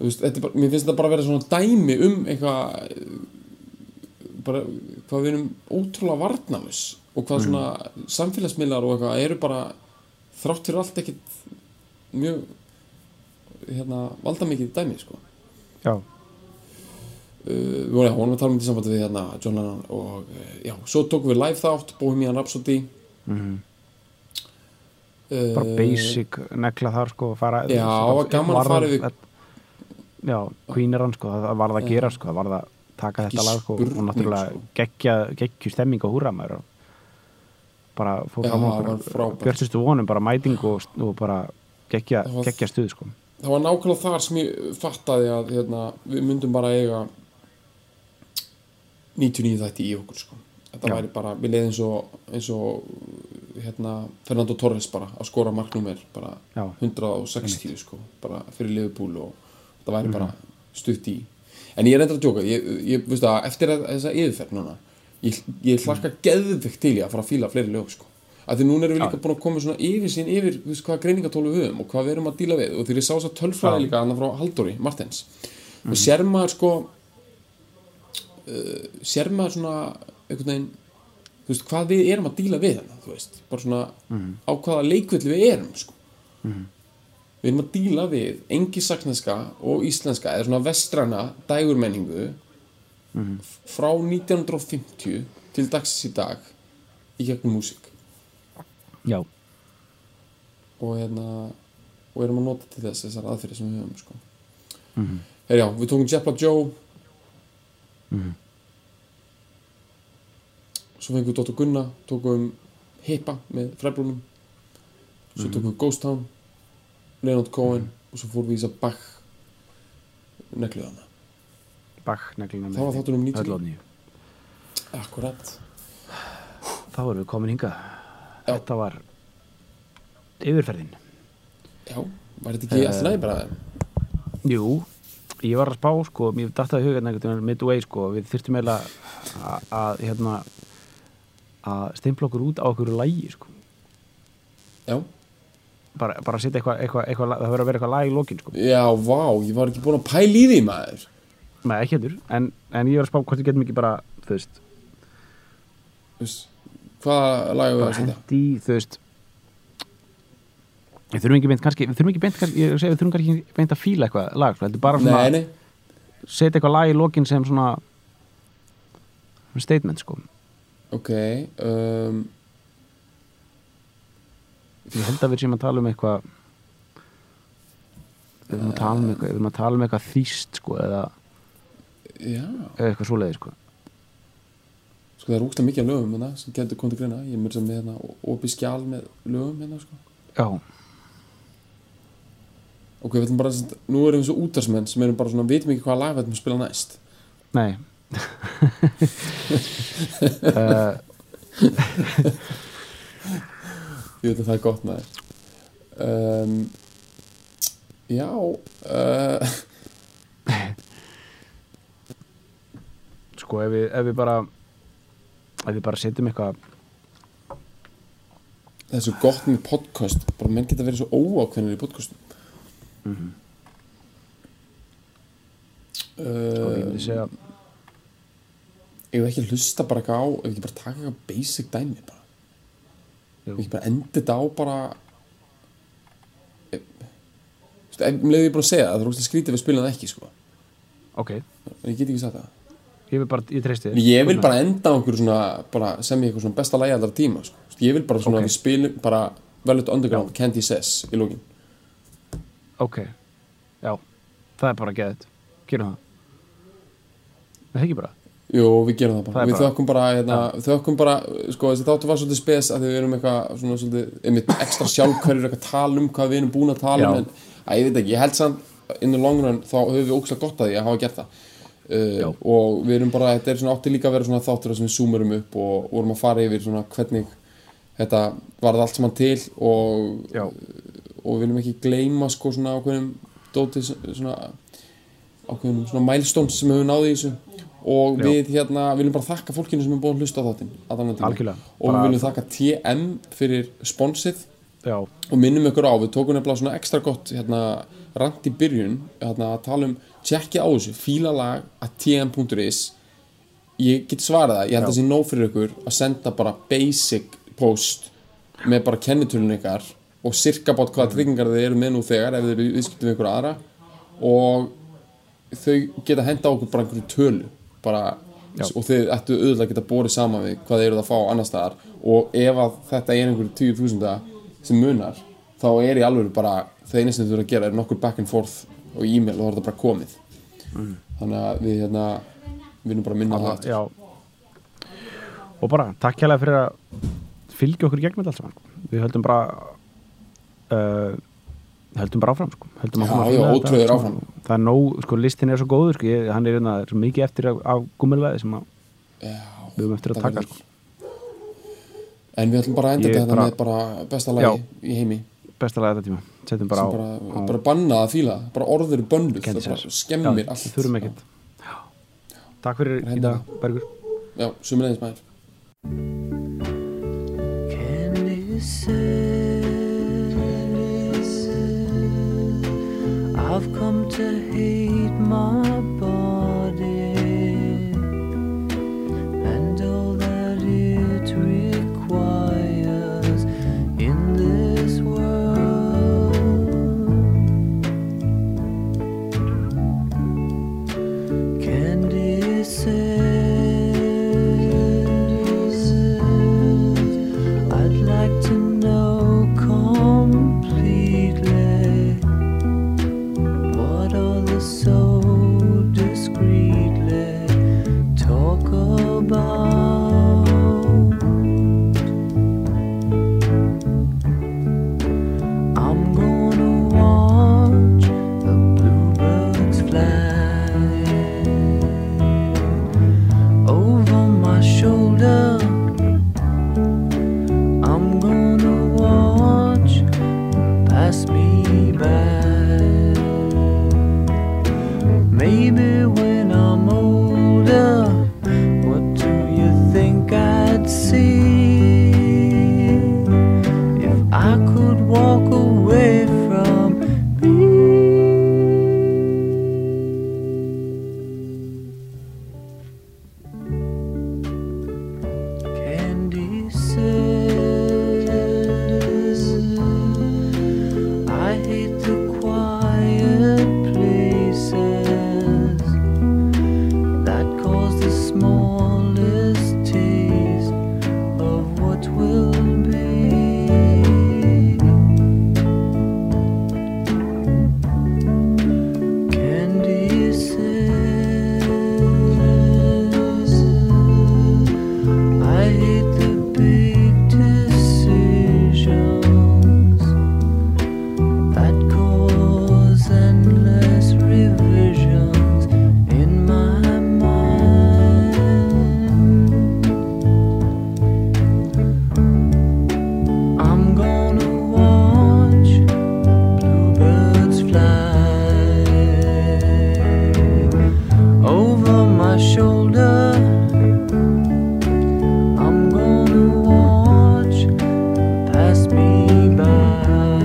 þú veist, þetta er bara, mér finnst þetta bara að vera svona dæmi um eitthvað eh, bara, hvað við erum ótrúlega varnamus og
Mm.
hvað svona samfélagsmiðlar og eitthvað eru bara þrátt fyrir allt ekkit mjög hérna, valdamikið dæmi sko
já,
uh, við vorum já, vorum að tala um þetta í sambandi við hérna, John Lennon og uh, já, svo tókum við live þátt Bohemian Rhapsody uh,
Mhm. bara basic negla þar sko fara,
Já, það var gaman að
varð um
fara yfir-
já, Queen er hann sko, það varð að gera sko, það varð að taka
Ekki
þetta lag sko, og
spurning,
náttúrulega
sko.
geggja, geggju stemming og húra maður og bara fór
Já,
fram á
það var
okkur
frábært.
björnstustu vonum, bara mæting og, og bara geggja,
Það var-
geggja stuð sko
það var nákvæmlega þar sem ég fattaði að hérna, við myndum bara eiga 99 þætti í okkur sko. þetta
Já.
væri bara, við leiði eins og, eins og hérna, Fernando Torres bara að skora marknúmer bara
Já.
160 sko, bara fyrir liðbúl og það væri
Mhm.
bara stutt í en ég er endur að djóka ég, ég, veistu að, eftir að, þessa yfirferð núna ég, ég
Mhm.
hlakka mm. geðvegt til ég að fara að fíla fleiri lög sko að því núna erum við líka búin að koma svona yfir sín yfir þú veist, hvaða greiningatólu við höfum og hvað við erum að díla við og þegar ég sá þess að tölfræði líka annar frá Halldóri Martens
Mhm.
og sér maður sko uh, sér maður svona einhvern veginn þú veist, hvað við erum að díla við hana þú veist, bara svona á hvaða leikvill við erum sko við erum að díla við engisaksneska og íslenska eða svona vestrana dægurmenningu frá 1950 til dagsins í dag í gegnum músík
já,
og hérna og erum að nota til þess þessar aðferði sem við höfum sko. mm
Mhm.
-hmm. já, við tókum Jepla Joe mm
Mhm.
svo fengum við Dóttur Gunna tókum Hippa með Freibrunum
Mhm.
svo tókum við Ghost Town Leonard Cohen og svo fórum við í þess að Bach negluðana
bakk neglina
Það var þáttur um 90.
öll á nýju.
akkurat
þá erum við komin hingað
Já.
þetta var yfirferðin Eh.
já, var þetta ekki alltaf næg bara
jú, ég var að spá sko, mér dattaði hugan einhvern veginn midway sko, við þyrftum eiginlega að- að hérna að steimpla okkur út á okkur lægi sko.
Já,
bara, bara setja eitthvað, eitthvað, eitthvað lag- það verður að vera eitthvað lag í lokin sko.
já, vá, ég var ekki búin að pæla í því maður
Nei, ekki heldur, en, en ég var að spá hvort við getum ekki bara, þú veist
Þú veist, Hvaða lag við
bara
að setja?
hendi, þú veist við þurfum ekki beint kannski, við þurfum ekki beint kannski, ég er að segja, við þurfum kannski beint að fíla eitthvað lag, sko, heldur bara svona
Nei, nei,
setja eitthvað lag í lokin sem svona statement sko
ok um,
ég held að við séum að tala um eitthvað við erum að tala um eitthvað við erum að tala um eitthvað þýst sko eða
Já,
eða eitthvað svoleiði sko
sko það er úkstlega mikið af lögum hérna sem getur komið til greina Ég er mér sem með hérna opið skjál með lögum hérna sko
já,
Ok, við ætlum bara að nú erum við svo útarsmenn sem erum bara svona, vitum ekki hvaða lag við ætlum að spila næst
nei uh,
Ég veit að það er gott maður um, Já uh,
sko ef við, ef við bara ef við bara setjum eitthvað
Það er svo gott með podcast bara menn geta verið svo óákveðnir í podcastum
Mhm. og ég
mm
myndi segja
Ég veit ekki að hlusta bara eitthvað á ef ekki bara taka eitthvað basic dæmi bara
Jú.
Ef ekki bara enda þetta á bara Þú veist, ef- um leiði ég búin að segja það, það er úrslega skrítið við spila það ekki sko
ok, ég
En ég get ekki sagt það
vil bara, ég treysti
En
þér
Ég vil bara enda á einhverju svona bara, sem ég eitthvað svona besta lægi allra tíma sko. Þú veist, Ég vil bara svona
Ok.
að við spilum bara Velvet Underground, Candy Says í lógin
ok, já, það er bara geðið gerum það það er ekki bara
Jú, við gerum það bara,
Það er
við
bara-
þökkum bara, hérna, þökkum bara sko, þessi þáttu var svolítið spes að við erum eitthvað svona svolítið, einmitt ekstra sjálfkverjur eitthvað tala um hvað við erum búin að tala um
Já.
en að, ég veit ekki, ég held samt in the long run þá höfum við ókslega gott að því að hafa gert það
Já.
uh, og við erum bara, þetta er svona átti líka að vera svona þáttur þar sem við zoomurum upp og vorum að fara yfir svona hvernig þetta varð allt saman til og
já,
og við viljum ekki gleyma sko svona ákveðnum dóti svona ákveðnum svona milestones sem við höfum náði í þessu og
Já.
við hérna viljum bara þakka fólkinu sem er búin að hlusta á þáttinn allan að tíma.
Algjörlega.
og við
Bara-
viljum þakka TM fyrir sponsið
já,
og minnum ykkur á, við tókum nefnilega svona ekstra gott hérna rand í byrjun hérna að tala um, tjekkja á þessu fílalag að tm.is ég get svarað það, ég
Já.
held að það sé nóg fyrir ykkur að senda bara basic post með bara kennitölun ykkar og sirka bát
Mm.
hvaða tryggingar þið eru með nú þegar ef þið eru viðskiptum við ykkur aðra og þau geta henda á okkur bara einhverju tölu bara,
Já.
og þið ættu auðvitað að geta borið saman við hvað þið eruð að fá annars staðar og ef að þetta er einhverju tíu þúsunda sem munar þá er í alveg bara það eina sem þið þurfa að gera er nokkur back and forth og e-mail og þá er þetta bara komið
Mm.
þannig að við hérna við erum bara að minna á það aftur.
já og bara, takk hérlega fyrir að fylgja okkur í gegnum þetta allt saman við höldum bara uh, höldum bara áfram sko. höldum
Já,
áfram að
já,
finna þetta
ótrauður
allt
áfram.
saman. það er nóg, sko, listin er svo góður sko. ég, hann er hérna svo mikið eftir af, af gummilvæði sem að
Já,
við höfum eftir að
það
taka
verður-
sko.
en við ætlum bara að enda
Ég
þetta
bara-
með bara besta lagi í heimi
besta laga þetta tíma, setjum bara á,
bara,
á
bara, bara bannað að fíla það, bara orður er bönnuð
Kenndi
það bara
sér.
skemmir
já,
allt
þurfum ekkert Já. takk fyrir í dag, Bergur
já, sumulegis maður
I've come to hate my body and all that it requires in this world. Candy says, I'd like to know completely what all the so discreetly talk about. I'm gonna watch the bluebirds fly over my shoulder. I'm gonna watch pass me by. baby, when I'm older, what do you think I'd see? If I could walk away from Candy says, I hate the quiet places that cause the smallest taste of what will be. Candy says, I hate the big decisions that cause endless revisions in my mind. I'm gonna watch bluebirds fly over my shoulder. I'm gonna watch pass me by.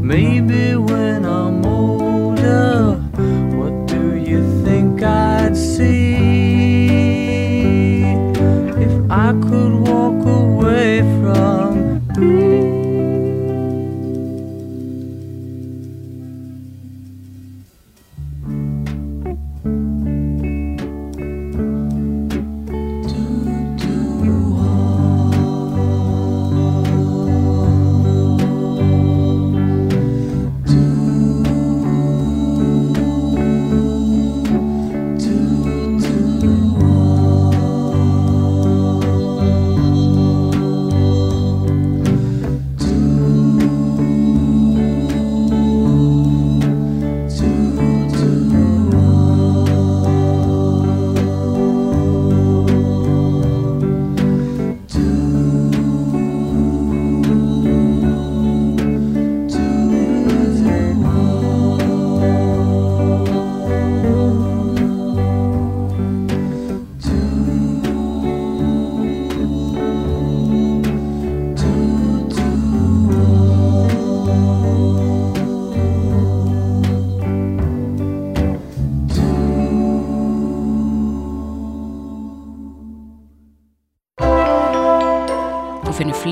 Maybe when I'm older, what do you think I'd see if I could walk away from oh.
Þú finnir